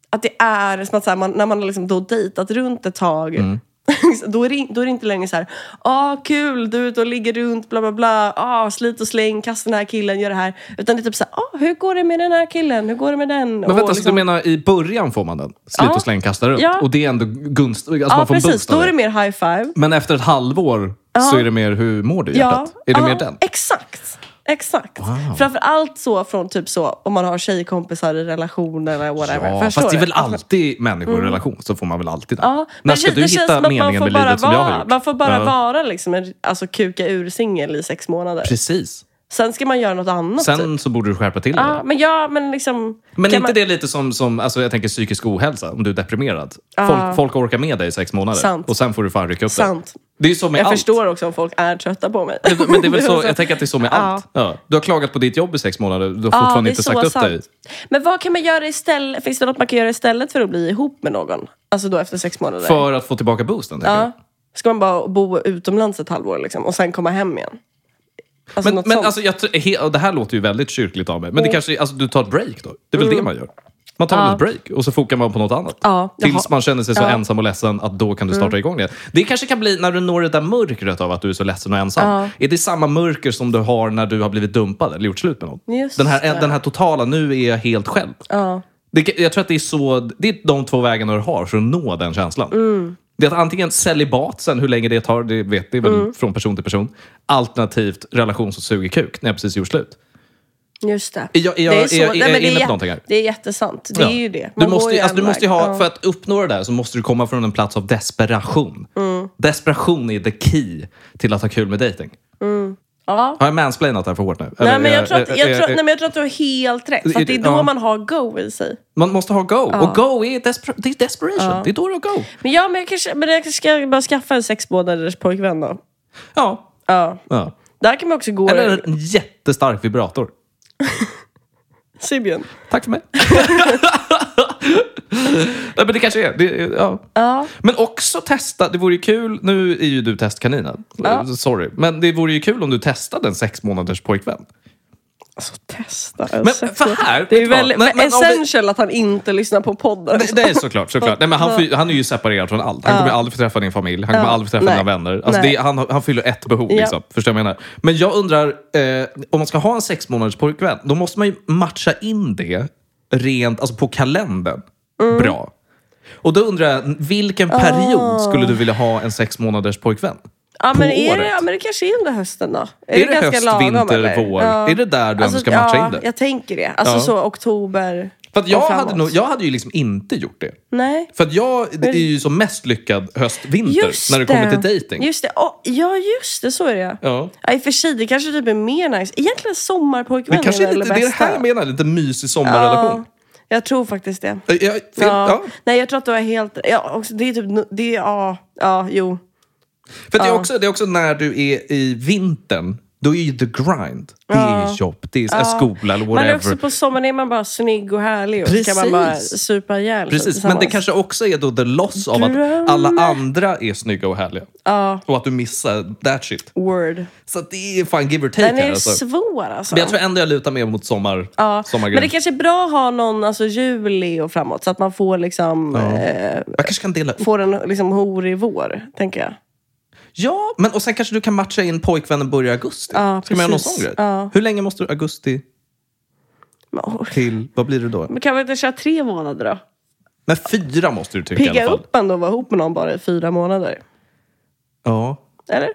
Speaker 1: att det är som att så här, man, när man har liksom då dejtat runt ett tag
Speaker 2: Mm.
Speaker 1: <laughs> Då är, det, in- då är det inte längre så här, ah kul, du är ute och ligger runt, bla bla bla, ah slit och släng, kasta den här killen, gör det här. Utan det är typ så här, ah hur går det med den här killen, hur går det med den? liksom-
Speaker 2: Men vänta, så du menar i början får man den? Slit
Speaker 1: Ja.
Speaker 2: och släng, kasta runt.
Speaker 1: Ja.
Speaker 2: Och det är ändå gunst... Alltså
Speaker 1: Ja
Speaker 2: man får en
Speaker 1: precis,
Speaker 2: boost av
Speaker 1: då är
Speaker 2: det.
Speaker 1: det mer high five.
Speaker 2: Men efter ett halvår så är det mer hur mår du i hjärtat? Är det
Speaker 1: ja,
Speaker 2: mer den?
Speaker 1: Exakt. Exakt.
Speaker 2: Wow.
Speaker 1: Framförallt så från typ så om man har tjejkompisar i relationer eller whatever.
Speaker 2: Ja,
Speaker 1: Förstår
Speaker 2: fast det är
Speaker 1: du?
Speaker 2: väl alltid människor i relation så får man väl alltid den.
Speaker 1: Mm. Ja,
Speaker 2: När
Speaker 1: men
Speaker 2: ska
Speaker 1: det,
Speaker 2: du
Speaker 1: det känns
Speaker 2: hitta
Speaker 1: som att man
Speaker 2: meningen
Speaker 1: får
Speaker 2: med
Speaker 1: bara
Speaker 2: livet som jag har
Speaker 1: vara-
Speaker 2: gjort?
Speaker 1: Man får bara
Speaker 2: Ja.
Speaker 1: vara liksom en alltså, kuka ur singel i sex månader.
Speaker 2: Precis.
Speaker 1: Sen ska man göra något annat. typ.
Speaker 2: Sen så borde du skärpa till dig.
Speaker 1: Ja, men ja, men liksom...
Speaker 2: Men
Speaker 1: kan
Speaker 2: inte
Speaker 1: man-
Speaker 2: det lite som, som alltså jag tänker psykisk ohälsa, om du är deprimerad. Folk, folk orkar med dig i sex månader
Speaker 1: Sant.
Speaker 2: och sen får du fan rycka upp
Speaker 1: Sant.
Speaker 2: dig. Det är ju så med
Speaker 1: Jag
Speaker 2: allt.
Speaker 1: förstår också om folk är trötta på mig.
Speaker 2: Men det är
Speaker 1: <laughs>
Speaker 2: väl så, jag tänker att det är så med allt. Ja. Du har klagat på ditt jobb i sex månader, du har
Speaker 1: Ja, det
Speaker 2: fortfarande
Speaker 1: är
Speaker 2: inte
Speaker 1: så
Speaker 2: sagt upp
Speaker 1: sant.
Speaker 2: dig.
Speaker 1: Men vad kan man göra istället? Finns det något man kan göra istället för att bli ihop med någon? Alltså då efter sex månader?
Speaker 2: För att få tillbaka boosten. tänker jag.
Speaker 1: Ja. Ska man bara bo utomlands ett halvår liksom, och sen komma hem igen? Alltså
Speaker 2: Men,
Speaker 1: något
Speaker 2: men
Speaker 1: sånt. Mm.
Speaker 2: alltså, jag, tr- he, och det här låter ju väldigt kyrkligt av mig, men det kanske, alltså, du tar ett break då? Det är väl det man gör? Man tar ett break och så fokar man på något annat.
Speaker 1: Ja, Mm. jag
Speaker 2: Tills
Speaker 1: har-
Speaker 2: man känner sig så ensam och ledsen att då kan du starta igång det. Det kanske kan bli när du når det där mörkret av att du är så ledsen och ensam. Är det samma mörker som du har när du har blivit dumpad eller gjort slut med någon?
Speaker 1: Just
Speaker 2: Den här,
Speaker 1: det.
Speaker 2: den här totala, nu är jag helt själv.
Speaker 1: ja.
Speaker 2: Det, jag tror att det är, så, det är de två vägarna du har för att nå den känslan.
Speaker 1: Mm.
Speaker 2: Det är att antingen celibat, sen hur länge det tar, det vet det är väl
Speaker 1: Mm.
Speaker 2: från person till person. Alternativt relation som suger kuk, när jag precis gjort slut.
Speaker 1: Just det.
Speaker 2: Är jag- är jag-
Speaker 1: det
Speaker 2: är jag- är jag
Speaker 1: men det
Speaker 2: inne på
Speaker 1: jä-
Speaker 2: någonting här?
Speaker 1: Det är jättesant. Det
Speaker 2: Ja.
Speaker 1: är ju det.
Speaker 2: Du
Speaker 1: Man går
Speaker 2: måste, ju,
Speaker 1: en
Speaker 2: alltså, du måste ju
Speaker 1: väg.
Speaker 2: ha,
Speaker 1: Ja.
Speaker 2: För att uppnå det där så måste du komma från en plats av desperation.
Speaker 1: Mm.
Speaker 2: Desperation är the key till att ha kul med dating.
Speaker 1: Mm. Ja.
Speaker 2: Har jag mansplainat det här för hårt nu?
Speaker 1: Nej
Speaker 2: Eller,
Speaker 1: men jag
Speaker 2: eh,
Speaker 1: tror, att, jag,
Speaker 2: eh,
Speaker 1: tror,
Speaker 2: eh,
Speaker 1: nej, men jag tror att du har helt rätt. För att det är då
Speaker 2: Ja.
Speaker 1: man har go i sig.
Speaker 2: Man måste ha go. Och go är, desper- det är desperation. Det är då du har go.
Speaker 1: Men ja, men jag kanske, men jag kanske ska bara skaffa en sex månaders pojkvän då.
Speaker 2: Ja.
Speaker 1: Ja.
Speaker 2: ja.
Speaker 1: Där kan man också gå i
Speaker 2: Eller en jättestark vibrator.
Speaker 1: Sibien.
Speaker 2: Tack för mig. <laughs> Nej, men det kanske är. Det, är- ja.
Speaker 1: Ja.
Speaker 2: Men också testa. Det vore ju kul. Nu är ju du testkaninen.
Speaker 1: Ja.
Speaker 2: Sorry. Men det vore ju kul om du testade en sex månaders pojkvän.
Speaker 1: Alltså testa.
Speaker 2: Men
Speaker 1: alltså.
Speaker 2: för här...
Speaker 1: det är
Speaker 2: ja,
Speaker 1: väl
Speaker 2: nej, men om vi-
Speaker 1: essential att han inte lyssnar på podden.
Speaker 2: Nej, nej, såklart. såklart. Nej, men han, fyll- han är ju separerad från allt. Han kommer aldrig få träffa din familj. Han kommer
Speaker 1: Ja.
Speaker 2: aldrig få träffa
Speaker 1: Nej.
Speaker 2: dina vänner. Alltså,
Speaker 1: Nej.
Speaker 2: det, är- han, han fyller ett behov.
Speaker 1: Ja.
Speaker 2: Liksom. Förstår du vad jag menar? Men jag undrar, eh, om man ska ha en sex månaders pojkvän, då måste man ju matcha in det rent alltså på kalendern
Speaker 1: Mm.
Speaker 2: bra. Och då undrar jag, vilken period skulle du vilja ha en sex månaders pojkvän?
Speaker 1: Ja,
Speaker 2: på
Speaker 1: men, Ah. är det,
Speaker 2: året?
Speaker 1: ja, men det kanske är under hösten då. Är,
Speaker 2: Är det höst, vinter,
Speaker 1: eller?
Speaker 2: vår?
Speaker 1: Ja. Alltså,
Speaker 2: Är det där du ändå ska matcha
Speaker 1: ja,
Speaker 2: in det?
Speaker 1: Jag tänker det. Alltså
Speaker 2: Ja.
Speaker 1: så oktober
Speaker 2: För att jag,
Speaker 1: och
Speaker 2: hade
Speaker 1: framåt.
Speaker 2: nog, jag hade ju liksom inte gjort det.
Speaker 1: Nej.
Speaker 2: För att jag det är ju som mest lyckad höst-vinter
Speaker 1: Just
Speaker 2: när det kommer till dating.
Speaker 1: Just det. Åh, ja, just det. Så är det ja.
Speaker 2: Ja.
Speaker 1: Ja, I och för sig, det kanske typ är mer nice. Egentligen sommarpojkvän
Speaker 2: Men kanske
Speaker 1: är väl
Speaker 2: lite,
Speaker 1: det
Speaker 2: det är det
Speaker 1: bästa.
Speaker 2: här jag menar, lite mysig sommarrelation.
Speaker 1: Ja, jag tror faktiskt det.
Speaker 2: Ja. Jag, fel,
Speaker 1: Ja.
Speaker 2: ja.
Speaker 1: Nej, jag tror att du har helt... Ja, också, det är typ... no- Det är, ja, ja, jo.
Speaker 2: För det, är också, det är också när du är i vintern, då är ju the grind. Det är ju jobb, det är skola eller
Speaker 1: Man är
Speaker 2: whatever.
Speaker 1: också på sommaren är man bara snygg och härlig och så kan
Speaker 2: Precis.
Speaker 1: man bara supa ihjäl sig
Speaker 2: Precis, men det
Speaker 1: tillsammans.
Speaker 2: kanske också är då the loss av
Speaker 1: Dröm.
Speaker 2: att alla andra är snygga och härliga.
Speaker 1: Ja,
Speaker 2: Och att du missar that shit.
Speaker 1: word.
Speaker 2: Så att det är fan give or take
Speaker 1: Den
Speaker 2: här
Speaker 1: är
Speaker 2: alltså.
Speaker 1: svår alltså.
Speaker 2: Men jag tror ändå jag lutar mer mot sommar,
Speaker 1: Ja, men
Speaker 2: sommargrejen.
Speaker 1: det kanske är bra att ha någon, alltså juli och framåt så att man får liksom, eh,
Speaker 2: Jag kanske kan dela upp.
Speaker 1: får en liksom horig vår, tänker jag.
Speaker 2: Ja, men och sen kanske du kan matcha in pojkvännen börjar i augusti.
Speaker 1: Ja,
Speaker 2: Ska man göra någon
Speaker 1: precis.
Speaker 2: sån grej?
Speaker 1: Ja.
Speaker 2: Hur länge måste du augusti
Speaker 1: Men, oh,
Speaker 2: till, vad blir det då?
Speaker 1: men kan vi inte köra tre månader då?
Speaker 2: Men fyra måste du tycka i
Speaker 1: Pigga
Speaker 2: alla fall.
Speaker 1: upp ändå och vara ihop med någon bara i fyra månader.
Speaker 2: Ja.
Speaker 1: Eller?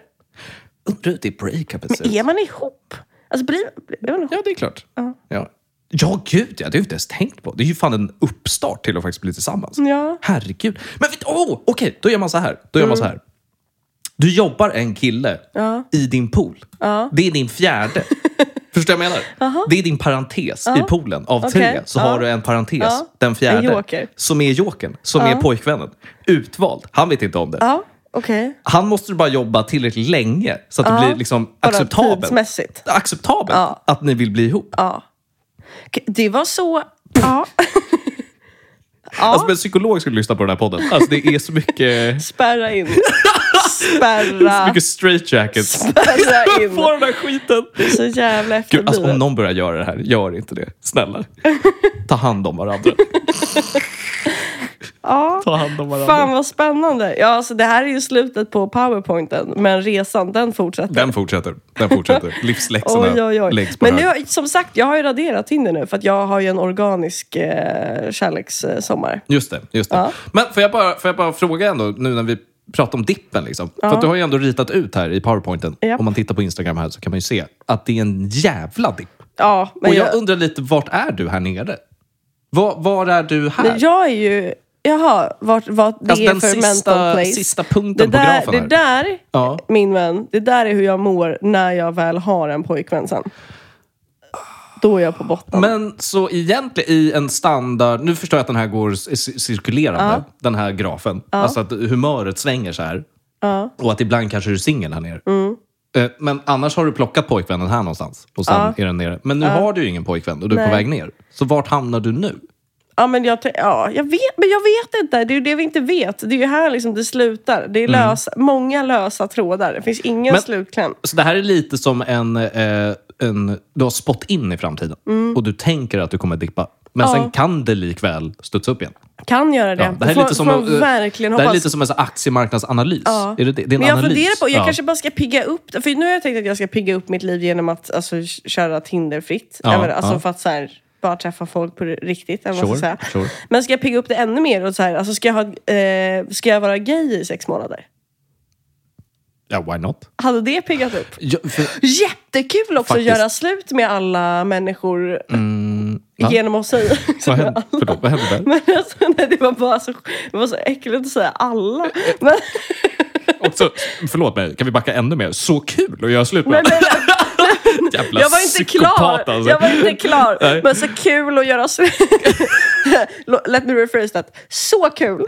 Speaker 2: Undrar hur det breakupet ser
Speaker 1: Men
Speaker 2: ut.
Speaker 1: är man ihop? Alltså blir, är man ihop?
Speaker 2: Ja, det är klart. Ja. ja, gud ja. Det har jag inte ens tänkt på. Det är ju fan en uppstart till att faktiskt bli tillsammans.
Speaker 1: Ja. Mm.
Speaker 2: Herregud. Men vet åh, okej. Då gör man så här. Då gör man så här. Du jobbar en kille i din pool. Det är
Speaker 1: <laughs>
Speaker 2: din fjärde. Förstår du vad jag menar? Det är din parentes i poolen av tre.
Speaker 1: Okej.
Speaker 2: Så
Speaker 1: Ja.
Speaker 2: har du en parentes,
Speaker 1: Ja.
Speaker 2: den fjärde,
Speaker 1: En joker.
Speaker 2: som är jokern, som är pojkvännen. Utvald. Han vet inte om det.
Speaker 1: Ja, okej.
Speaker 2: Han måste du bara jobba tillräckligt länge så att det blir liksom
Speaker 1: Bara
Speaker 2: acceptabelt.
Speaker 1: tidsmässigt.
Speaker 2: acceptabelt att ni vill bli ihop.
Speaker 1: K- Det var så... Ja. <laughs>
Speaker 2: Alltså, men psykolog skulle lyssna på den här podden. Alltså, det är så mycket,
Speaker 1: Spärra
Speaker 2: <laughs>
Speaker 1: in.
Speaker 2: så
Speaker 1: Spärra.
Speaker 2: mycket straight jackets. <laughs>
Speaker 1: Spärra in.
Speaker 2: På den här skiten.
Speaker 1: Så jävla
Speaker 2: Gud, alltså, om
Speaker 1: efterblivet.
Speaker 2: någon börjar göra det här, gör inte det.
Speaker 1: <laughs>
Speaker 2: Snälla. Ta hand om varandra.
Speaker 1: Ja.
Speaker 2: Ta hand om varandra.
Speaker 1: Fan vad spännande. Ja, alltså, det här är ju slutet på powerpointen. Men resan den fortsätter.
Speaker 2: Den fortsätter. Den fortsätter. Livsläxorna
Speaker 1: Oj, oj, oj.
Speaker 2: läggs på
Speaker 1: Men
Speaker 2: hög.
Speaker 1: nu, har- som sagt, jag har ju raderat Tinder nu för att jag har ju en organisk eh, kärlekssommar.
Speaker 2: Just det. Just det. Men får jag, bara, får jag bara fråga ändå, nu när vi pratar om dippen. Liksom. För att du har ju ändå ritat ut här i powerpointen.
Speaker 1: Japp.
Speaker 2: Om man tittar på Instagram här så kan man ju se att det är en jävla dipp.
Speaker 1: Ja, men
Speaker 2: Och jag
Speaker 1: jag,
Speaker 2: undrar lite, vart är du här nere? Var, var är du här?
Speaker 1: men jag är ju... Jaha, vad, vad det
Speaker 2: Alltså,
Speaker 1: är
Speaker 2: den
Speaker 1: för
Speaker 2: sista-
Speaker 1: mental place.
Speaker 2: sista punkten
Speaker 1: det
Speaker 2: på
Speaker 1: där,
Speaker 2: grafen
Speaker 1: Det
Speaker 2: här.
Speaker 1: där,
Speaker 2: Ja.
Speaker 1: min vän, det där är hur jag mår när jag väl har en pojkvän sen. Då är jag på botten.
Speaker 2: Men så egentligen i en standard... Nu förstår jag att den här går c- c- cirkulerande, den här grafen. Alltså att humöret svänger så här. Och att ibland kanske du är singel här nere.
Speaker 1: Mm.
Speaker 2: Eh, Men annars har du plockat pojkvännen här någonstans och sen är den nere. Men nu har du ju ingen pojkvän och du är på
Speaker 1: Nej.
Speaker 2: väg ner. Så vart hamnar du nu?
Speaker 1: Ja, men jag, tän- ja, jag vet, men jag vet inte. Det är ju det vi inte vet. Det är ju här liksom det slutar. Det är lösa, många lösa trådar. Det finns ingen
Speaker 2: Mm. Men-
Speaker 1: slutkläm.
Speaker 2: Så det här är lite som en... Eh, en du har spått in i framtiden
Speaker 1: Mm.
Speaker 2: och du tänker att du kommer dippa. Men sen kan det likväl studsa upp igen.
Speaker 1: Kan göra det.
Speaker 2: Ja, det här är
Speaker 1: får,
Speaker 2: lite som,
Speaker 1: får man
Speaker 2: eh,
Speaker 1: verkligen
Speaker 2: det här är
Speaker 1: hoppas.
Speaker 2: lite som en sån här aktiemarknadsanalys.
Speaker 1: Ja.
Speaker 2: Är det, det? det är en
Speaker 1: men jag
Speaker 2: analys.
Speaker 1: funderar på, jag
Speaker 2: Ja.
Speaker 1: kanske bara ska pigga upp det. För nu har jag tänkt att jag ska pigga upp mitt liv genom att alltså, k- köra Tinder fritt.
Speaker 2: Ja,
Speaker 1: Även, alltså,
Speaker 2: ja.
Speaker 1: för att så här, bara träffa folk på riktigt. Eller vad man
Speaker 2: Sure,
Speaker 1: ska säga.
Speaker 2: sure.
Speaker 1: Men ska jag pigga upp det ännu mer? Och så här, alltså ska, jag ha, eh, ska jag vara gay i sex månader?
Speaker 2: Ja, why not?
Speaker 1: Hade det piggat upp?
Speaker 2: Ja, för,
Speaker 1: <laughs> Jättekul också
Speaker 2: Faktiskt. Mm,
Speaker 1: att göra slut med alla människor
Speaker 2: va?
Speaker 1: genom att säga...
Speaker 2: <laughs> vad hände? Förlåt, vad hände där?
Speaker 1: Men alltså, <laughs> nej, det var bara så, det var så äckligt att säga alla.
Speaker 2: <laughs>
Speaker 1: Men,
Speaker 2: Och så, förlåt mig, kan vi backa ännu mer? Så kul att göra slut med.
Speaker 1: men, men,
Speaker 2: Jävla
Speaker 1: jag var inte klar!
Speaker 2: psykopat, Alltså.
Speaker 1: Jag var inte klar!
Speaker 2: Nej.
Speaker 1: Men så kul att göra
Speaker 2: <laughs>
Speaker 1: slut. Let me rephrase that. Så kul!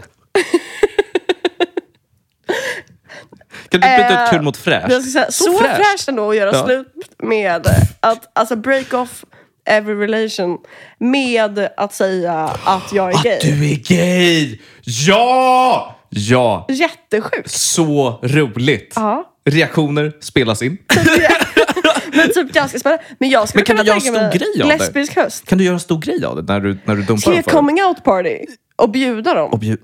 Speaker 2: Kan du byta
Speaker 1: Eh,
Speaker 2: ut kul mot fräsch?
Speaker 1: Jag ska säga, så fräscht. ändå att göra
Speaker 2: Ja.
Speaker 1: slut med att alltså break off every relation med att säga att jag är
Speaker 2: Att
Speaker 1: gay.
Speaker 2: Ah, du är gay! Ja! Ja!
Speaker 1: Jättesjukt!
Speaker 2: Så roligt!
Speaker 1: Ja.
Speaker 2: Reaktioner spelas in.
Speaker 1: Men <laughs> typ ganska spännande. Men jag skulle
Speaker 2: Men kan
Speaker 1: kunna
Speaker 2: du göra en
Speaker 1: tänka
Speaker 2: stor
Speaker 1: mig
Speaker 2: grej av det?
Speaker 1: lesbisk höst.
Speaker 2: Kan du göra en stor grej av det när du, när du dumpar
Speaker 1: Ska
Speaker 2: dem
Speaker 1: jag
Speaker 2: för
Speaker 1: coming out party och bjuda dem? <laughs>
Speaker 2: Och bjud-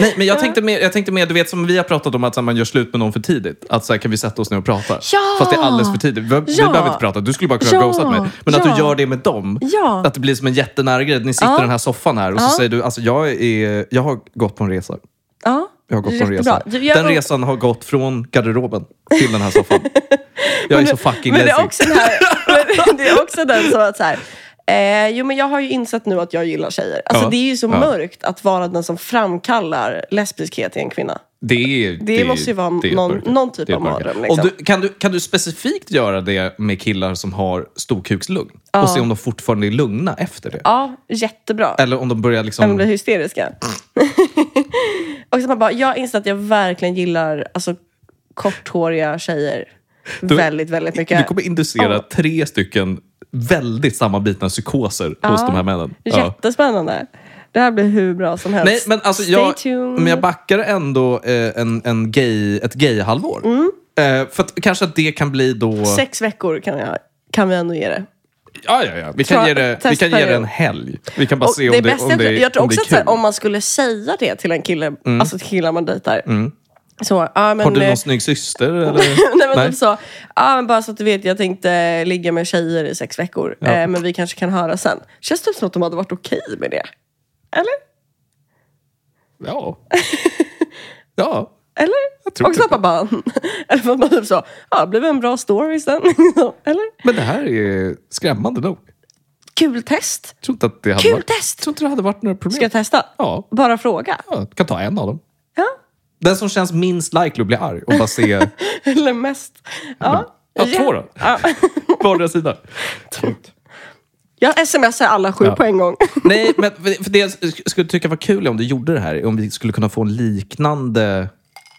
Speaker 2: Nej, men jag tänkte, mer, jag tänkte mer, du vet som vi har pratat om att så här, man gör slut med någon för tidigt. Att så här, kan vi sätta oss ner och prata?
Speaker 1: Ja!
Speaker 2: Fast det är alldeles för tidigt. Vi, vi
Speaker 1: Ja!
Speaker 2: behöver inte prata, du skulle bara kunna
Speaker 1: Ja!
Speaker 2: ha ghostat mig. Men att
Speaker 1: Ja!
Speaker 2: du gör det med dem.
Speaker 1: Ja.
Speaker 2: Att det blir som en jättenära grej. Ni sitter
Speaker 1: Ja.
Speaker 2: i den här soffan här och så
Speaker 1: Ja.
Speaker 2: säger du, alltså jag, är, jag har gått på en resa.
Speaker 1: Ja.
Speaker 2: Jag har gått på en
Speaker 1: Jättebra.
Speaker 2: resa.
Speaker 1: Du, jag
Speaker 2: den
Speaker 1: går-
Speaker 2: resan har gått från garderoben till den
Speaker 1: <laughs>
Speaker 2: här soffan. jag är så fucking
Speaker 1: men det, är
Speaker 2: lazy.
Speaker 1: också den
Speaker 2: <laughs>
Speaker 1: här, men det är också den som att så här, eh, jo men jag har ju insett nu att jag gillar tjejer. Alltså
Speaker 2: Ja.
Speaker 1: det är ju så
Speaker 2: Ja.
Speaker 1: mörkt att vara den som framkallar lesbiskhet i en kvinna.
Speaker 2: Det, är,
Speaker 1: Det måste ju vara
Speaker 2: det är
Speaker 1: någon-
Speaker 2: mörker.
Speaker 1: någon typ
Speaker 2: Det är
Speaker 1: av
Speaker 2: mörker.
Speaker 1: mardröm, liksom.
Speaker 2: Och du, kan, du, kan du specifikt göra det med killar som har storkukslugn? Och se om de fortfarande är lugna efter det?
Speaker 1: Ja, jättebra.
Speaker 2: Eller om de börjar
Speaker 1: De
Speaker 2: liksom...
Speaker 1: blir hysteriska. <laughs> och så man bara, jag inser att jag verkligen gillar alltså, korthåriga tjejer. väldigt, väldigt mycket.
Speaker 2: Du kommer inducera
Speaker 1: Ja.
Speaker 2: tre stycken väldigt sammanbitna psykoser hos de här männen. Ja.
Speaker 1: Jättespännande. Det här blir hur bra som helst.
Speaker 2: Nej, men alltså
Speaker 1: Stay
Speaker 2: jag,
Speaker 1: tuned.
Speaker 2: men jag backar ändå eh, en, en gay, ett gay-halvår. Eh, för att, kanske att det kan bli då...
Speaker 1: Mm. Sex veckor kan, jag, kan vi ändå ge det.
Speaker 2: Ja, ja, ja. Vi kan,
Speaker 1: Tra-
Speaker 2: ge det, vi kan ge det
Speaker 1: testperiod.
Speaker 2: en helg. Vi kan bara
Speaker 1: Och
Speaker 2: se om det,
Speaker 1: bästa
Speaker 2: om
Speaker 1: är
Speaker 2: det,
Speaker 1: att- jag tror
Speaker 2: om det
Speaker 1: också
Speaker 2: är
Speaker 1: att så
Speaker 2: kul. Mm.
Speaker 1: här, om man skulle säga det till en kille, alltså till killar man dejtar. Så, ja, men, <laughs>
Speaker 2: Har du
Speaker 1: eh,
Speaker 2: någon snygg syster? Eller?
Speaker 1: Nej men
Speaker 2: Nej.
Speaker 1: typ så, ja men bara så att du vet, jag tänkte ligga med tjejer i sex veckor. Eh, men vi kanske kan höra sen. Känns det som att de hade varit okej med det? Eller?
Speaker 2: <laughs> Ja. ja.
Speaker 1: Eller?
Speaker 2: Jag tror
Speaker 1: och
Speaker 2: typ
Speaker 1: snappa bara, <laughs> eller för att man typ så, ja det blev en bra story sen. <laughs> Liksom. eller?
Speaker 2: Men det här är skrämmande nog.
Speaker 1: Kul test!
Speaker 2: Jag tror inte att det hade
Speaker 1: Kul
Speaker 2: varit,
Speaker 1: test!
Speaker 2: Jag tror inte det hade varit några problem.
Speaker 1: Ska jag testa?
Speaker 2: Ja.
Speaker 1: Bara fråga.
Speaker 2: ja, jag kan ta en av dem.
Speaker 1: Ja.
Speaker 2: Den som känns minst likely att bli arg och bara <laughs> se
Speaker 1: Eller mest. Ja.
Speaker 2: Ja, två då.
Speaker 1: Ja.
Speaker 2: vardera sida.
Speaker 1: Jag smsar alla sju
Speaker 2: Ja.
Speaker 1: på en gång.
Speaker 2: Nej, men för för det jag sk- skulle tycka var kul är om du gjorde det här är om vi skulle kunna få en liknande...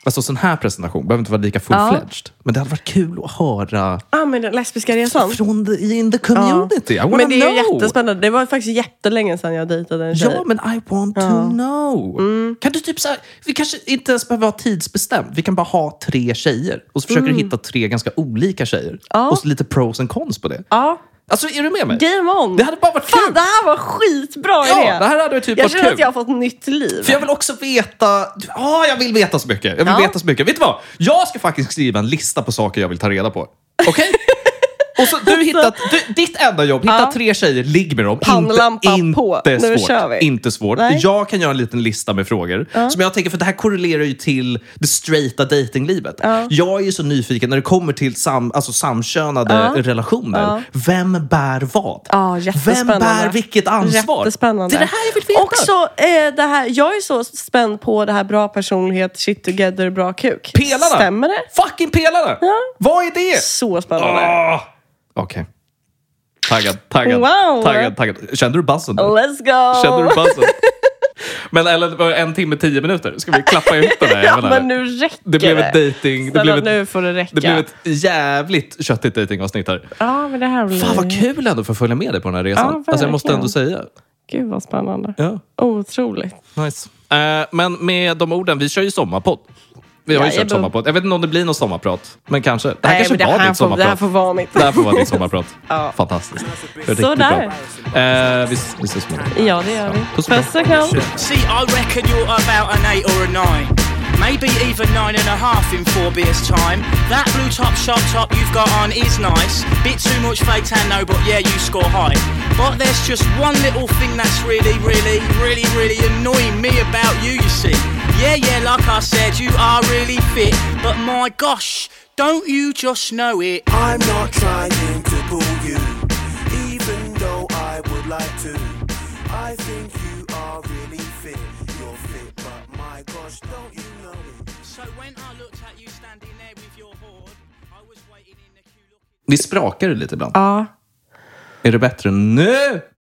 Speaker 2: Alltså sån här presentation. Behöver inte vara lika full-fledged. Men det hade varit kul att höra
Speaker 1: ah, men den lesbiska resan.
Speaker 2: från the, in the community. I wanna
Speaker 1: Men det är ju
Speaker 2: know.
Speaker 1: jättespännande. Det var faktiskt jättelänge sedan jag dejtade en tjej.
Speaker 2: Ja, men I want to know.
Speaker 1: Mm.
Speaker 2: Kan du typ så här, vi kanske inte ens behöver vara tidsbestämt. Vi kan bara ha tre tjejer. Och så försöker
Speaker 1: Mm.
Speaker 2: du hitta tre ganska olika tjejer. Och så lite pros and cons på det.
Speaker 1: Ja.
Speaker 2: Alltså, är du med mig?
Speaker 1: Game on!
Speaker 2: Det hade bara varit
Speaker 1: Fan,
Speaker 2: kul.
Speaker 1: det här var skitbra
Speaker 2: Ja,
Speaker 1: idé!
Speaker 2: det här hade ju typ
Speaker 1: jag
Speaker 2: varit
Speaker 1: känner
Speaker 2: kul.
Speaker 1: att jag har fått nytt liv.
Speaker 2: För jag vill också veta... Ja, jag vill veta så mycket. Jag vill
Speaker 1: Ja.
Speaker 2: veta så mycket. Vet du vad? Jag ska faktiskt skriva en lista på saker jag vill ta
Speaker 1: <laughs>
Speaker 2: reda på. Okej? Och så du hittat, du, ditt enda jobb, hitta
Speaker 1: Ja.
Speaker 2: tre tjejer, ligg med dem.
Speaker 1: Pannlampan
Speaker 2: inte,
Speaker 1: på.
Speaker 2: Inte
Speaker 1: Nu
Speaker 2: svårt.
Speaker 1: kör vi.
Speaker 2: Inte svårt.
Speaker 1: Nej.
Speaker 2: Jag kan göra en liten lista med frågor. Som jag tänker, för det här korrelerar ju till det straighta datinglivet. Jag är ju så nyfiken när det kommer till sam, alltså samkönade relationer. Vem bär vad?
Speaker 1: Ja,
Speaker 2: Vem
Speaker 1: jättespännande.
Speaker 2: bär vilket ansvar?
Speaker 1: Jättespännande.
Speaker 2: Det är det här jag vill veta.
Speaker 1: Också, eh, det här, jag är så spänd på det här bra personlighet, shit together, bra kuk.
Speaker 2: Pelarna!
Speaker 1: Stämmer det?
Speaker 2: Fucking pelarna! Vad är det?
Speaker 1: Så spännande.
Speaker 2: Ah! Okej. Taggad, taggad,
Speaker 1: Wow. Oh.
Speaker 2: taggad, taggad. Kände du buzzen? där?
Speaker 1: Let's go!
Speaker 2: Kände du buzzen? <laughs> Men Ellen, var det en timme, tio minuter. Ska vi klappa ihop den
Speaker 1: <laughs> ja,
Speaker 2: här jäveln,
Speaker 1: men
Speaker 2: eller?
Speaker 1: nu räcker
Speaker 2: Det blev ett dating... Det
Speaker 1: Snälla,
Speaker 2: blev ett,
Speaker 1: nu får det räcka.
Speaker 2: det blev ett jävligt köttigt datingavsnitt här.
Speaker 1: Ja, men det här blir...
Speaker 2: Fan vad kul ändå för att följa med dig på den här resan. alltså jag måste
Speaker 1: Mm. verkligen.
Speaker 2: ändå säga.
Speaker 1: Gud vad spännande.
Speaker 2: Ja,
Speaker 1: Otroligt.
Speaker 2: nice. Eh, men med de orden, vi kör ju sommarpodd. Vi har ju
Speaker 1: Jajamän.
Speaker 2: kört sommarpodd. Jag vet inte om det blir någon sommarprat, men kanske. Det här
Speaker 1: Nej,
Speaker 2: kanske
Speaker 1: men det,
Speaker 2: var
Speaker 1: här
Speaker 2: ditt
Speaker 1: får,
Speaker 2: sommarprat.
Speaker 1: det här får vara mitt.
Speaker 2: Det här får vara ditt sommarprat.
Speaker 1: Ja.
Speaker 2: Fantastiskt. Riktigt
Speaker 1: Sådär.
Speaker 2: bra. Eh, vi, vi ses snart.
Speaker 1: Ja, det gör vi.
Speaker 2: Puss och kram.
Speaker 1: Puss och kram.
Speaker 3: See, I reckon you're about an eight or a nine. Maybe even nine and a half in four beers time. That blue top shop top you've got on is nice. Bit too much fake tanno, but yeah, you score high. But there's just one little thing that's really, really, really, really annoying me about you, you see. Yeah, yeah, like I said, you are really fit. But my gosh, don't you just know it?
Speaker 4: I'm not trying to pull you, even though I would like to. I think you are really fit, you're fit, but my gosh, don't you know it?
Speaker 3: So when I looked at you standing there with your hoard, I was waiting in the queue looking.
Speaker 2: Det sprakar det lite ibland.
Speaker 1: Ja.
Speaker 2: Är det bättre nu?